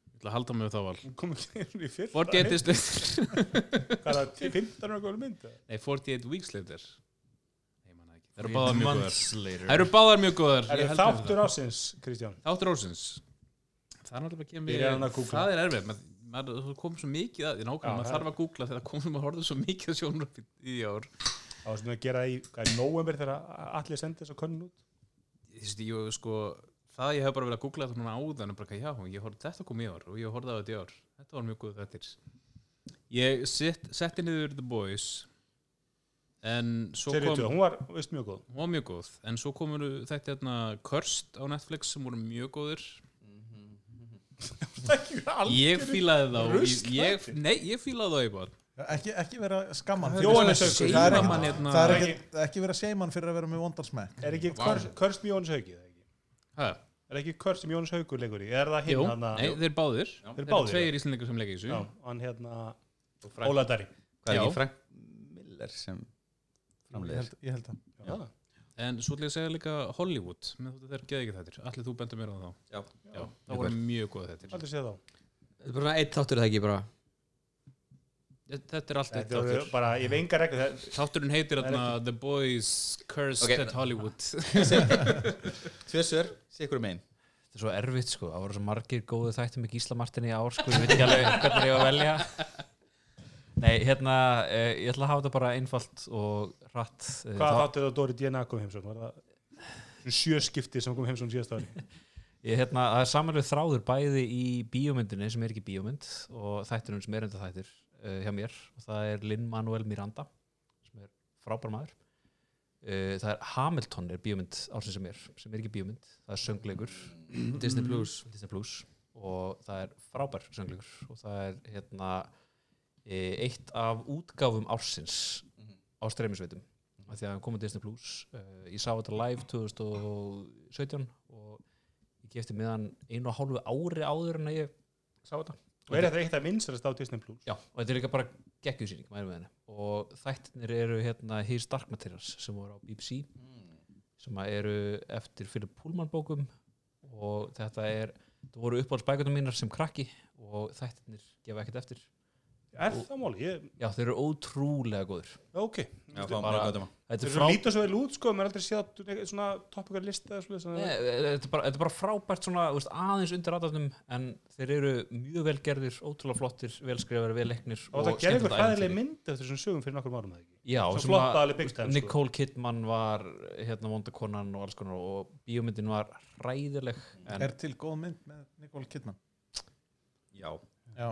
D: Ég ætla að halda mig við þá val
B: hún kom ekki inn í fyrra
D: 48 days later
B: hvað er það, 15 ára góður mynd eða?
D: Nei, 48 weeks later Nei, manna ekki Það eru báðar mjög góðar
E: later
D: Það eru báðar mjög góðar
B: er
D: Ég
B: það
D: held við
B: þáttur ásins, Kristján
D: það. Þáttur ásins Það er náttúrulega ekki
B: Byrjar hann að
D: mér
B: googla?
D: Það er erfið maður, maður, Það kom svo mikið að Ég
B: Já,
D: nákvæmlega Maður
B: það er-
D: þarf að googla Þegar komum að horfa svo mikið að sjónröfi í ár
B: þá sem við að gera í, hvað er november þegar allir sendi þess að könnu út
D: Þú veist, ég sko Það ég hef bara verið að googla þetta núna áðan og bara, já, ég horfði þetta kom í ár og ég horfði á þetta í ár Þetta var mjög góð þettir Ég sett, setti niður The Boys en svo
B: Serið
D: kom
B: 2, hún var veist mjög góð
D: hún var mjög góð en svo komur þetta hérna Körst á Netflix sem voru mjög góðir ég fílaði þá ég, ég, nei, ég fílaði þá í bóð
H: ekki, ekki vera skamman
B: Jóhannesaukur.
H: það er
D: Mann
H: ekki,
D: hérna-
H: það er ekki, ekki vera seiman fyrir að vera með vondarsmæk
B: er ekki Körst- Körst með Jóns Hauki eða ekki? er ekki Körst sem Jóns Haukur leikur í er það
D: Jú,
B: hinn hann
D: nei,
B: að-
D: þeir eru báðir
B: þeir eru
D: þeir eru
B: báðir, já.
D: tveir íslendingar sem leggja í
B: Já,
D: þessu
B: hann hérna
G: Frank-
B: Óladari
G: Hvað er
D: Já.
G: ekki Frank Miller sem
H: ég
G: framleiðir
H: held, ég held það
D: en svo ætla ég að segja líka Hollywood með þetta þeir geði ekki þettir allir þú bendur mér á þá
G: Já.
D: já það voru mjög góð þettir
B: Aldrei séð þá
I: Þetta er bara svona eitt þáttur er það ekki bara
D: þetta er allt eitt
B: Þetta eru
D: þáttur
B: bara, ég hef enga reglu það-
D: þátturinn heitir
B: Það er
D: hérna The Boys Cursed
G: Ok.
D: at Hollywood
G: Tvö sör, sé ykkur um einn
E: Þetta er svo erfitt sko, það voru svo margir góðu þættum með Gísla Martin í ár sko, ég veit ekki alveg hvernig ég var að velja Nei, hérna, eh, ég ætla að hafa þetta bara einfalt og rætt eh,
B: Hvað
E: þá-
B: þáttu það Dóri DNA kom heimsókn? Var það svona sjö skipti sem kom heimsókn síðast ári?
E: Ég, hérna, það er samanlega þráður bæði í bíómyndinni sem er ekki bíómynd og þættinum sem er enda þættir uh, hjá mér og það er Lin-Manuel Miranda sem er frábær maður uh, það er Hamilton er bíómynd ársins sem er, sem er ekki bíómynd það er söngleikur
G: Mm.
I: Disney Plus
E: Disney Plus og það er frábær söngleikur og það er hérna eh, eitt af útgáfum ársins á streymisveitum af því að hann kom á Disney Plus uh, ég sá þetta live 2017 og ég gefti með hann einu og hálfu ári áður en að ég sá þetta
B: Og er þetta eitt af minnstast á Disney Plus?
E: Já, og þetta er líka bara geggjusýning maður er með henni. og þættinir eru hérna His Dark Materials sem voru á BBC sem að eru eftir Philip Pullman bókum og þetta er, þetta voru uppáhaldsbækundum mínar sem krakki og þættinir gefa ekkert eftir
B: Er það máli? Ég,
E: Já, þeir eru ótrúlega góður
B: ok.
G: Já, fáum
E: bara-
G: bara gott um hann.
E: Þetta
B: Þeir
E: er,
B: eru
E: frá,
B: lítið svo vel út, sko, maður aldrei séð að svona toppikar lista eða
E: Nei,
B: svona.
E: þetta, er bara, þetta er bara frábært svona, þú veist, aðeins undir aðdæfnum en þeir eru mjög velgerðir, ótrúlega flottir velskrifarir, veleknir
B: Og það gerði ykkur hræðileg mynd eftir þessum sögum fyrir nokkur árum, það ekki?
E: Já,
B: Sem
E: sem
B: flotta
E: að
B: alveg big time, sko.
E: Nicole Kidman var hérna vondakonan og alls konar og bíómyndin var hræðileg en
H: Er til góð mynd með Nicole Kidman?
G: Já,
H: Já,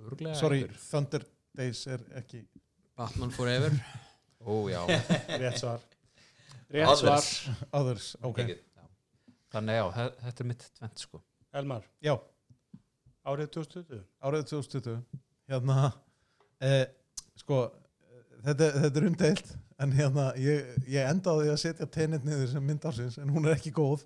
E: örglega
H: sorry, Thunder Days er ekki
I: Batman Forever
E: Ó, já.
B: Rétt svar.
C: Rétt svar
H: Others, ok
E: Þannig já, þe- þetta er mitt tvent sko
B: Elmar,
H: Já,
B: árið 2020.
H: árið 2020 hérna eh, sko, eh, þetta, þetta er umdeilt en hérna, ég, ég endaði á því að setja tennet niður sem mynd ársins en hún er ekki góð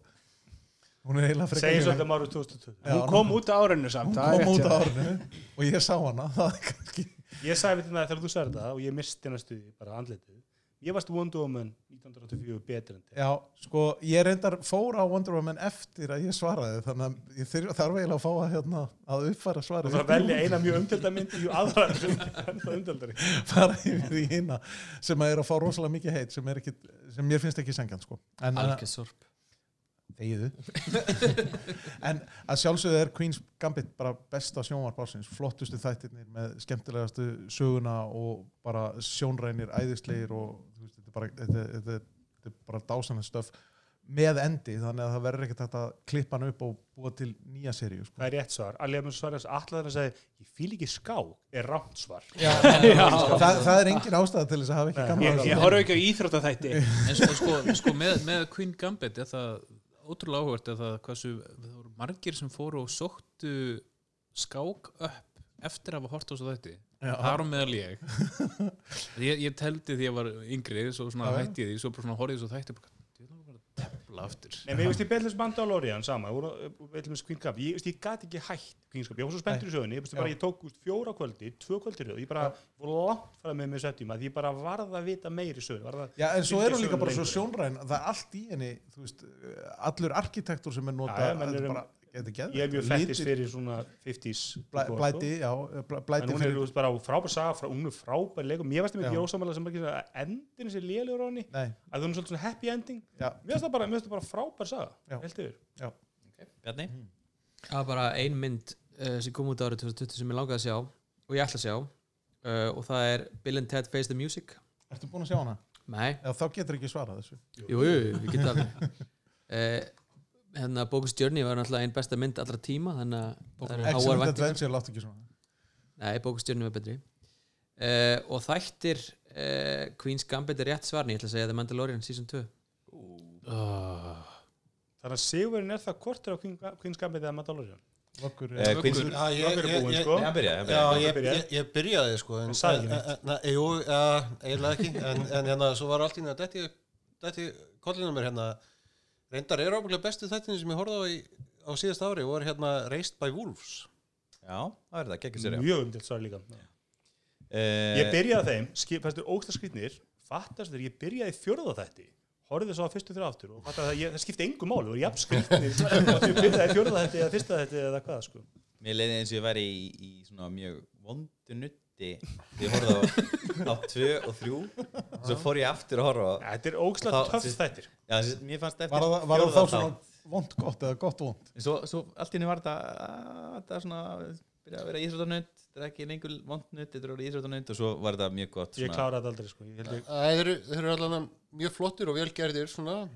H: hún er eiginlega frekar
B: Segjum
H: léleg.
B: svolítið um árið 2020.
H: Já,
C: Hún kom út á árinu samt
H: hún
C: það er
H: kom
C: rétt
H: út
C: hjá
H: á
C: þér.
H: árinu og ég sá hana það er kannski
B: Ég sagði við þetta þegar þú sagði þetta og ég misti næstu því bara andlitið. Ég varst Wonder Woman 1984 betur en þér.
H: Já, sko, ég reyndar fór á Wonder Woman eftir að ég svaraði þannig að ég þyr, þarf eiginlega að fá að, hérna, að uppfæra
B: Þú
H: svarið
B: þarf að velja eina mjög umdelda mynd í aðra sem er ennþá umdeldari.
H: fara yfir í hina sem að er að fá rosalega mikið heit sem, er ekki, sem mér finnst ekki sengjan sko. en,
I: Algjör sorp
H: þegiðu en að sjálfsögðu er Queen's Gambit bara besta sjónvarp ársins flottustu þættirnir með skemmtilegastu söguna og bara sjónrænir æðislegir og þú veist, þetta er bara, þetta, þetta, þetta er bara dásanlega stöf með endi þannig að það verður ekkert hægt að klippa hann upp og búa til nýja seríu sko.
B: Það er rétt svar. Allega mjög svar allar þannig að segja, ég fíl ekki ská, er rámt svar.
H: það, það er engin ástæða til þess að hafa ekki
B: Nei,
H: gaman
C: Ég,
H: að
C: ég horf ekki á íþróttaþætti
D: En sko, sko, sko með, með Queen Gambit er það ótrúlega áhvert að það hversu það voru margir sem fóru og sóttu skák upp eftir að hafa hort á svo þætti þar á meðal ég ég, ég teldi því að ég var yngri svo svona
H: Já, já.
D: hætti ég því, svo bara svona horfði ég svo þætti bara, "Djöfull, nú er bara að tefla aftur
B: Nei, mér veist ég beðlust Mandalorian sama, við vorum- eh, við veitum við Queen Cup, ég veist ég gat ekki hætt Queen Cup, ég var svo spenntur í sögunni, ég veist bara
H: Já.
B: ég tók úst, fjóra kvöldi, tvö kvöldi röð, ég bara voru langt fara með mér setjum að ég bara varð að vita meiri sögun, varð að,
H: Já, en svo er hún
B: Fylgir
H: líka bara svo
B: sögunni
H: sjónræn það er allt í henni, þú veist allur arkitektur sem er nota
B: Já, já, menn
H: þetta er
B: erum-
H: bara, þetta er geðveikt.
B: ég er mjög fættist
H: Litir-
B: fyrir svona 50s
H: Blæ,
B: sko.
H: blæti, já, blæ- blæti
B: en hún er þú veist, bara frábær saga, frá, hún er frábær leikum, mér varst
H: Já.
B: ekki ósamalega sem ekki að endin þessi lélegur á henni,
H: Nei,
B: að það er svolítið svona happy ending,
H: já,
B: mér finnst það bara, mér finnst það bara frábær
H: Já.
B: saga, held yfir.
G: Bjarni?
I: Það var bara ein mynd uh, sem kom út árið 2020 sem ég langaði að sjá og ég ætla að sjá uh, og það er Bill and Ted Face the Music
H: ertu búin að sjá hana?
I: Nei,
H: Já, þá getur ekki svarað þessu
I: jú, jú, jú, við getum alveg uh, hérna Bogus Journey var náttúrulega einn besta mynd allra tíma þannig að það eru háar
H: Excellent
I: væntingar.
H: Adventure, láttu ekki svona
I: Nei, bókustjörnum er betri uh, og þættir uh, Queen's Gambit er rétt svarni ég ætla að segja The Mandalorian season 2
B: Þannig að Sigurinn er það kortur á Queen- Queen's Gambit eða Mandalorian?
H: Vökkur,
G: Eh, Queen's-
J: Já, Ah, ég,
B: Nokkur er
J: ég,
B: búin,
J: ég,
B: sko.
G: Ég byrja,
J: Já,
G: ég byrja.
J: ég,
B: byrjaði.
J: ég, ég byrjaði sko en,
B: Þú sagði ekki
J: en-
B: neitt.
J: en- en- Jú, ja, eiginlega ekki en, en hérna, svo var allt í hérna Dætti, dætti kollinu mér hérna Reyndar er ábúinlega bestu þættinu sem ég horfði á í, á síðast ári og var hérna Raised by Wolves
G: Já, það er það, geggjum sér
B: Mjög umdilt svar líka.
J: Eh.
B: Ég
G: Ég
B: byrjaði á þeim, skip- fannst þér ógsta skrýtnir, fattast þér, ég byrjaði í fjörða þætti, horfði svo á fyrstu þrjá aftur og fattaði að ég, það skipti engu máli, voru jafn skrýtnir, og ég byrjaði í fjörða þætti eða fyrsta þætti eða hvað, sko.
G: Mér leiði eins og ég væri í, í svona mjög vondu nutti Þegar ég horfði á, á tvö og þrjú Svo fór ég aftur að horfa á-
B: Þetta er ógsta
G: Þá-
B: töff þættir.
G: Já, þessi- mér fannst eftir
H: Var það- var það þá
G: fjórða þátt.
H: svona vond gott eða gott vond?
G: svo, svo allt í henni var þetta að- þetta er svona byrja að vera íþróttanutt þetta er ekki lengur vondnutt, þetta er orðið íþróttanutt og svo var þetta mjög gott
B: Ég kláraði þetta aldrei, sko. Ég held
J: Æ,
B: ég,
J: Þeir eru, þeir eru allan mjög flottir og velgerðir svona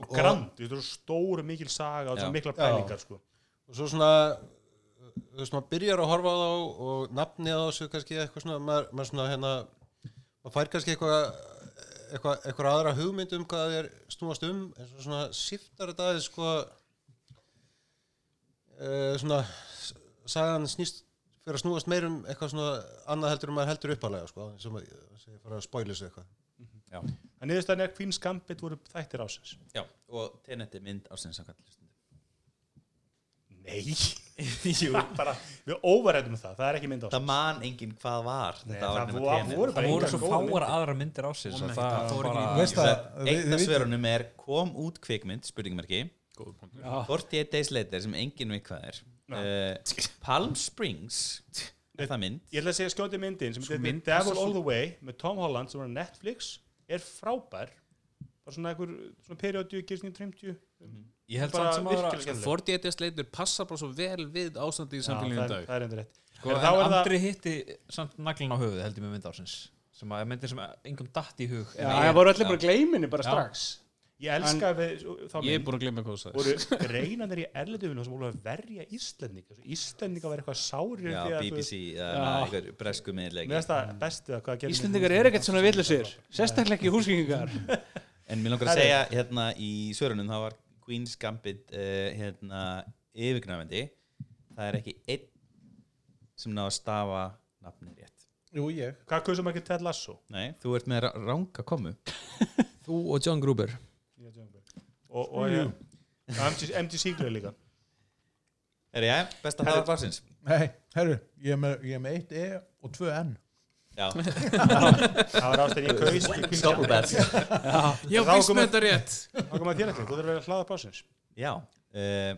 B: og grand, þetta eru stór og mikil saga og
G: Já.
B: svona mikla pælingar, sko.
J: og svo svona þú veist, maður byrjar að horfa á þá og nafnið á þessu kannski eitthvað svona maður, maður svona hérna maður fær kannski eitthvað eitthvað, eitthvað aðra hugmynd um hvað það er snúast um en svo svona siftar þetta aðeins sko uh, svona s- sagan snýst fyrir að snúast meir um eitthvað svona annað heldur um maður heldur uppalega sko eins og maður sem ég fara að spóla þessu eitthvað
B: En niðurstaðan er Queen's Gambit voru þættir ásins.
G: Já, og tenetti mynd ársins samkvæmt hlustendum.
B: Nei, bara, við óvarættum það, það er ekki mynd
G: það
B: ásins.
G: man enginn hvað var
B: Nei,
G: þetta
B: það
G: var
B: vo- voru bara
E: Það voru
B: engar
E: svo
B: góðar myndir.
E: fáar aðra myndir á sér
D: Nei,
E: það
D: það fór
E: var
D: ekki
E: bara
D: í-
H: Veist það, við-
G: einn af
H: við vitum-
G: svörunum er kom út kvikmynd spurningmerki
C: Já.
G: 48 days later sem enginn veit hvað er uh, Palm Eh, Springs er það mynd Sko,
B: Ég ætla að segja skjóti myndin sem
D: Svo
B: heitir
D: mynd-
B: The Devil
D: svo-
B: All The Way með Tom Holland sem var á Netflix er frábær bara svona einhver svona periódu gísning 50
D: Ég held samt
B: Bara
D: sem sko, ára
B: virkilega skemmtilegt.
D: 48 days later passa bara svo vel við ástandi í samfélaginu í
B: það er-
D: dag
B: það er endur rétt
E: Sko,
B: En
E: en
B: þá er það-
E: Andri hitti samt naglin á höfuð held ég með mynd ársins sem að myndir sem engum datt í hug
C: Já, það voru allir bara gleyminni bara
E: Já.
C: strax
B: Ég elska við þá
D: Ég er
B: mynd
D: búin að glemja hvað það
B: voru greinandir í erlendufinu sem voru að verja Íslendinga Svo Íslendinga var eitthvað sárir
G: já,
B: því að þú-
G: BBC eða
C: Já.
G: einhver bresku
B: Mér
G: miðleiki
B: finnst það bestu að hvað gerir
C: Íslendingar eru ekkert svona villusir sérstaklega ekki húsgengingar
G: en mér langar að
B: Herri.
G: segja hérna í svörunum það var Queen's Gambit uh, hérna yfirgnafandi það er ekki einn sem ná að stafa nafni rétt
H: Jú, ég.
B: Hvað kusum ekki Ted Lasso?
G: nei, þú ert með ra- ranga komu
I: Þú og John Gruber
B: Og, og ég, MG, MG Sigler líka
G: er ég, besta
B: Herri.
G: hæðar barsins
H: Nei, herru, ég er með, ég er með eitt E og tvö N.
G: já,
B: Það var ástæðin ég kaus í Queen's Gambit.
G: doppelbært
D: Já,
B: Þá
D: víst
B: komum-
D: með þetta rétt
B: Þá kom að þér eftir, þú þurfir að vera hlaða pásins
G: já uh,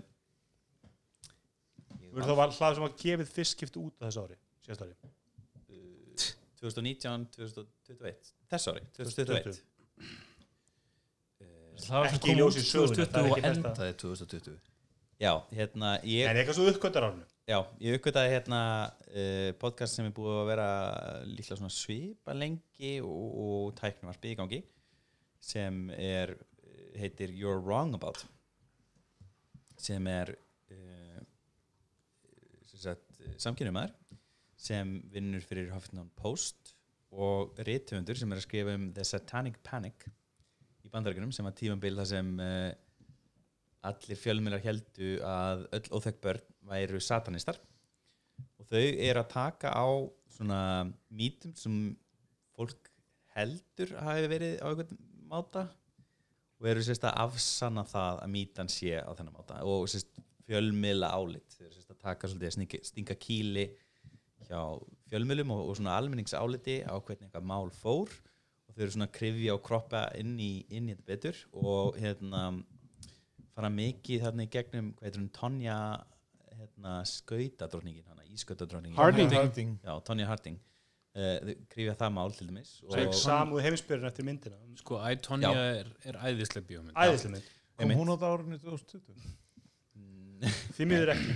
B: Þú verður þá var hlaða sem var gefið fyrst skipt út á þessu ári, síðast ári
G: Eh, 2019, 2021 þess ári, 2021
E: það var sem
B: Ekki í
E: kom út
B: ljósi sögunnar, það er
E: 2020 og
B: ekki besta.
E: endaði 2020
G: já, hérna ég
B: En eitthvað svo uppkvöndar árinu
G: Já, ég uppgötaði hérna uh, podcast sem er búið að vera líklega svona svipa lengi og, og tæknumarpið í gangi sem er, eh, heitir You're Wrong About sem er uh, sem sagt, samkynumar sem vinnur fyrir Huffington Post og rithöfundur sem er að skrifa um The Satanic Panic í bandarækjunum sem var tímambil þar sem uh, allir fjölmiðlar heldu að öll óþekk börn væru satanistar og þau eru að taka á svona mítum sem fólk heldur að hafi verið á einhvern máta og eru sérst að afsanna það að mítan sé á þennan máta og sérst fjölmiðla álit þau eru sérst að taka svolítið að stinga, stinga kýli hjá fjölmiðlum og, og svona almenningsáliti á hvernig eitthvað mál fór og þau eru svona að krifja og kroppa inn í, inn í þetta betur og hérna fara mikið þarna í gegnum hvað heitir hún, Tonja hérna, skautadróningin hana, ískautadróningin
C: Harding.
H: Harding.
G: Já, Tonja Harding uh, krifja það mál til dæmis og
B: Sveik samúð heimsbyrjun eftir myndina
D: Sko, I, Tonja er, er æðislega bíómynd
B: Æðislega mynd,
H: Kom hún á það árinu 2020?
B: því miður ekki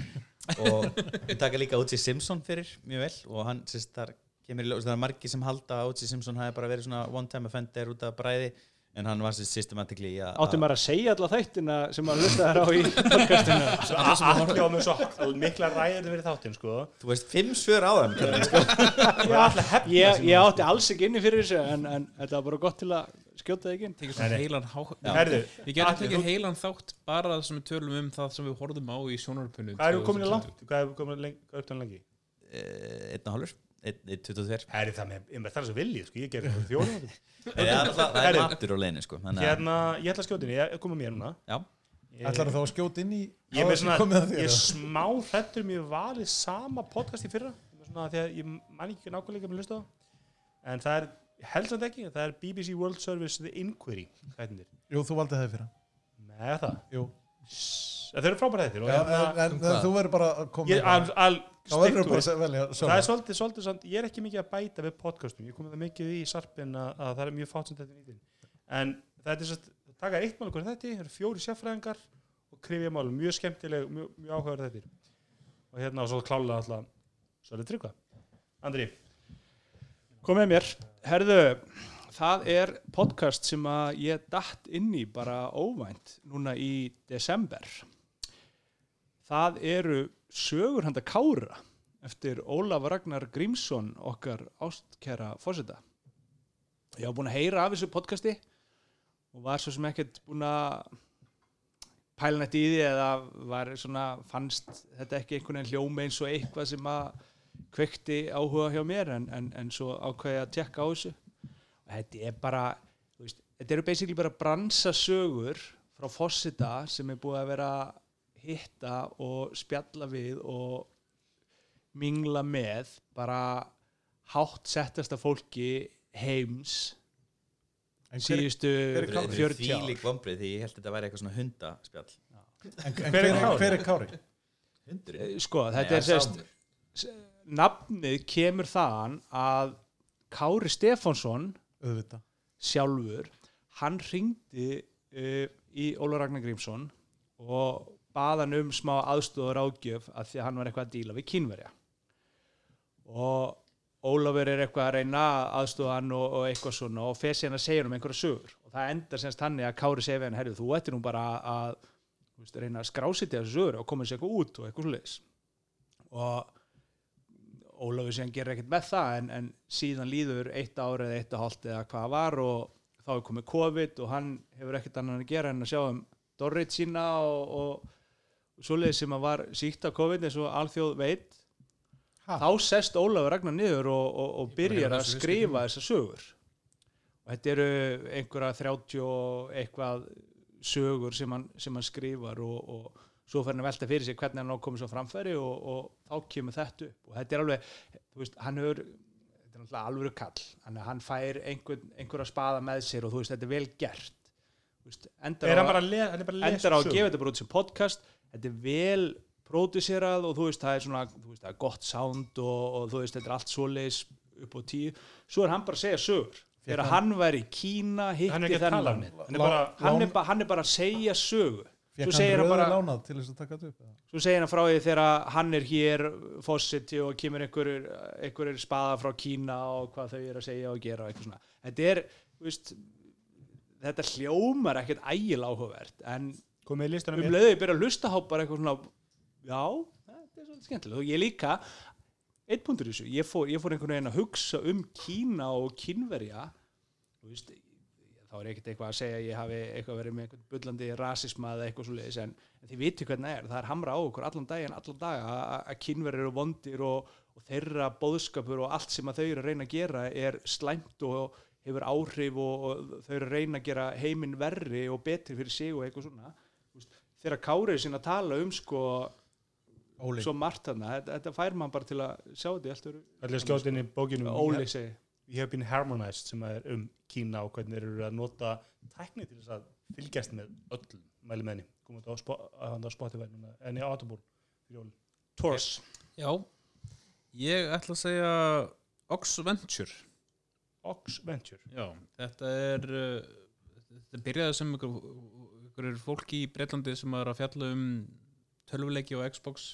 G: og við taka líka O.J. Simpson fyrir mjög vel og hann sérst þar kemur í ljós, það er margir sem halda að O.J. Simpson hafi bara verið svona one time offender út af bræði en hann var sérst systematically að-
C: átti
G: að
C: maður að segja alla þættina sem maður hlusta þær á í podcastinu
B: Svo Allir á mig svo mikla ræður fyrir þáttinn sko
G: þú veist, fimm svör á þeim
H: sko.
B: Ég var allir hefna
C: ég,
B: sín.
C: ég átti alls ekki inni fyrir þessu en, en þetta var bara gott til að skjóta það ekki inn.
D: Tekið svona
B: Nei, nei.
D: heilan hátt
B: Herðu,
D: Við getum
B: Atli,
D: tekið
B: þú-
D: heilan þátt bara sem við tölum um það sem við horfðum á í sjónarpunni
B: Hvað erum við komin í langt? Hvað erum við komin lengi, upp til lengi?
G: eh, einn og hálfur, einn, einn, 22
B: Herri það með, ég með þar svo viljið sko, ég gerði það fjórum
G: það er alltaf- það er
B: Herri.
G: matur á leinu sko, þannig að
B: Hérna, ég ætla að skjóta henni, ég kom með mér núna
G: Já.
B: Ég-
H: Ætlar þá að skjóta inn í
B: Ég er með svona,
H: komið að hérna. þér?
B: ég er smá hrættur um ég valið sama podcast í fyrra Ég er með svona, því að ég man ekki nákvæmlega með hlusta á það. en það er, ég held samt ekki það er BBC World Service The Inquiry hættinir,
H: Jú, þú valdi það fyrir hann.
B: með það
H: Jú.
B: Sss, það eru frábæra hættir og
H: En,
B: hérna,
H: en, en þú verður bara að koma hérna.
B: ég al, al,
H: Þá verður þú
B: stick to
H: bara
B: it.
H: að velja
B: það er
H: sjálf.
B: svolítið, svolítið, svolítið ég er ekki mikið að bæta við podcastum ég komið það mikið í sarpin að, að það er mjög fátt sem þetta er nýtin en þetta er svo, það taka eitt mál hvernig þetta það eru fjóri sérfræðingar og krifja mál, mjög skemmtileg, mjög, mjög áhugaður þetta og hérna og svo klálega alltaf svo er þetta tryggva Andri,
C: kom með mér, herðu það er podcast sem að ég datt inn í bara óvænt núna í desember það eru sögur handa Kára eftir Ólaf Ragnar Grímsson okkar ástkæra fósita ég var búin að heyra af þessu podcasti og var svo sem ekkert búin að pæla nætt í því eða var svona fannst þetta ekki einhvern veginn hljóma eins og eitthvað sem að kveikti áhuga hjá mér en, en, en svo ákveði ég að tekka á þessu og þetta er bara þú veist, þetta eru basically bara bransasögur frá fósita sem er búið að vera að hitta og spjalla við og mingla með bara hátt settasta fólki heims
H: En hver-
C: síðustu
H: hver er Kári?
C: 40 ár
G: þvílík vombrið því ég held að þetta væri eitthvað svona hundaspjall
H: en- en Hver er Kári? Eh,
G: hundurinn
C: sko,
G: Nei,
C: þetta er sérst
G: sá-
C: nafnið kemur þaðan að Kári Stefánsson
H: auðvitað
C: sjálfur hann ringdi uh, í Óla Ragnar Grímsson og bað hann um smá aðstoð og ráðgjöf að því að hann var eitthvað að díla við kínverja og Ólafur er eitthvað að reyna aðstoða hann og, og eitthvað svona og fer síðan að segja hann um einhverja sögur og það endar semst þannig að Kári segja við hann herrið þú ættir nú bara að þú veist, reyna að skrásitja þessu sögur og koma sér eitthvað út og eitthvað svoleiðis og Ólafur síðan gerir ekkert með það en, en síðan líður eitt ár eða eitt og hálft eða hvað var og þá er komið COVID og hann hefur ekkert annan að gera en að sjá um Dorrit sína og, og svoleiðis sem að var síkt af COVID eins og alþjóð veit
H: Ha?
C: þá sest Ólafur Ragnar niður og, og, og byrjar að skrifa þessar sögur og þetta eru einhverja 30 og eitthvað sögur sem hann, sem hann skrifar og, og svo fer hann að velta fyrir sig hvernig hann á að koma svo framfæri og, og þá kemur þetta upp og þetta er alveg, þú veist, hann hefur þetta er náttúrulega alvöru kall hann, hann fær einhver, einhverja spaða með sér og þú veist, þetta er vel gert Þú veist, endar
B: Er
C: á
B: hann
C: að-
B: bara að le- hann er bara að lesa
C: endar á að
B: sögur?
C: gefa þetta bara út sem podcast þetta er vel pródusserað og þú veist það er svona þú veist, það er gott sound og, og þú veist þetta er allt svoleiðis upp á tíu svo er hann bara að segja sögur þegar hann væri í Kína
B: Hann er ekki
C: hitti
B: að tala um
C: þennan hann,
B: þetta. Hann er bara-
C: hann,
H: lán-
C: er bara- hann er bara að segja sögu
H: Fékk
C: svo
H: hann
C: segir hann
H: rauður
C: bara
H: lánað til þess að taka þetta upp? eða?
C: svo segir hann frá því þegar að hann er hér fósiti og kemur einhverjur einhverjur spaða frá Kína og hvað þau eru að segja og gera og eitthvað svona þetta er, þú veist þetta hljómar ekkert ægil áhugavert en
B: komið í listan
C: um leiðu ég byrja að hlusta á bara eitthvað svona já, þetta er svolítið skemmtilega og ég líka, eitt punktur í þessu ég fór, ég fór einhvern veginn að hugsa um Kína og Kínverja þú veist, þá er ekkert eitthvað að segja að ég hafi eitthvað verið með einhvern bullandi rasisma eða eitthvað svo leiðis en, en þið viti hvernig það er, það er hamra á okkur allan daginn, allan dag að að Kínverjar eru vondir og, og þeirra bóðskapur og allt sem að þau eru að reyna að gera er slæmt og hefur áhrif og, og þau eru að reyna að gera heiminn verri og betri fyrir sig og eitthvað svona Þú veist, þegar Kárið sinna að tala um sko
H: Óli.
C: svo margt þarna, þetta, þetta fær mann bara til að sjá þetta í allt öru
B: allir skjótin í bókinum
C: Óli segi
B: We Have Been Harmonized sem er um Kína og hvernig þeir eru að nota tækni til þess að fylgjast með öllum mæli með henni komum þetta á, Spo- að handa á Spotify núna, en ég átabúr Tors
D: Já Ég ætla að segja Oxventure
B: Ox Venture
D: Já, þetta er uh, þetta byrjaði sem ykkur, ykkur fólki í Breitlandi sem var að fjalla um tölvuleiki og Xbox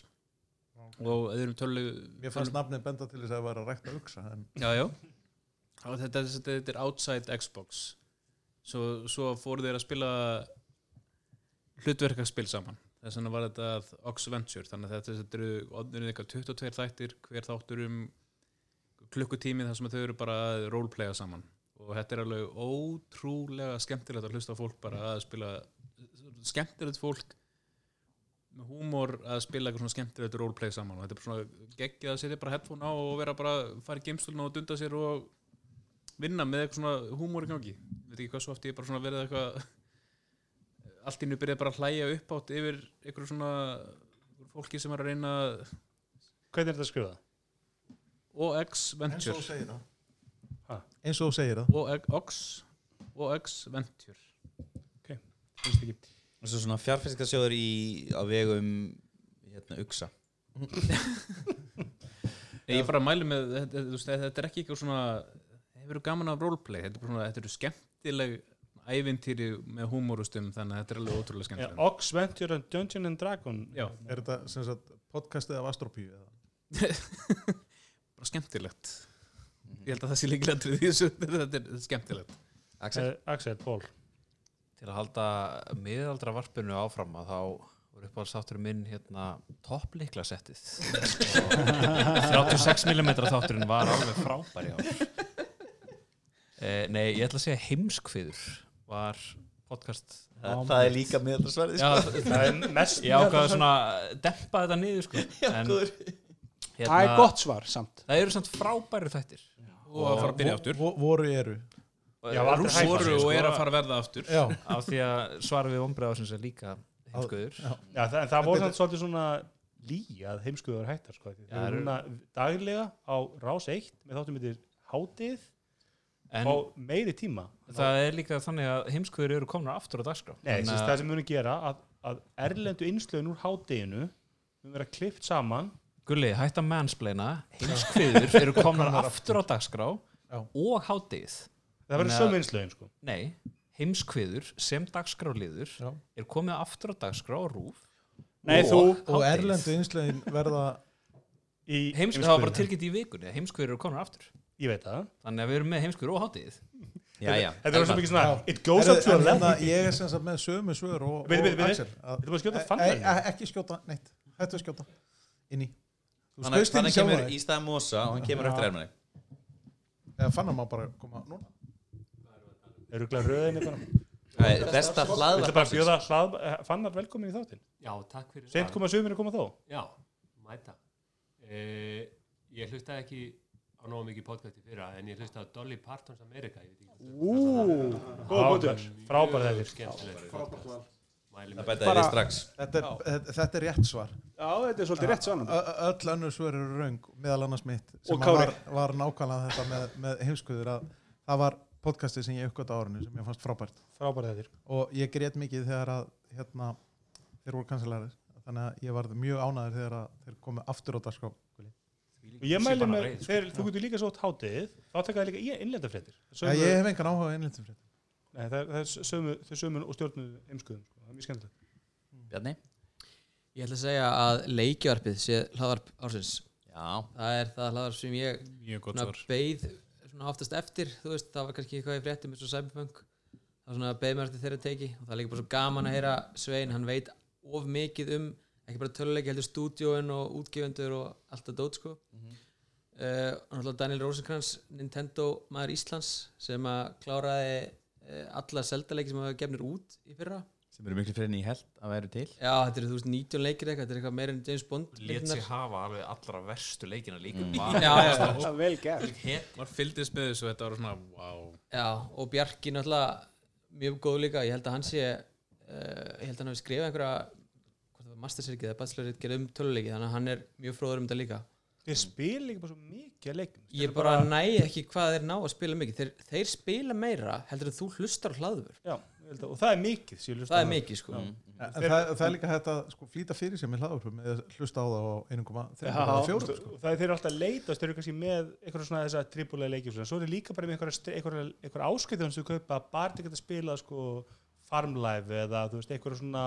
D: og öðrum tölvuleiki
H: Mér fannst nafnið benda til þess að það var að rækta að hugsa en
D: Já, já Og þetta, þetta, þetta er outside Xbox Svo, svo fóru þeir að spila hlutverkaspil saman þess vegna var þetta að Oxventure þannig að þetta þetta eru orðnir eitthvað 22 þættir hver þáttur um klukkutími þar sem þau eru bara að roleplaya saman og þetta er alveg ótrúlega skemmtilegt að hlusta á fólk bara að spila skemmtilegt fólk með húmor að spila eitthvað svona skemmtilegt roleplay saman og þetta er bara svona geggjað að setja bara headphone á og vera bara að fara í geimstulna og dunda sér og vinna með eitthvað svona húmor í gangi veit ekki hvað svo oft ég bara svona verið eitthvað allt í nú byrjaði bara að hlæja upp átt yfir eitthvað svona fólki sem er að reyna
B: hvernig er þetta að skrifa?
D: OX
H: eins og
D: Venture
H: þú segir það
B: Ha?
H: eins og þú segir það
D: OX OX Venture
B: finnst ekki
G: Svo svona fjárfestingasjóður í á vegum hérna, Uxa
D: Nei, ég bara mælu með, þetta, þú veist, þetta er ekki eitthvað svona, hefur þú gaman af roleplay, þetta er bara svona, þetta eru skemmtileg ævintýri með húmorustum, þannig að þetta er alveg ótrúlega
B: Er
D: skemmtileg.
B: Ox Venture and Dungeon and Dragon
D: Já,
H: Er þetta sem sagt podcastið af Astropíu eða?
D: bara skemmtilegt.
I: Mhm.
D: Ég held að það sé líkilega til því þessu, þetta er skemmtilegt.
B: Axel,
K: Eh,
B: uh,
E: Eh,
B: Axel Paul
E: til að halda miðaldra varpinu áfram að þá voru upp á sáttur minn hérna topplikla settið 36mm þátturinn var alveg frábær í ár eh, Nei, ég ætla að segja heimskviður var podcast
G: það, það er líka sko. meðalra svarið
E: Já,
B: það er mest
E: ég ákvaði svona að dempa þetta niður sko. en, hérna,
C: það er gott svar samt
E: það eru samt frábæri þættir
D: Og að fara að byrja aftur.
H: Vo- Voru eru
B: Já, aldrei
E: Rússar
B: hægt.
D: Voru og er að fara að verða aftur.
H: Já
E: af því að svara við ombriða ásins er líka heimskviður
B: Já, það, en það voru samt svolítið svona lí að heimskuður hættar sko. Þeir
E: Já,
B: eru
E: eru-
B: núna daglega á Rás 1 með þáttum yfir hátíð
E: en
B: á meiri tíma
E: það er líka þannig að heimskviður eru komnar aftur á dagskrá
B: Nei,
E: Þannig
B: sérst,
E: að
B: það sem munum gera að, að erlendu innslögin úr hádeginu mun vera klift saman
E: Gulli, hætt að mansplaina heimskviður eru komnar aftur á dagskrá og hátíð
B: það verður
E: Þannig að-
B: sömu vinslögin sko
E: nei, heimskviður sem dagskráliður
H: Já.
E: er komið aftur á dagskrá á rúf
B: Nei, þú
H: og
E: Hádegis.
H: erlendu einslegin verða
B: í
E: heimskviður, það var bara tilkynnt í vikunni heimskviður eru komnar aftur
B: Ég veit það
E: þannig að við erum með heimskviður og hátíð
G: já, já.
B: Þetta er svo mikið svona It goes
H: Herðu,
B: up to a
H: en hérna,
B: level
H: ég er sem sagt með sömu svör og,
B: Bíddu,
H: og
B: bíddu, bíddu.
H: Axel að-
B: Þetta er bara
H: Nei, nei,
B: að skjóta fannar
H: ekki skjóta, neitt, hættu að skjóta inn í þú
G: Þannig
H: skaust
G: að
H: inn
G: hann
H: í sjálfa
G: kemur í
H: þig
G: stað Mosa og hann kemur eftir ermæni
H: eða fannar maður bara koma núna
B: Eru glæð röðinni bara
G: Það er besta
B: Þetta
G: hlaðvarp
B: er bara að fjóða hlað eh, Fannar velkomin í þáttinn
L: Já, takk fyrir
B: Seint koma sömur að koma þó
L: Já, mæta uh, Ég hlustaði ekki á nógu mikið podcasti fyrra en ég hlustaði á Dolly Partons America ég veit ekki hvort þú
B: Ú, góð bótur Frábær
L: Mjög
B: þetta
L: skemmtilegt podcast. Mæli
G: Það
L: með
G: bætaði við strax
H: þetta er, þetta- þetta er rétt svar
K: Já, þetta er svolítið rétt
H: Ö-
K: svonandi.
H: ö- öll önnur svör eru raung meðal annars mitt sem
K: Og
H: að
K: Kári.
H: var, var nákvæmlega þetta með, með heimskuður að það var podcastið sem ég uppgötta á árinu sem ég fannst frábært
B: Frábær þetta
H: og ég grét mikið þegar að hérna, þeir voru kansilæri þannig að ég varð mjög ánæður þegar að þeir komu aftur á dagskrá
B: Og ég mæli
L: bara
B: með
L: reið, sko.
B: þegar Þú getur líka svo hátíð Þá tekaði líka í innlendafréttir
H: ja, ég hef engan áhuga innlýttum frétt
B: Nei, það, er- það er sömu, þau sömu og stjórnu heimskuðum, sko. það er mjög skemmtilegt.
G: Bjarni
I: Ég ætla að segja að leikjarpið sé hlaðvarp ársins.
G: Já,
I: Það er það hlaðvarp sem ég
D: mjög gott
I: svona,
D: svar
I: beið svona oftast eftir, þú veist, það var kannski eitthvað í fréttum eins og Cyberpunk. Það var svona beið mér eftir þeirra teki og það er líka bara svo gaman að heyra Svein, hann veit of mikið um, ekki bara töluleiki, heldur stúdíóin og útgefendur og allt að dót, sko. uh, og náttúrulega Daniel Rosenkrantz Nintendo maður Íslands sem að kláraði uh, alla seldaleiki sem hafa gefnir út í fyrra
G: sem eru miklu fyrir enn í held að væru til
I: já, þetta eru þú veist 19 leikir eitthvað þetta er eitthvað meira en James Bond
E: lét sig
I: myndirnar.
E: hafa alveg allra verstu leikina líka
B: Mm.
I: já, já, já.
K: Það er vel gert.
D: maður fylgdist með þessu þetta var svona wow
I: já, og Bjarki náttúrulega mjög góð líka, ég held að hann sé uh, ég held að hann hafi skrifað einhverja hvort það var masterserkið eða bachelorritgerð um töluleiki þannig að hann er mjög fróður um þetta líka
B: Þeir spila líka bara svo mikið að leikum.
I: ég bara næ ekki hvað þeir ná að spila mikið þeir, þeir spila meira heldur en þú hlustar á hlaðvör
B: Já, ég held að, og það er mikið. sé ég hlusta
I: það er
B: á.
I: mikið
L: Mm,
I: sko
E: Mm.
H: En það, það er líka hægt að sko, flýta fyrir sér með hlaðvarpum eða hlusta á það á 1,3
B: Og það er þeir eru alltaf að leitast, þeir eru kannski með eitthvað svona þess að tripulega leikjum. svona. Svo er þeir líka bara með eitthvað, eitthvað, eitthvað áskiptum sem um þau kaupa að bara til að geta spila sko farmlife eða þú veist eitthvað svona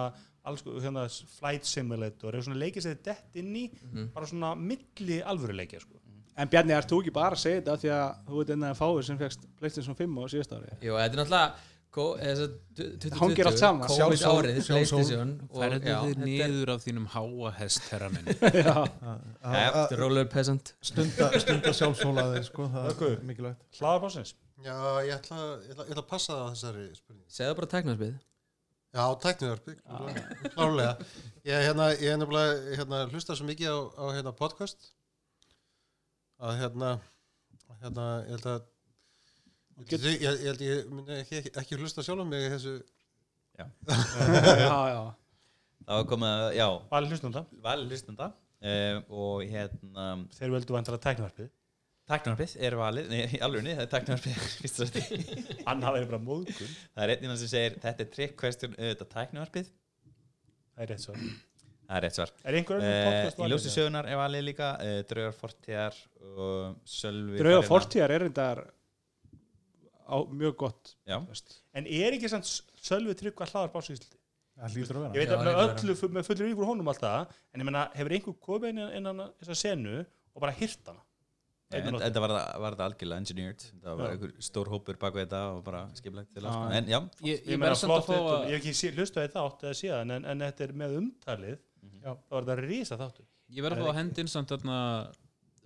B: alls, sko, hérna, flight simulator eða svona leikið sem þið dett inn í
G: Mhm.
B: bara svona milli alvöru leikja sko.
K: En Bjarni, ert þú ekki bara að segja þetta af því að þú ert enn að fáið sem fegst PlayStation 5 á síðast ári?
I: Jú, þetta er náttúrulega
K: Það hangir allt saman.
I: COVID
H: Sjálfsól-
I: árið,
H: sjálfsól.
I: Playstation og
D: færðu
I: já, þetta
D: þið
I: er-
D: niður af þínum háa hest herra minn
I: þetta er roller peasant
H: stunda, stunda sjálfsólaðir sko, það er mikilvægt
B: Hlaðar pásins.
J: Já, ég ætla, ég ætla, ég ætla að passa það að þessari spurningu.
I: segðu bara teknarsbið
J: Já, tækniðarpi, klárlega. Ég er hérna, ég er nefnilega hérna, hlusta svo mikið á, á hérna, podcast að hérna, að, hérna ég held að Ég, ég, ég held ég myndi ekki, ekki, ekki hlusta sjálf mig í þessu
K: Já, já.
G: Það var komið að, já,
B: Vali hlustnanda,
G: vali hlustanda uh, og hérna
B: þeir völdu vantar að teknavarpið.
G: Tæknarpið er valið, nei, í alvörunni, það er tæknarpið fyrst og fremst.
B: Annað er bara móðgun.
G: Það er einn sem segir, þetta er trick question auðvitað tæknarpið
B: Það er rétt svo.
G: Það er rétt svar
B: Er einhver önnur
G: Eh,
B: podcast
G: Í
B: valin,
G: ljósi
B: eða?
G: sögunar er valið líka uh, Draugar fortíðar og Sölvi
K: Drauga
G: Farina.
K: fortíðar er reyndar á mjög gott.
G: Já,
B: En er ekki sann Sölvi Tryggva hlaðar básísli?
H: það hlýtur að vera
B: Ég veit
I: Já,
B: að með
I: reyndar.
B: öllu, með fullur yfir honum alltaf, en ég meina, hefur einhver komið inn innan þessa senu og bara hirt hana?
G: en, en
B: Einnig nóttu.
G: Eh, þetta var, það- var þetta algjörlega engineered Það var
B: Já.
G: einhver stór hópur bak við þetta og bara skipulegt til að
B: Já,
G: sko.
B: já.
G: En já,
E: ég,
B: Ég
E: ég
B: meina,
E: verð samt
B: flott
E: að fá
B: þetta,
E: að
B: ég hef ekki sé- hlustað í þátt eða síðan, en, en þetta er með umtalið, þá var þetta risa þáttur.
D: Mhm.
B: Eh,
D: ég verð að fá að hendi inn samt þarna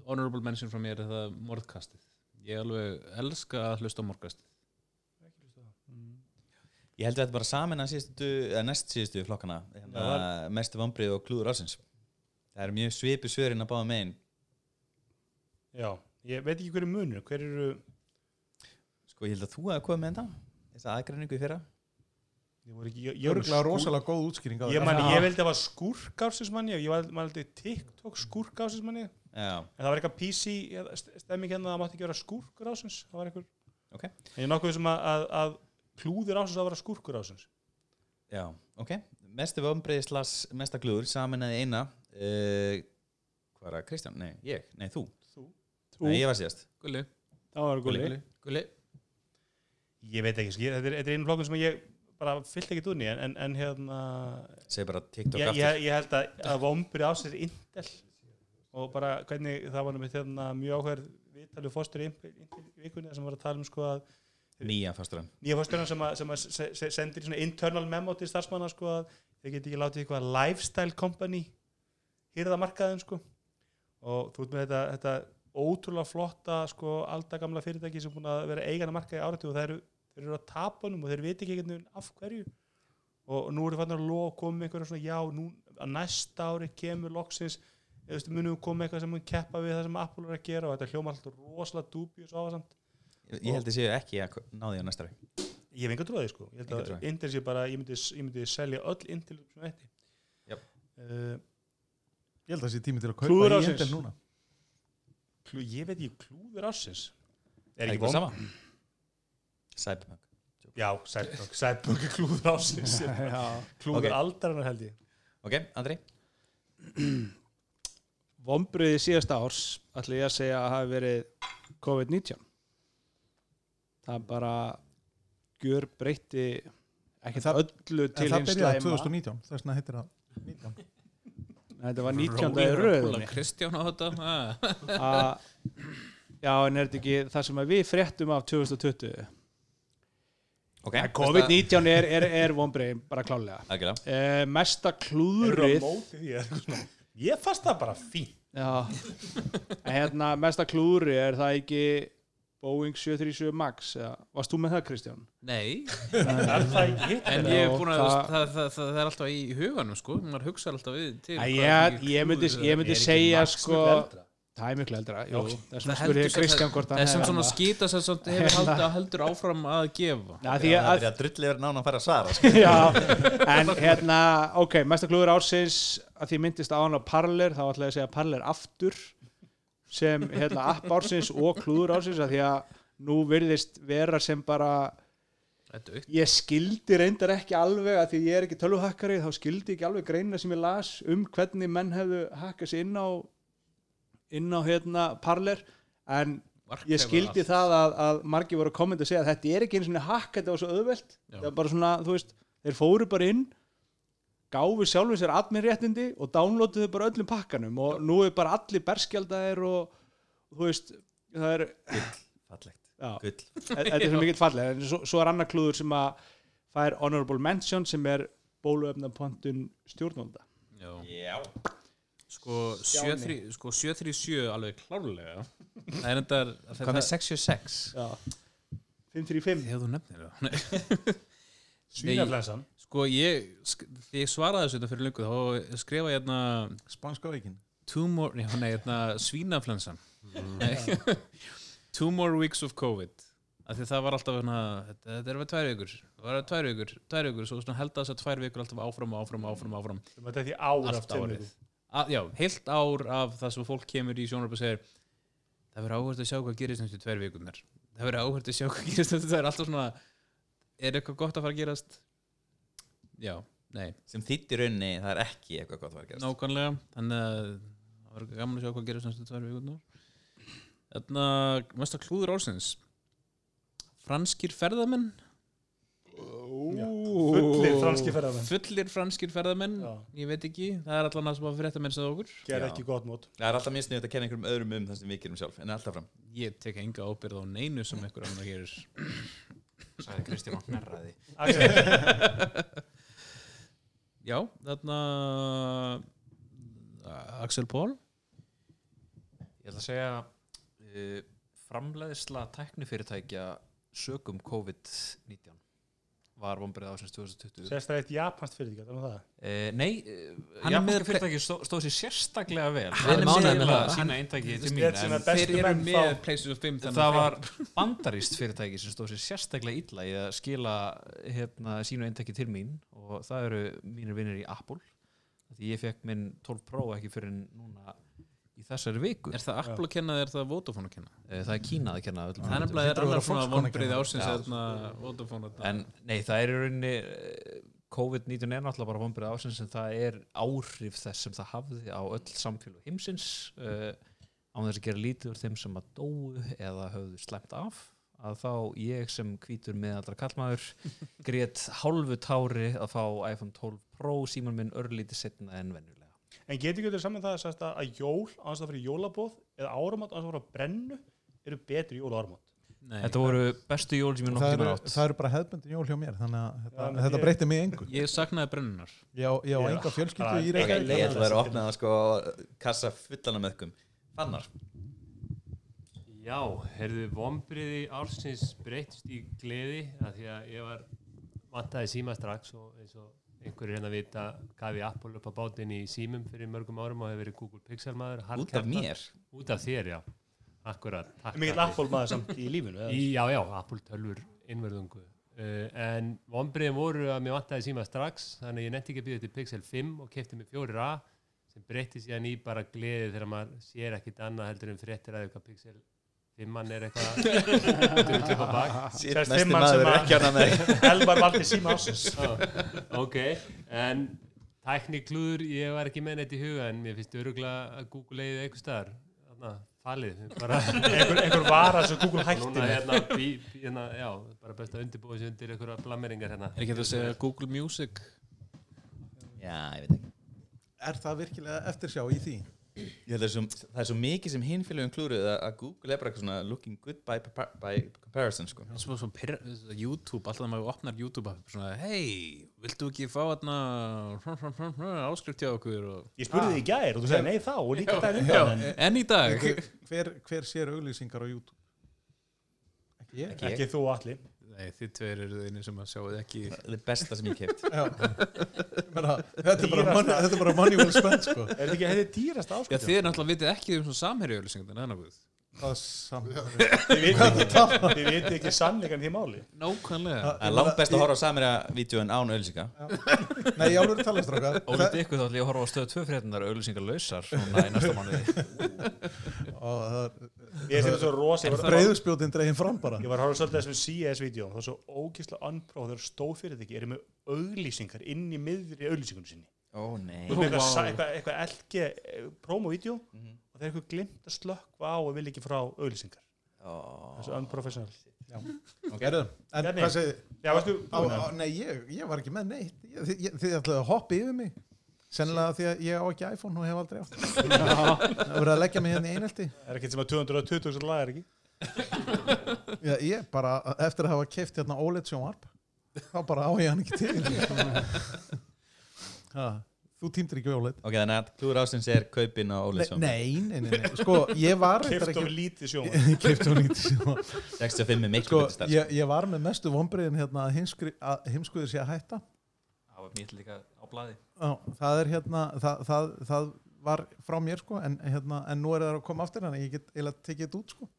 D: honorable mention frá mér er það morðkastið ég alveg elska að hlusta á morðkastið
C: Mm.
G: ég held að þetta bara samin að síðustu, eða næst síðustu flokkana
B: Já,
G: hérna, Mestu vambrið og klúður ásins Það er mjög svipu svörin að báða megin
B: Já, ég veit ekki hverju munur, hver eru,
G: Sko, ég held að þú hefði komið með þetta Þessa aðgreiningu í fyrra
B: ég voru ekki, ég, ég,
H: Jörgla
B: skúr-
H: rosalega góð útskýring á
B: ég,
H: þessu.
B: man, ég veldi að það var skúrkársinsmanni, ég var- valdi TikTok skúrkársinsmanni, en
G: Já,
B: það var eitthvað PC eða st- stemming hérna, það mátti ekki vera skúrkur ásins, það var einhver,
G: Ok.
B: en ég er nokkuð sem að, að, að klúður ásins að vera skúrkur ásins.
G: já, ok Mestu vambrið slags mesta klúður samin að eina uh, Hvað er að Kristján? Nei, ég, nei þú
K: Þú.
G: Nei, ég var síðast
E: Gulli
K: Það var Gulli.
E: Gulli
B: Ég veit ekki, skil, þetta er, þetta er einu flokkun sem ég bara fyllt ekki dún í en, en, en hérna
G: Segðu bara TikTok
B: ég,
G: aftur.
B: ég, ég held að, að vombri á sér Intel og bara hvernig það var með hérna mjög áhverð viðtalið fórstur í Intel í vikunni sem var að tala um sko að
G: Nýja fasturinn
B: nýja fórsturinn sem, að- sem að se, se, sendir svona internal memo til starfsmanna sko að þeir geti ekki látið eitthvað lifestyle company hýrða markaðin sko og þú ert með þetta, þetta ótrúlega flotta sko aldagamla fyrirtæki sem búin að vera eigana markaði áratu og þeir eru, þeir eru að tapunum og þeir viti ekki einhvern veginn af hverju og nú eru fannar að lofa koma með einhverja svona já, nú, að næsta ári kemur loksins eða þú veist, munum við koma með eitthvað sem mun keppa við það sem Apple er að gera og þetta hljóma alltaf rosalega dúbjus áfasamt
G: Ég ég held að séu ekki að náði á næsta ræk
B: Ég hef enga trúið sko Ég
G: Enga
B: held
G: trú á
B: að
G: því.
B: Intel sé bara, ég myndi, ég myndi selja öll Intel upp sem þetta
G: Jöp.
B: uh,
H: Ég held að það sé tími til að kaupa
B: Klúður
H: í
B: ársins.
H: Intel núna
B: klú, Ég veit ekki klúður ásins
G: Er
B: Er ekki
G: ekki
B: von?
G: sama? Cyberpunk
B: Já, Cyberpunk, Cyberpunk er klúður ásins
K: Já.
B: Klúður
G: Ok.
B: okay. aldarinnar held ég
G: Ok, Andri
C: Vombriði síðasta árs ætla ég að segja að hafi verið COVID-19 Það bara gjör breytti ekkert
H: En það-
C: öllu til
H: En það
C: hins
H: byrjaði
C: slæma
H: 2019, þess vegna heitir það 19
C: Þetta var 19. í röðinni
D: Kristján á þetta ha.
C: að Já, en er þetta ekki það sem að við fréttum af 2020
G: Ok,
C: Að COVID-19 er, er, er vombriði bara klálega
G: Ægilega
C: e, Mesta
B: Eru á
C: klúðrið
B: móti því, eða eitthvað svona? Ég fast það bara fín
C: Já, En hérna mesta klúri er það ekki Boeing 737 Max eða, varst þú með það Kristján?
D: Nei,
B: Er það ekki?
D: en ég er búin að
C: það-
D: það, það, það, það er alltaf í huganum sko, maður hugsa alltaf við til
C: Æ,
D: hvað
C: ég,
D: mikið
C: ég myndi,
D: klúður
C: ég
D: það er.
C: myndi
B: Er ekki
C: segja
B: Max
C: sko
B: miklu eldra?
C: það er miklu eldra, jú það er svona
D: Það
C: spurði
D: heldur-
C: Kristján hvort
D: Það
C: hann hérna.
D: er sem
C: hefði
D: svona
C: annað.
D: skýta sem samt hefur haldið að heldur áfram að gefa
C: Já, því
G: Það er að
C: að,
G: byrja að drulli verið nána að fara að svara sko.
C: já, en hérna ok, mesta klúður ársins að því myndist á hann á Parler, þá ætla ég að segja Parler aftur sem hérna app ársins og klúður ársins að því að nú virðist vera sem bara
D: Þetta er upp
C: ég skildi reyndar ekki alveg að því ég er ekki tölvuhakkari þá skildi ég ekki alveg greina sem ég las um hvernig menn hefðu hakkað sér inn á inn á hérna parler en
D: mark
C: ég
D: hefur
C: skildi
D: allt.
C: það að, að margir voru að kommenta að segja að þetta er ekki eins og hakka þetta var svo auðvelt
D: Já.
C: það er bara svona, þú veist, þeir fóru bara inn gáfu sjálfur sér adminréttindi og downloaduðu bara öllum pakkanum og nú er bara allir berskjaldæðir og þú veist, það er
G: Fallegt
C: já,
G: Gull
C: Þe- þetta er svo mikill fallega en svo, svo er annar klúður sem að fær honorable mention sem er bóluefnapontun stjórnvalda
D: Já.
G: Já
D: Sko, 73 sko 737 alveg klárlega Það er endar
E: Hvað með 66?
C: já. 535
D: Þegar þú nefnir það Nei.
B: Svínaflensan
D: Sko ég, sk- því ég svaraði þessu þetta fyrir löngu þá skrifa ég hérna
H: Spanska veikin
D: two more, já, nei, hérna svínaflensan Nei. two more weeks of COVID af því það var alltaf hérna, þetta, þetta er verið tvær vikur það var tvær vikur, tvær vikur svo svona held að þess að tvær vikur alltaf áfram og áfram og áfram, og áfram
B: Þú maður þetta í ár sko. af
D: allt
B: tveimur
D: árið
B: vikum.
D: A, já, heilt ár af það sem fólk kemur í sjónarp og segir það verður áhverst að sjá hvað gerist næstu tvær vikunar það verður áhverst að sjá hvað gerist næstu tvær alltaf svona, er eitthvað gott að fara að gerast já, nei
G: Sem þýttir raunni, það er ekki eitthvað gott að fara að gerast
D: nákvæmlega þannig að það verður gaman að sjá hvað gerist næstu tvær vikunar þarna, mesta klúður ársins franskir ferðamenn
B: Fullir franski ferðarmenn
D: fullir franskir ferðamenn
B: Já.
D: ég veit ekki, það er allan að sem að fyrir þetta menn sem okkur
B: Gerð
G: Já.
B: ekki gott mót
G: Það er alltaf mjög sniðið að kenna einhverjum öðrum um það sem við gerum sjálf En alltaf fram
D: ég tek enga ábyrð á neinu sem einhver annar gerir
E: Sæði Kristján og hnerraði
B: Axel,
D: já, þarna uh, Axel Paul
E: Ég ætla að segja uh, framleiðsla tæknifyrirtækja sögum COVID-19 var vombrið ásins 2020 uh,
B: Sérst það eitt japanst fyrir því það.
E: Nei, uh,
D: Hann er með
E: jafnir
D: hver-
E: fyrirtæki stó, stóð sér sérstaklega vel
I: er með ánægður með það.
E: hérna sína eintaki til
B: er
E: mín
B: sína
E: en
B: bestu
D: þeir eru
B: menn
D: með
B: þá.
D: Places of 5
E: það var bandaríst fyrirtæki sem stóð sér sérstaklega illa í að skila hérna, sínu eintaki til mín og það eru mínir vinnir í Apple því ég fekk minn 12 Pro ekki fyrir núna í þessari viku
D: er það Apple að kenna eða er það Vodafone að kenna
E: Eh, það er Kínað að kenna öllum
D: það er
E: hlutum.
D: nefnilega er
H: hlýtur að vera
D: annar svona
E: hérna.
H: Foxconn að
D: vonbreið
H: kenna.
D: ársins
E: Já.
D: þarna Vodafone þarna.
E: en nei, það er í rauninni eh, COVID-19 er náttúrulega bara vombrið ásins en það er áhrif þess sem það hafði á öll samfélag heimsins uh, án þess að gera lítið úr þeim sem að dóu eða höfðu slæmt af að þá ég sem hvítur meðaldra kallmaður grét hálfu tári að fá iPhone 12 Pro síman minn örlítið setna en venjulega
B: En getur ekki þetta saman það sérst, að- að jól á þess að fyrir jólabóð eða áramat á þess að fyrir að brennu eru betri jól og áramat
E: Þetta voru bestu jól sem ég
H: það
E: nokkuð tíma
H: eru,
E: átt
H: það eru bara hefðbundin jól hjá mér þannig að þetta,
E: Já, menn
H: þetta
E: ég-
H: breytir mig engu
D: Ég saknaði brennunar
H: Já, já,
D: Já.
H: enga fjölskyldu í
G: Ég
H: Reykjavík
G: ég ætla að vera að opna það sko kassa fullana meðkum Fannar
L: Já, heyrðu, vombriði ársins breytist í gleði að því að ég var vantaði síma strax og eins og einhverjir hérna vita gaf ég Apple upp á bátinn í símum fyrir mörgum árum og hefur verið Google Pixel maður harðkjartað.
G: mér?
L: Út af þér, já, akkurat takk,
B: Mikill
L: Apple.
B: Apple maður samt í lífinu, eða?
L: Í, já, já, Apple tölfur innverðungu uh, en vombriðin voru að mér vantaði síma strax þannig að ég netti ekki að býða til Pixel 5 og kefti mér 4a sem breytti síðan í bara gleði þegar maður sér ekkit annað heldur en fréttir að eitthvað Pixel 5 mann er eitthvað
G: Shit, Sérst næsti fimman maður sem er að- ekki ánægður með. Elmar valdi síma ársins.
L: Já, ok, en tækniklúður, ég var ekki með neitt í huga en mér finnst öruglega að Google eigið eitthvað staðar þarna, falið bara-
B: Einhver- einhver vara sem Google hætti
L: Núna
B: með.
L: hérna, bí, bí, hérna, já, bara best að undirbúa sig undir einhverja blammeringar hérna
D: Er ekki hægt að segja Google Music?
G: Já, ég veit ekki
H: Er það virkilega eftir sjá í því?
G: Ég held að svo, það er svo mikið sem hinn félögum klúruð að að Google er bara eitthvað svona looking good by, by comparison sko
D: Það er svona svona pyrr, YouTube, alltaf þegar maður opnar YouTube app, svona, hei, viltu ekki fá hérna áskrift hjá okkur og...
B: Ég spurði þig í gær og þú sagði nei þá og líka
D: Já,
B: daginn
D: já,
B: undan, en-
D: En í dag
H: Hver, hver, hver sér auglýsingar á YouTube? Ekki ég?
B: Ekki þú allir
D: Nei, þið tveir eru þeirni sem að sjáu ekki
G: Það er besta sem ég keft
H: Já. Ég meina, þetta er bara money- þetta er bara money well spent, sko.
B: Er þetta ekki- þetta er dýrasta áskrift?
D: Já, þið er náttúrulega vitið ekki um svona samherju öllusingar Það er náttúrulega
H: Hvað samherju?
B: Þið vitið ekki, þið vitið ekki sannleikan því máli
D: Nákvæmlega
G: Það er langt best að horfa á samir að vídjóin án ölsika
H: Nei, ég alveg tala um strákar
E: Ólítið ykkur þá ætlum ég að horfa á stöðu tvö fréttunar auðlýsingar lausar núna í næsta mánuði
B: Ég sé þetta svo rosa
H: Breiðuspjótin dregin fram bara
B: Ég var að horfa svolítið að þessum CS-vídeó það er svo ógislega anpróð þegar stóðfyrirtæki eru með auglýsingar inn í miðri auglýsingunum sinni
G: Ó, nei.
B: Og með eitthvað,
G: Vá. Mhm.
B: sa- eitthvað, eitthvað LG eh, promo-vídeó og þeir eitthvað glimt að slökkva á og vil ekki frá auglýsingar
G: oh.
B: Þessu unprofessional
H: Já. Gerðu, en
B: Bjarni,
H: hvað segir
B: Já, veistu
H: á, á, Nei, ég, ég var ekki með neitt ég, þið- ég, Þið ætlaði að hoppa yfir mig Sennilega því að ég á ekki iPhone og hef aldrei átt Það voru að leggja mig hérna í einelti
B: Það er ekkert sem að 220 sem lag er ekki
H: Já, Ég bara, eftir að hafa keift hérna OLED sjónvarp þá bara á ég hann ekki til ha, Þú týndir ekki OLED
G: Ok, þannig að klúður ásins er kaupin á
H: Nei,
G: Óli Sjón
H: nei, nei, nei, nei, sko, ég var reyndar
B: Keypt of
H: ekki-
B: lítið sjónvarp.
H: Keypt of lítið sjónvarp.
G: 65 er miklu
H: sko,
G: betur starf.
H: ég, ég var með mestu vonbriðin hérna að heimskri- að heimskuður sé að hætta
E: Það var mjög líka á blaði
H: Já, það er hérna það, það, það var frá mér sko en, hérna, en nú er það að koma aftur þannig að ég get eiginlega tekið þetta út sko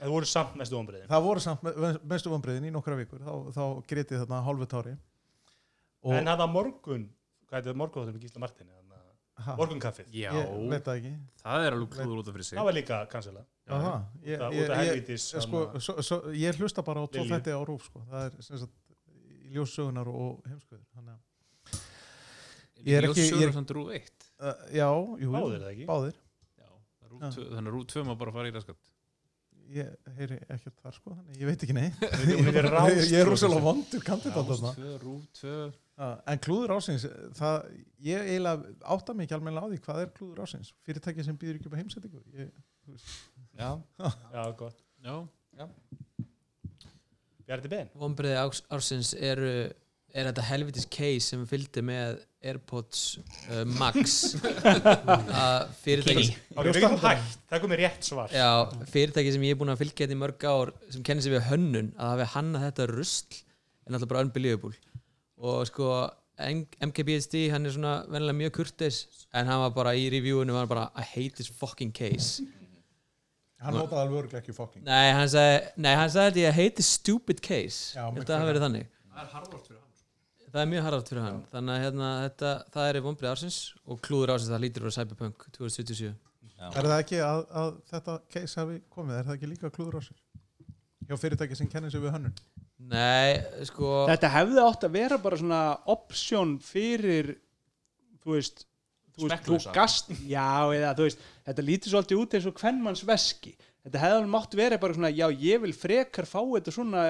B: Það voru samt mestu vonbrigðin.
H: Það voru samt me- mestu vonbreiðin í nokkra vikur þá, þá grétið þarna hálfu tári Og-
B: En það morgun, hvað heitir morgunváttur með Gísla Martin
H: Ha?
B: Morgunkaffið
H: Já. Ég veit það ekki.
D: Það er alveg klúður út af fyrir sig
B: Það var líka kansala
H: Aha, ég,
B: Út af-
H: ég,
B: út af
H: ég,
B: helvitis
H: sko, svo, svo, ég hlusta bara á tvo
B: Lilju.
H: þætti á rúf sko. það er sem sagt í ljóssögunar og heimskuður þannig að ég er ekki ég
D: Ljóssögunar
H: er-
D: samt RÚV 1?
H: Uh, já, jú, jú,
D: Báðir, eða ekki?
H: báðir.
D: Rúv 2 Þannig að Rúv 2 maður bara fara í raskat
H: ég heyri ekkert þar sko þannig, ég veit ekki nei
D: Hún er ráðstvö,
H: ég er rosalega
D: þessi.
H: vondur kandidat þarna.
D: Ráðstvö, Rúv 2
H: Já, en klúður ásins það, ég eiginlega átta mig ekki almenna á því hvað er klúður ásins fyrirtæki sem býður ekki upp á heimsettingu ég, þú veist.
G: Já.
B: Já, gott
D: Já,
G: já.
B: Bjarni Ben
I: Vombriði ársins eru er þetta helvitis case sem fylgdi með Airpods uh, Max að fyrirtæki
B: Key. Ok, við getum hægt. Það er komið rétt svar.
I: Já, fyrirtæki sem ég er búin að fylgja þetta í mörg ár sem kennir sig við hönnun að hafi hannað þetta rusl er náttúrulega bara unbelievable og sko M- MKBHD hann er svona venlega mjög kurtis en hann var bara í reviewinu var hann bara I hate this fucking case
H: hann notaði alveg örglega ekki fucking
I: Nei, hann sagði, nei, hann sagði þetta ég heiti stupid case
H: Já,
I: Þetta hafi verið þannig
D: Það er harfvort fyrir hann
I: Það er mjög harðart fyrir hann Þannig að hérna, þetta, það er vonbrið ársins og klúður ársins það lítur úr Cyberpunk 2077
H: er það ekki að, að þetta case hafi komið er það ekki líka klúður ásins hjá fyrirtæki sem kennir sig við hönnun
I: Nei, sko
C: Þetta hefði átt að vera bara svona option fyrir þú veist þú veist, þú
I: Smekklausa.
C: gast, já, eða þú veist þetta lítur svolítið út eins og kvennmanns veski þetta hefði alveg mátt verið bara svona já, ég vil frekar fá þetta svona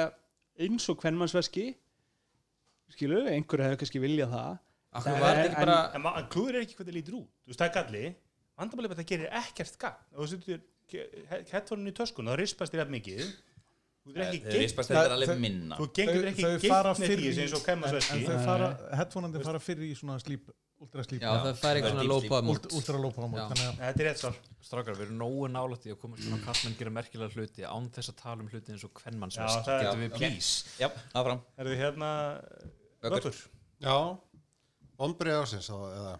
C: eins og kvennmanns veski skilu, einhverju hefði kannski viljað það Eh,
B: En- en-
C: En-
B: En, ma- en klúður er ekki hvernig lítur út Þú veist, það er galli Vandamálið er að það gerir ekkert gagn Og þú setur hettvornin í töskun Það rispast þér jafn mikið Þú getur
G: Eh,
B: ekki
G: þér rispast
B: geitt-
G: þetta alveg
B: þau-
G: minna.
B: Þú gengur ekki geitt neitt í þessu eins og kemur
H: en,
B: svo
H: en þau fara, headphoneandi fara fyrir í svona slíp, ultra slíp
E: Já, það fara í svona lópaða mót.
H: ultra lópaða
E: Já.
H: mót þannig að
B: Þetta er rétt svar
E: Strákar, við erum nógu nálætt í að komast svona kallmenn gera merkilega hluti án þess að tala um hluti eins og kvennmanns
B: Já, það er-
E: Getum við
B: ok.
E: please
G: Já, áfram
B: Er þið hérna Vökkur
J: Já, vonbrið ásins þá, eða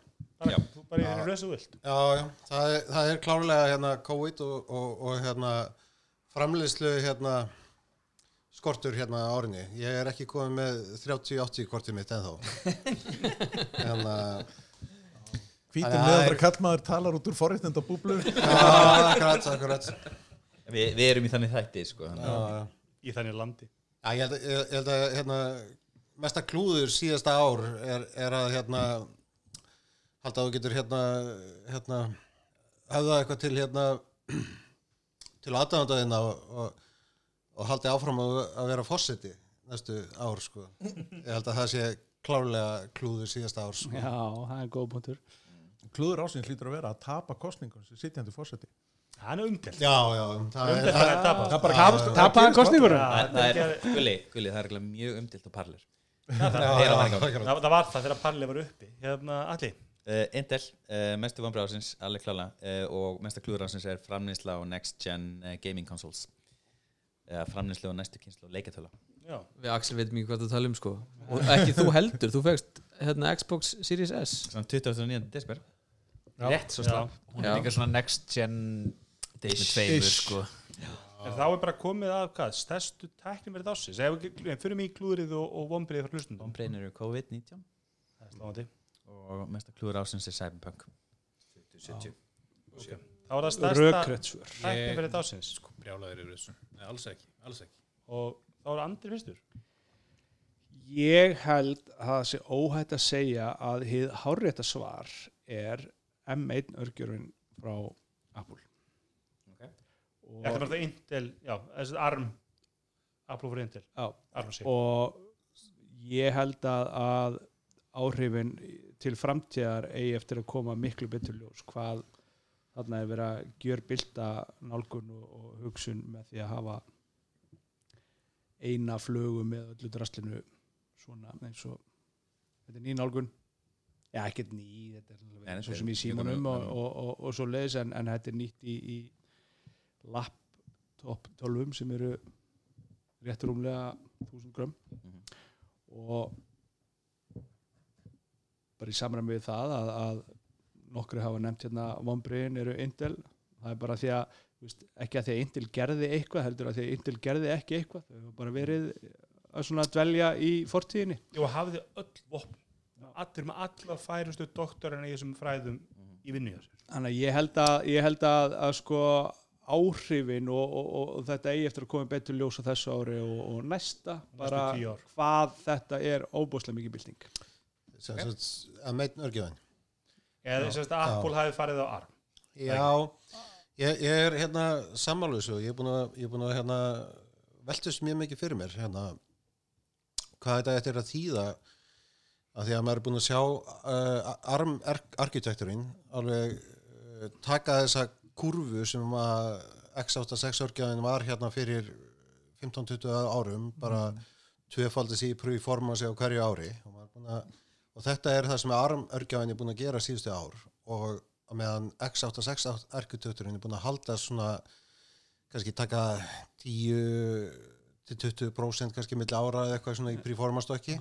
G: Já.
B: Bara- Þú bara er í rösu vilt
J: Já, já, það er, það er klárlega hérna COVID og, og, og hérna framleiðslu hérna skortur hérna á árinni. Ég er ekki komið með 30-80 kortið mitt ennþá. hérna,
H: hvítum
J: Þannig að það
H: meðaldra
J: er-
H: kallmaður talar út úr forréttenda búblu
J: já, akkurat, akkurat.
G: Vi, Við erum í þannig þætti sko þannig
J: Já,
G: að-
J: já.
B: Í þannig landi
J: Já, ég held, að- ég, ég held að hérna, mesta klúður síðasta ár er, er að hérna, halda að þú getur hérna, hérna, höfða eitthvað til hérna, til aðdæfandaðina og, og, og haldi áfram að, að vera fórseti næstu ár, sko. Ég held að það sé klárlega klúður síðasta ár, sko.
C: Já, það er góð punktur
H: klúður ásins lítur að vera að tapa kostningun sem sitjandi fórseti
B: Hann er um- umdelt
J: Já, já, það er,
B: Umdelt hann er tapast
H: það bara
J: tapast-
H: gerist-
C: tapaði
H: gerist
C: kosningunum?
H: aldrei.
B: Já,
G: Það það
B: þetta
G: er,
B: er-
G: gulli, gulli, það er eiginlega mjög umdilt á
J: Já,
G: parlir Heyra
J: já,
G: það ekki.
J: akkurat.
B: Það það var það þegar Palli var uppi Hérna, Alli
G: Uh, Intel, uh, mestu vanbrið ásins, alveg klála uh, og mesta klúður ásins er framnýsla og next gen uh, gaming consoles uh, framnýsla og næstu kynslu og leikatöla
B: Já
I: Við Axel veitum ekki hvað það tala um sko Og ekki þú heldur, þú fegst hérna Xbox Series S
G: Svona 29. desper
E: Rétt svo slapp Hún
I: Já.
E: er líka svona next gen Dish með tveimur sko
B: En þá er bara komið að hvað, stærstu tæknum verið ásins. Ef við ekki- fyrir mig í klúðrið og, og vombriðið frá hlustundum.
G: Vombriðin eru COVID-19
B: Það er sláandi.
G: og mesta klúður ásins er Cyberpunk 70
B: Þá er það stærsta
C: Rökrétt svör
B: tæknum verið ásins.
D: sko brjálaður yfir þessu Nei, alls ekki, alls ekki
B: Og þá er andri fyrstur.
C: Ég held að það sé óhætt að segja að hið hárétta svar er M1 örgjörun frá Apple.
G: Ok.
B: Ég ætla bara
C: Og,
B: að það Intel, já, þessi ARM, Apple fyrir Intel,
C: á,
B: ARM sig.
C: og ég held að, að áhrifin til framtíðar eigi eftir að koma miklu betur ljós hvað þarna er verið að gjör bylta nálgun og, og hugsun með því að hafa eina flögu með öllu drastlinu svona eins og þetta er ný nálgun já ekkert ný, þetta er alveg
G: Nei,
C: svo
G: þetta
C: sem
G: er
C: í
G: mjög
C: símanum
G: gömul,
C: og, og, og, og svo leiðis en, en þetta er nýtt í, í laptop 12 sem eru rétt rúmlega 1000 grömm
G: Mhm.
C: og bara í samræmi við það að, að nokkru hafa nefnt hérna vonbriðin eru Intel það er bara því að þú veist, ekki að því að Intel gerði eitthvað heldur að því að Intel gerði ekki eitthvað þau hafa bara verið að svona dvelja í fortíðinni
B: Jú, hafið þið öll vopn. Allir með alla færustu doktorina í þessum fræðum
C: Mhm.
B: í vinnu hjá sér.
C: þannig að ég held að, ég held að, að sko áhrifin og, og, og, og þetta eigi eftir að koma betur ljós á þessu ári og, og næsta bara
B: tíu ár.
C: hvað þetta er óbúslega mikið bylting
J: Sem sagt, að meitn örgjöðin.
B: Eða þess að Apple hafið farið á ARM.
J: Já, ég, ég er hérna sammáluðs og ég er búin að, ég er búin að hérna, veltust mjög mikið fyrir mér hérna, hvað þetta eftir að þýða að því að maður er búin að sjá uh, arm arkitekturinn alveg uh, taka þessa kurvu sem að X86 örgjáðin var hérna fyrir 15-20 árum bara mm. tvefaldið sér í prúforma sig á hverju ári og, maður er búinn að, og þetta er það sem arm örgjáðin er búin að gera síðustu ár og á meðan X86 arkitekturinn er búin að halda svona kannski taka 10 til 20% kannski milli ára eða eitthvað svona í prúformastokki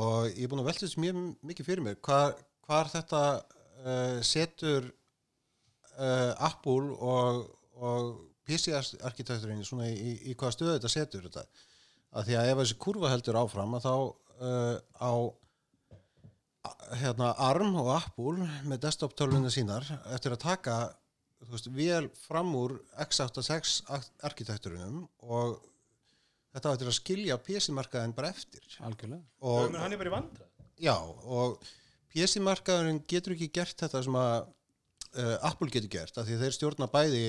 J: og ég er búin að velta þessu mjög mikið fyrir mér hvar, hvar þetta uh, setur uh, Apple og, og PC-arkitekturinn svona í, í hvaða stöðu þetta setur þetta að því að ef þessi kurva heldur áfram að þá uh, á a- hérna ARM og Apple með desktop tölvuna sínar eftir að taka þú veist, vel fram úr x86 arkitekturunum og þetta á eftir að skilja PC-markaðin bara eftir
C: Algjörlega.
B: Já, menn hann er bara í vandræðum.
J: Já, og PC-markaðurinn getur ekki gert þetta sem að uh, Apple getur gert, af því þeir stjórna bæði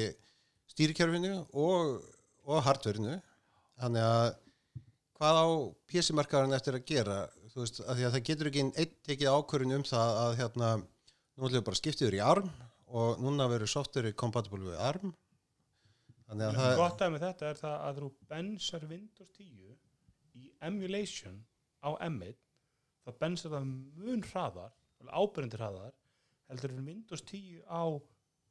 J: stýrikjörfinu og, og hardverinu þannig að hvað á PC-markaðurinn eftir að gera þú veist, af því að það getur ekki einn tekið ákvörðin um það að hérna, nú ætlum við bara að skipta yfir í ARM og núna verður software compatible við ARM þannig að það
B: gott að með þetta er það að þú bensar Windows 10 í emulation á M1 þá bensar það mun hraðar ábyrjandi hraðar heldur en Windows 10 á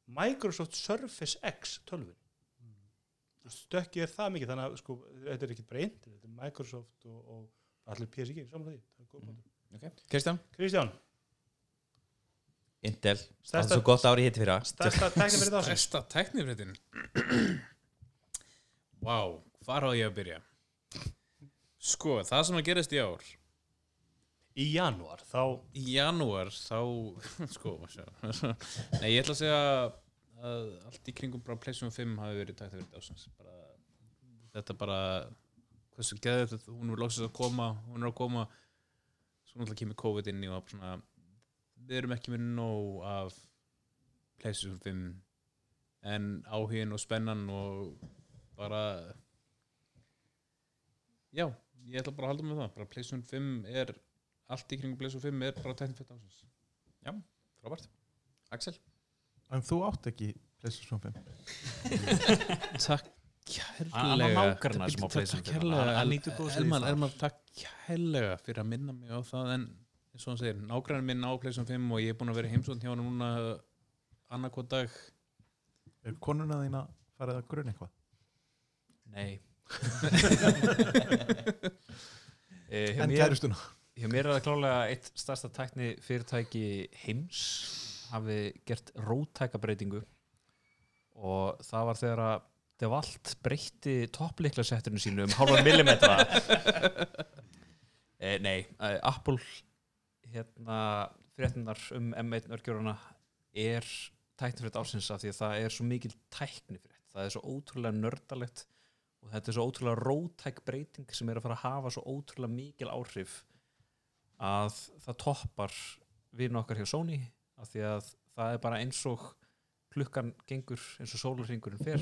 B: Microsoft Surface X 12 mm. stökkið er það mikið þannig að sko, þetta er ekki bara internet, þetta er Microsoft og, og allir PSG samanlega því Það er góð punktur.
D: Mhm,
G: Kristján
B: Kristján,
G: Intel, það er
B: Stærsta-
G: svo gott ári hitt fyrir
B: stærsta tæknifrið ásins
D: Stærsta tæknifréttin Vá, hvar á ég að byrja? Sko, það sem að gerist í ár
B: í janúar þá
D: Í janúar þá Sko, má sjá Nei, ég ætla að segja að allt í kringum bara Playstation 5 hafi verið tæknifrétti ásins bara, Þetta bara hversu geðið þetta, hún er loksins að koma hún er að koma svo náttúrulega kemur COVID inn í og það er bara svona, við erum ekki með nóg af Playstation 5 en áhugin og spennan og bara já, ég ætla bara að halda með það bara Playstation 5 er allt í kringum Playstation 5 er bara tæknifett ásins Já, frábært Axel
H: En þú átt ekki PlayStation 5
D: Takk
H: Hann- hann á
D: kærlega
H: nágranna sem á PlayStation 5. Hann- hann nýtur góðs af því
D: Elman,
H: staðar.
D: Elman, takk kærlega fyrir að minna mig á það en eins og hann segir, nágrann minn á Playstation 5 og ég er búin að vera heimsótt hjá hann núna annarkot dag
H: Er konuna þína farið að gruna eitthvað?
E: Nei
H: En
E: Eh, hjá mér-
H: kærustuna?
E: Hjá mér er það klálega eitt starsta tækni fyrirtæki heims hafi gert rótækabreitingu og það var þegar að Devalt breytti toppleiklasetturinn sínu um hálfan millimetra e, Nei, eh, Apple hérna fréttinar um M1 örgjöruna er tæknifrétt ásins af því að það er svo mikil tæknifrétt það er svo ótrúlega nördalegt og þetta er svo ótrúlega rótæk breyting sem er að fara að hafa svo ótrúlega mikil áhrif að það toppar vinn okkar hjá Sony af því að það er bara eins og klukkan gengur eins og sólurringurinn fer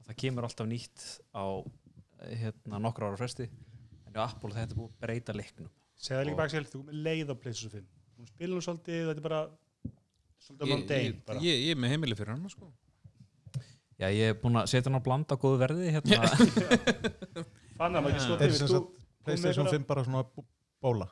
E: að það kemur alltaf nýtt á eh, hérna, nokkra ára fresti en hjá Apple þetta er búið að breyta leiknum
B: segða líka
E: Og-
B: baksel, þú er með leið á Playstation 5 hún spilur hún svolítið, þetta er bara svolítið
D: Ég-
B: mundane
D: ég-
B: bara.
D: Ég ég er með heimili fyrir hann sko
E: Já, ég er búinn að setja hann á blanda á góðu verði hérna.
B: Fann að maður ekki
H: Er
B: skotið
H: sem sagt PlayStation 5 bara svona bó- bóla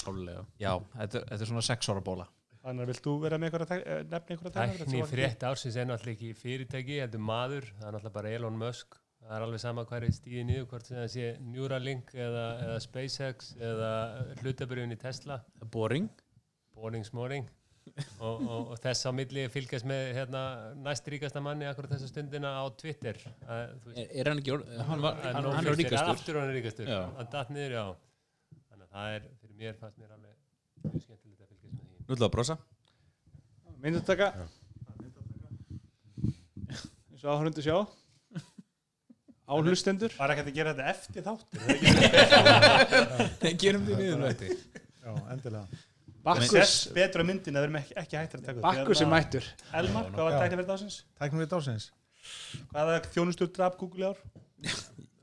D: Klálega
E: Já, þetta, er- þetta er svona sex ára bóla
B: Þannig að vilt þú vera með einhverja tæk- eh, nefna einhverja tæknifrétt?
L: Tækni frétt ársins er náttúrulega ekki fyrirtæki, heldur maður, það er náttúrulega bara Elon Musk, það er alveg sama hvað er stíðið niður, hvort sem það sé Neuralink eða, eða SpaceX eða hlutabriðun í Tesla.
D: Boring.
L: Boring smoring. og, og, og þess á milli fylgjast með hérna, næst ríkasta manni akkur þessa stundina á Twitter. Að, þú veist-
D: Er- er hann ekki orð- hann var-
L: Að
D: hann-
L: nóg
D: hann er
L: fyrir sér,
D: ríkastur.
L: Aftur hann er ríkastur.
D: Já.
L: Hann datt niður, já. Þannig að það er, fyrir mér fannst mér alveg mjög skemmtilegt að fylgjast með því.
G: Nú ætlaðu að brosa
C: Myndataka
K: eins og áhörundu sjá áhlustendur
B: Var ekki hægt að gera þetta eftir þáttir?
D: Nei, gerum því niður þetta.
H: Já, endilega
B: Bakkus Betra myndin að við erum ekki, ekki hægt að taka upp.
H: Bakkus er
B: Hérna,
H: mættur.
B: Elmar, hvað var
H: Já.
B: tæknifrétt ásins?
H: Tæknum við dásins
B: Hvaða þjónustur draf Google í ár?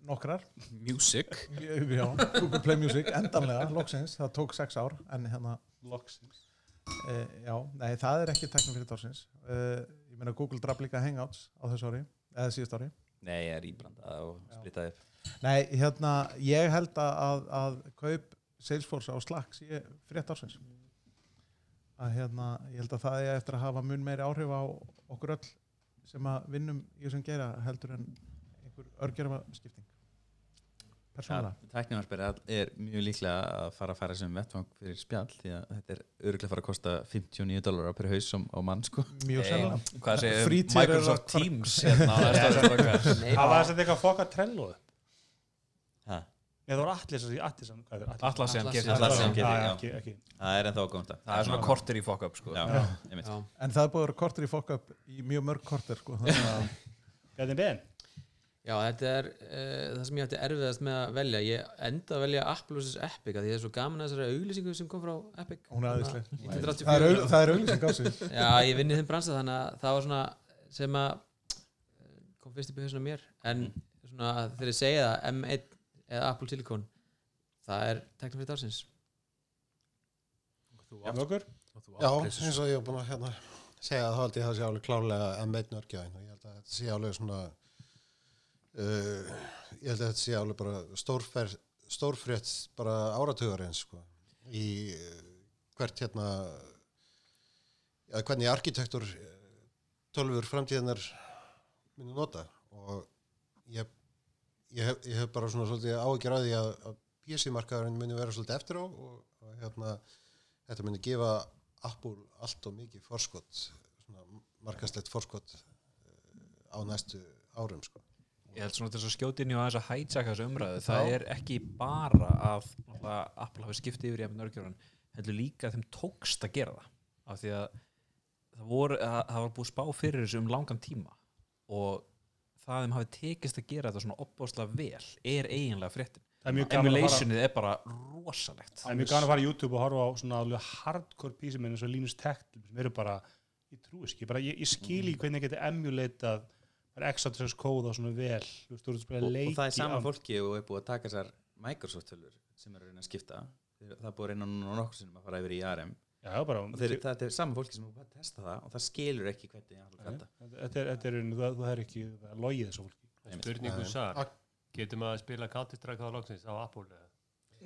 H: Nokkrar
D: Music
H: Já, Google Play Music, endanlega, loksins Það tók sex ár, en hérna Eh,
B: Loksins
H: Já, nei, það er ekki tæknum fyrir dásins Ég meina Google draf líka Hangouts á þessu ári, eða síðust ári
G: Nei, ég er íblandað og splittaði upp
H: Nei, hérna, ég held að, að, að kaup Salesforce á Slack sé frétt ársins að hérna, ég held að það er eftir að hafa mun meiri áhrif á okkur öll sem að vinnum í þessum geira heldur en einhver örgjörfa skipting persónulega
G: Tæknimarsbyrð er mjög líklega að fara að fara sem vettvang fyrir spjall því að þetta er örgulega að fara að kosta 59 dólarar per haus á mann sko
H: Mjög sennilega.
G: Hvað segir
H: Frítíðar eru
G: Microsoft
H: að-
G: Teams hérna á næsta ári strákar?
B: Það var þess að eitthvað fokka trello upp.
G: Ha?
B: Nei, það var allir sem Atlasan hvað er
E: Atlassian gerir
G: það. Atlassian gerir,
B: Já,
G: já.
B: ekki- ekki.
G: Það er ennþá góðum dag
E: Það er svona korter í fuck up, sko.
G: Já,
H: Já.
G: einmitt.
H: en það er búið að vera korter í fokk upp í mjög mörg korter sko, þannig að
B: Gæðin ben
I: Já, þetta er uh, það sem ég ætti erfiðast með að velja ég enda að velja Apple vs. Epic að því það er svo gaman að þessari auglýsingu sem kom frá Epic Hérna,
H: Hún er æðisleg.
I: Þannig að 1984.
H: Það er augl- það er auglýsing ársins.
I: Já, ég vinn í þeim bransa þannig að það var svona sem að eh, kom fyrst upp í hausinu mér en
H: Mm.
I: svona að þegar ég segja það M1 eða Apple Silicon það er teknofrið dagsins
J: Já, eins og ég er búin að hérna, segja að þá held ég að það sé alveg klálega M1 örgjáin og ég held að þetta sé alveg svona uh, ég held að þetta sé alveg bara stórfer, stórfrétt bara áratugarins sko, í uh, hvert hérna ja, hvernig arkitektur uh, tölfur framtíðanar muni nota og ég, ég, hef, ég hef bara svona svolítið áhyggjur að því að, að PC-markaðurinn muni vera svolítið eftir á og, og hérna, þetta muni gefa Apple allt og mikið forskot svona markastlegt forskot eh, á næstu árum sko.
E: Ég held svona til þess að skjóti inn í aðeins að hætsaka þessu umræðu það
J: Já.
E: er ekki bara að náttúrulega, Apple hafi skiptið yfir í efn örgjöran heldur líka að þeim tókst að gera það af því að það, voru, að, það var búið spá fyrir þessu um langan tíma og það að þeim hafi tekist að gera þetta svona opbóðslega vel er eiginlega fréttin
B: Það er mjög gaman að fara-
E: emulationið er bara rosalegt
B: Það er mjög gana að fara á YouTube og horfa á svona alveg hardcore písum eins og Linus Tech Tips sem eru bara, ég trúis ekki, bara ég, ég skil
G: Mm.
B: í hvernig geti emulatað bara exatress kóða svona vel þú veist, þú veist,
G: og,
B: bara
G: og
B: leiki
G: það er sama
B: án-
G: fólki og er búið að taka þessar Microsoft tölur sem er að reyna að skipta Þeir- það er búið að reyna núna nokkur sinnum að fara yfir í ARM
B: Já, já, bara-
G: og þeir, það er sama fólki sem er búið að testa það og það skilur ekki hvernig Apple
B: Nei,
G: gata
B: Þetta er, þetta er, það, það er ekki það er logið þessu fólki
L: Spurningu sar Getur maður að spila Counter-Strike á loksins á Apple?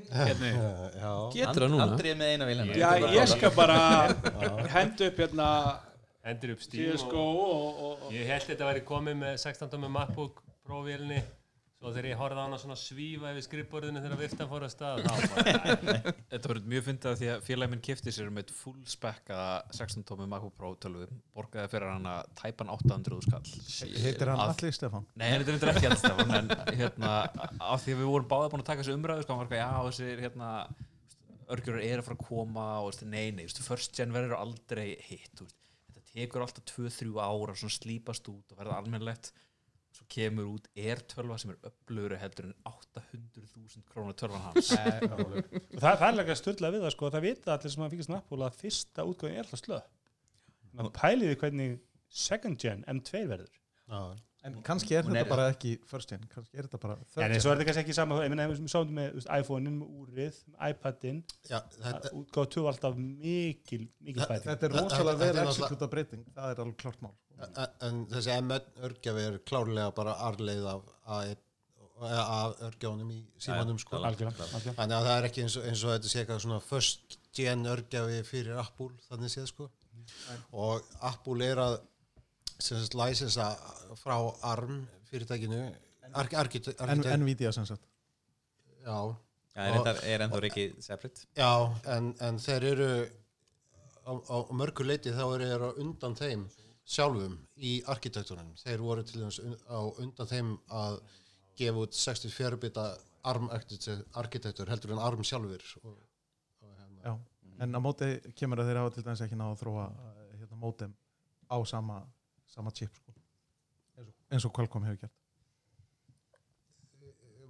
J: Hérna. Já.
G: Getur það núna? Andri er með eina vélina.
L: Ég-
K: Já, ég skal bara henda upp hérna
L: Hendur upp stíl
K: CSGO og, og, og
L: Ég held þetta væri komið með 16 með MacBook Pro-vélni Svo þegar ég horfði á hana svona svífa yfir skrifborðinu þegar viftan fór að stað þá bara,
E: Þetta verður mjög fyndið að því að félagi minn kifti sér með full spekkaða 16 tómi MacBook Pro 12 borgaði fyrir hann að tæpan 800 skall
H: Heitir hann
E: Að-
H: Atli Stefán?
E: Nei, hann heitir reyndar ekki Atli Stefán en hérna, af því að við vorum báðið búin að taka þessu umræðu sko, hann var eitthvað, já, þessir hérna örgjur eru að fara að koma og þessi, nei, nei, þessi, first gen verður aldrei hitt þú veist. þetta tekur alltaf 2-3 ára svona slípast út og verða almennlegt svo kemur út R12 sem er upplöru heldur en 800.000 krónu tölvan hans
B: og Eh, það er færlega stöldlega við það sko það vita allir sem að fíkast nappúla að fyrsta útgáðin er alltaf slöpp þannig að pæliði hvernig second gen M2 verður
H: En kannski er
B: Hún
H: þetta
B: er-
H: bara ekki first gen, kannski er þetta bara
B: en eins og er þetta kannski ekki sama ég meina ef við sáum þetta með þú veist, iPhone-in, með úrið, með iPad-in
J: Já,
B: þetta... útgáð 2 var alltaf mikil mikil
H: Þetta
B: bæting
H: þetta er rosalega vel
J: náttúrulega-
H: exekuta breyting, það er alveg klart mál.
J: En- en þessi M1 örgjafi er klárlega bara arleið af A1 og- eða af örgjáunum í símanum
B: Já,
J: sko.
B: algjörlega, algjörlega.
J: þannig að það er ekki eins og, eins og þetta sé eitthvað svona first gen örgjafi fyrir Apple þannig séð sko og Apple er að sem sagt læsensa frá ARM fyrirtækinu ark, arkit, arkit,
H: En Nvidia sem sagt.
J: já
G: Já, er
J: Og-
G: reyndar- er ennþá ekki separate.
J: já, en, en þeir eru á, á mörgu leiti þá eru þeir á undan þeim sjálfum í arkitektunum þeir voru til dæmis un- á undan þeim að gefa út 64 bita ARM arkitektur- arkitektur heldur en ARM sjálfur og,
H: Já,
J: Mhm.
H: en á móti kemur að þeir hafa til dæmis ekki náða að þróa eh, hérna, mótem á sama, sama chip sko. Eins og- eins og Qualcomm hefur gert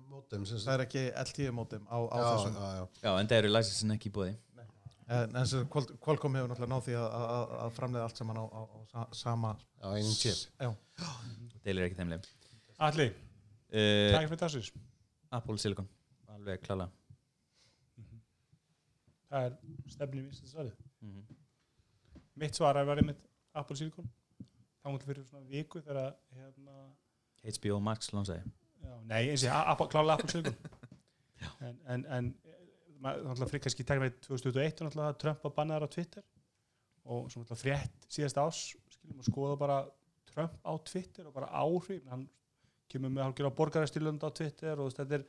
J: mótem sem sagt.
H: það er ekki LTE mótem á, á
J: Já,
H: þessum
J: já, já.
G: Já, en það eru læsinsin ekki búið
H: en, en sem sagt, Qual- Qualcomm hefur náttúrulega náð því að, að, að- að framleiða allt saman á, á, á sa- sama
J: á einum chip.
H: já.
G: deilir ekki þeim leim
B: Atli, takk fyrir dagsins
G: Apple Silicon, alveg klála
B: það er stefnið minnst þess aðrið mitt svar er verið mitt Apple Silicon þá mútið fyrir svona viku þegar að, hérna,
G: HBO Max lansaði
B: já, nei, eins og ég, Apple- klálega Apple Silicon en, en, en maður náttúrulega fyrir kannski tekna í 2021 og náttúrulega Trump að banna þar á Twitter og svo náttúrulega frétt síðasta ás skilum að skoða bara Trump á Twitter og bara áhrif hann kemur með hálfgjör á borgarastilönd á Twitter og þú veist, þetta er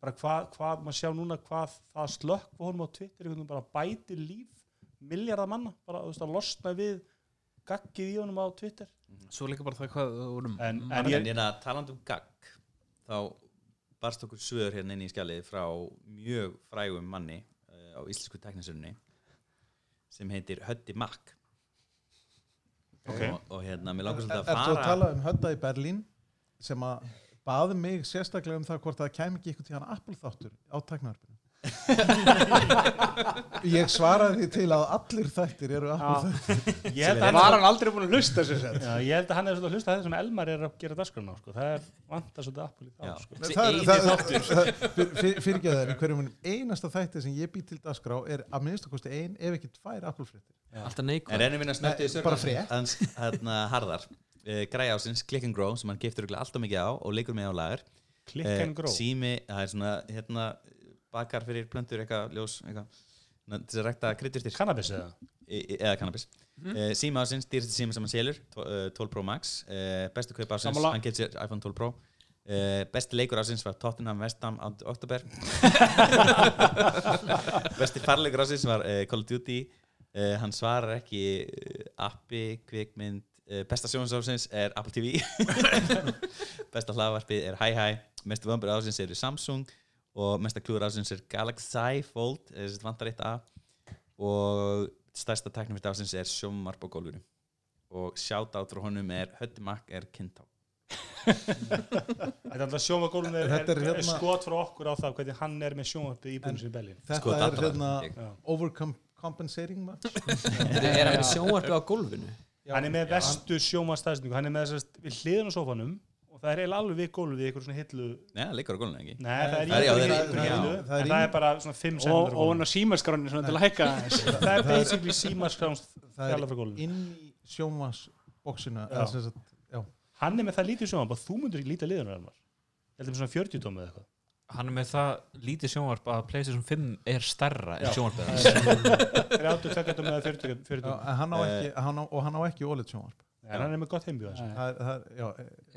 B: bara hvað, hvað maður sjá núna hvað það slökk og honum á Twitter einhvern veginn bara bæti líf miljardar manna, bara þú veist að losna við gaggið í honum á Twitter
E: Svo líka bara það hvað vorum
B: en,
G: En
B: en
G: ég
B: ég,
G: er að talandi um gagg þá barst okkur svör hérna inn í skjalið frá mjög frægum manni uh, á íslensku teknisunni sem heitir Höddi Mack
H: Ok.
G: og, og hérna, mér langar svolítið
H: Ertu
G: að
H: að
G: fara
H: tala um hönda í Berlín sem að bað mig sérstaklega um það hvort það kæmi ekki ykkur tíðan Apple þáttur á tæknaðarpinu ég svaraði því til að allir þættir eru Apple þættir
B: Ég held að Já, ég held að hann er svolítið að hlusta að þetta sem Elmar er að gera dagskrona sko. það er vantar svolítið Apple í
H: Já.
B: dag sko.
H: Nei, það er- það- það- Fyr, Fyrirgeðu þær, hverjum einasta þætti sem ég být til dagskrá er að minnstu kosti ein ef ekki tvær Apple-fréttir
G: En reynum við að snöpti í
H: Nei, Bara frétt
G: Hans, hérna, harðar uh, Græja ásins, Click and Grow, sem hann giftur alltaf mikið á og leikur með á lagar
B: Click
G: Eh,
B: and Grow?
G: Sími, það er svona, hérna bakar fyrir plöntur, eitthvað, ljós, eitthvað svona til þess að rækta kryddjurtir
B: Cannabis eða?
G: Eða cannabis
B: Mhm.
G: mm. Sími ásins, dýrsti sími sem hann selur tvo- eh, 12 Pro Max, uh, bestu kaup ásins
B: Sammála.
G: hann getur sér iPhone 12 Pro Uh, besti leikur ásins var Tottenham Vestam á oktober besti farleikur ásins var uh, Call of Duty uh, hann svarar ekki uh, appi, kvikmynd uh, besta sjónsásins er Apple TV besta hlaðvarpið er Hi Hi mestu vömbur ásins eru Samsung og mesta klúður ásins er Galaxy Fold eh, sem vantar eitt að og stærsta teknifit ásins er sjómarp á gólfinu og shoutout frá honum er Höttimak er Kintá
B: þetta er alltaf sjómagólun er,
H: Þetta
B: er,
H: er
B: er,
H: hérna-
B: skot frá okkur á það hvernig hann er með sjómagólun í búinu sér belli
H: Þetta er hérna overcompensating match
B: Er hann með sjónvarpið
I: á gólfinu?
B: hann er með vestu sjómastæðsningu hann er með þessast við hliðin á sofanum og það er eiginlega alveg við gólfið í eitthvað svona hillu
G: Nei, það liggur á gólfinu ekki
B: Nei, það er í
G: Það er- já,
B: einhverju
G: það er-
B: einhverju
G: já.
B: hillu
G: Það er
B: en það
G: í-
B: er bara svona 5 cm
K: Og hann á símaskráni svona til að hækka aðeins.
B: það er basically símaskráns
H: það
B: fjarlægð frá
H: er
B: gólfinu.
H: inn í sjómasboksina
B: Já. hann er með það lítið sjónvarp að þú myndur ekki lítið liðunar Elmar Ég held um svona 40 tómið eitthvað
E: Hann er með það lítið sjónvarp að PlayStation 5 er stærra en
B: Já.
E: sjónvarpið
B: Það er- 32 gattum eða 40 40.
H: hann á ekki, hann á, og hann á ekki óleitt sjónvarp
B: Nei, hann er með gott heimbjóð þessu.
H: Það er- það er- já,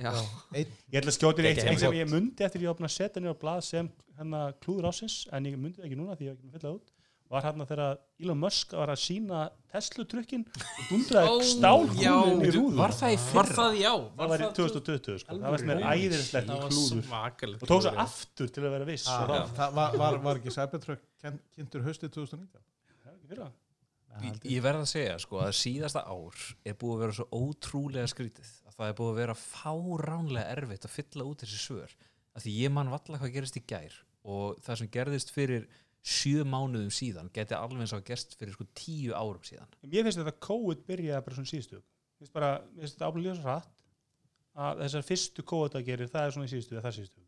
B: Já.
H: já. Einn-
B: Ég ætla að skjóta í eitt,
H: Ekki
B: eitt sem
H: heimbjóð.
B: ég mundi eftir ég opna að setja nýra blað sem hérna klúður ásins, en ég mundi það ekki núna því ég hef ekki með fyllað út, var hérna þegar Elon Musk var að sína Tesla-trukkin og
I: Ó,
B: dundraði oh,
I: já.
B: stálkúlun í
I: Bíddu,
B: rúðun.
I: var það í
E: Var fyrra? það í ár? Var
B: Það var í
E: það
B: 2020, sko. Það var sem er
H: Alvöru.
B: æðislegt
H: Það var
B: klúður.
H: svakalegt
B: Og tók svo
H: klúður, já.
B: aftur til að vera viss.
H: Ah,
B: og þá-
H: það var, var, var ekki Cybertruck ken- kynntur haustið 2019
E: Ég- Ég verð að segja sko að síðasta ár er búið að vera svo ótrúlega skrítið að það er búið að vera fáránlega erfitt að fylla út þessi svör af því ég man valla hvað gerist í gær og það sem gerðist fyrir sjö mánuðum síðan geti alveg eins og gerst fyrir sko tíu árum síðan
B: Mér finnst þetta COVID byrjaði bara svona síðustu. Mér finnst bara, mér finnst þetta ábúinlega svo hratt að þessar fyrstu COVID að gerir, það er svona í síðustu, það er síðustu.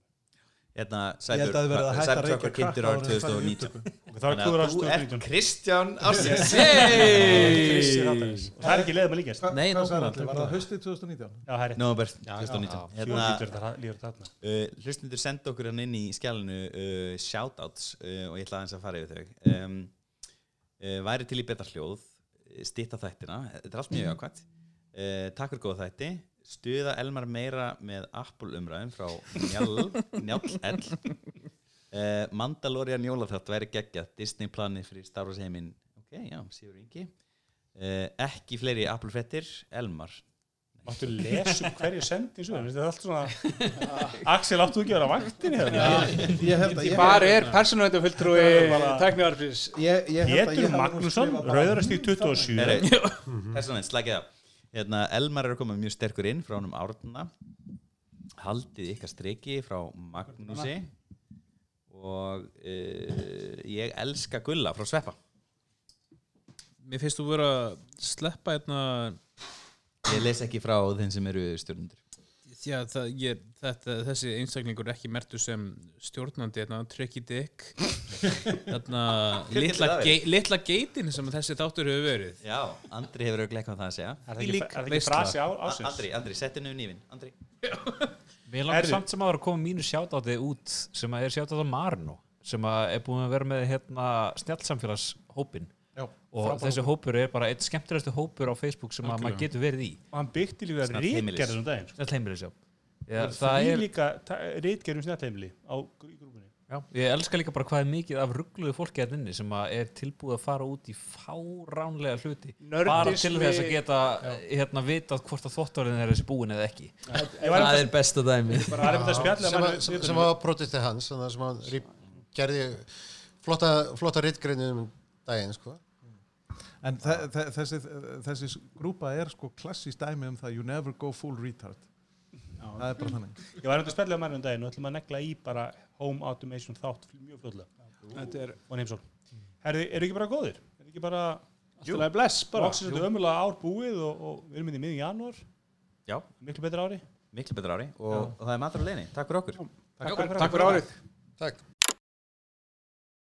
G: hérna,
B: Ég held
G: Cyber-
B: að það verið að hætta
G: Cybertruck
B: að reykja
G: var kynntur
B: krakka
G: árið
B: áður en það er
G: 2019
B: Og það var klúður árið 2019.
G: Kristján Ársins
B: Krissi Rattanes. Og það er ekki leið með líkjast.
H: Nei, Hvað sagði allir? Var það haustið 2019?
B: Já, það er rétt.
G: Nóber
B: Já,
G: 2019
B: já. Fjórvítur þetta lífur þarna.
G: Hérna, uh, Hlustundur senda okkur hann inn í skjálinu uh, shoutouts uh, og ég ætla aðeins að fara yfir þau um, uh, Væri til í betra hljóð stýta þættina, þetta er allt mjög ákvæmt uh, Takk fyrir góða þætti Stuða Elmar meira með Apple umræðum frá Njál Njál L Uh, Mandalorian jólaþátt væri geggjað Disney planið fyrir Star Wars heiminn ok,
F: é
G: já,
F: um
G: Sigur Ingi uh, ekki fleiri Apple fettir, Elmar
B: Máttu lesa um hverju sendi þessu, þetta er allt svona... Axel, áttu ekki að vera á vaktinni hérna?
H: Ég held að ég
K: Hvar er persónuvendafulltrúi
B: Það er bara-
K: tæknivarfins?
H: Ég- ég held að ég
B: Pétur
H: hafi nú
B: Magnússon,
H: skrifað bara-
B: Rauðarastíg 27.
D: Mhm.
G: Personlega, slækja það hérna, Elmar er að koma mjög sterkur inn frá honum árna Haldið ykkar streki frá Magnúsi og uh, ég elska Gulla frá Sveppa
D: Mér finnst þú vera að sleppa hérna
G: Ég les ekki frá þeim sem eru stjórnundur
D: Já, það, ég, þetta, þessi einstaklingur er ekki mertu sem stjórnandi hérna, Tricky Dick hérna,
G: Hvernig
D: litla,
G: það er?
D: ge, litla geitin sem þessi þáttur hefur verið
G: Já, Andri hefur auðvitað eitthvað um það að segja
D: Er það ekki- Þvílík er það ekki veisla. frasi á- ársins?
G: Andri, Andri, settu nú nýfin Andri
E: Mér langar
G: Herðu.
E: samt sem ára að koma mínu sjátáti út sem að er sjátáti á Marno sem að er búin að vera með hérna snjálfsamfélagshópin
B: Já,
E: og
B: frábær
E: þessi
B: hópur.
E: hópur er bara eitt skemmtilegstu hópur á Facebook sem að maður
B: Algjörlega.
E: getur verið í
B: Og hann byggti líka
E: Snjallt heimilis.
B: rítgerðum daginn. sko.
E: Snjallt heimilis, já. Já,
B: Það er
E: það
B: því
E: er-
B: líka rítgerðum snjaltheimili á í grúpunni.
E: Já. Ég elska líka bara hvað er mikið af ruggluðu fólki að inni sem að er tilbúið að fara út í fáránlega hluti
K: Nördismi-
E: bara til þess að geta hérna vitað hvort að þvottorinn er þessi búin eða ekki
I: Það er besta dæmi
J: sem, að- sem, sem var produktið hans þannig að sem hann rí- gerði flotta, flotta rittgreinu um daginn sko.
H: En þe- þe- þessi, þessi grúpa er sko klassist dæmi um það You never go full retard það er bara þannig
B: Ég var eitthvað spjallið á mærnum um daginn og ætlum að negla í bara home automation þátt mjög fljóðlega.
C: Þetta er-
B: Og neymsókn. Herði, eru ekki bara góðir? Er ekki bara...
C: í lagi, bless bara.
B: Loksins
C: Jú.
B: þetta ömulega ár búið og, og við erum inn í miðjum janúar.
G: Já.
B: Miklu betra ári.
G: Miklu betra ári og, og það er matur að leini. Takk fyrir okkur.
B: Takk fyrir- takk fyrir árið.
J: Takk.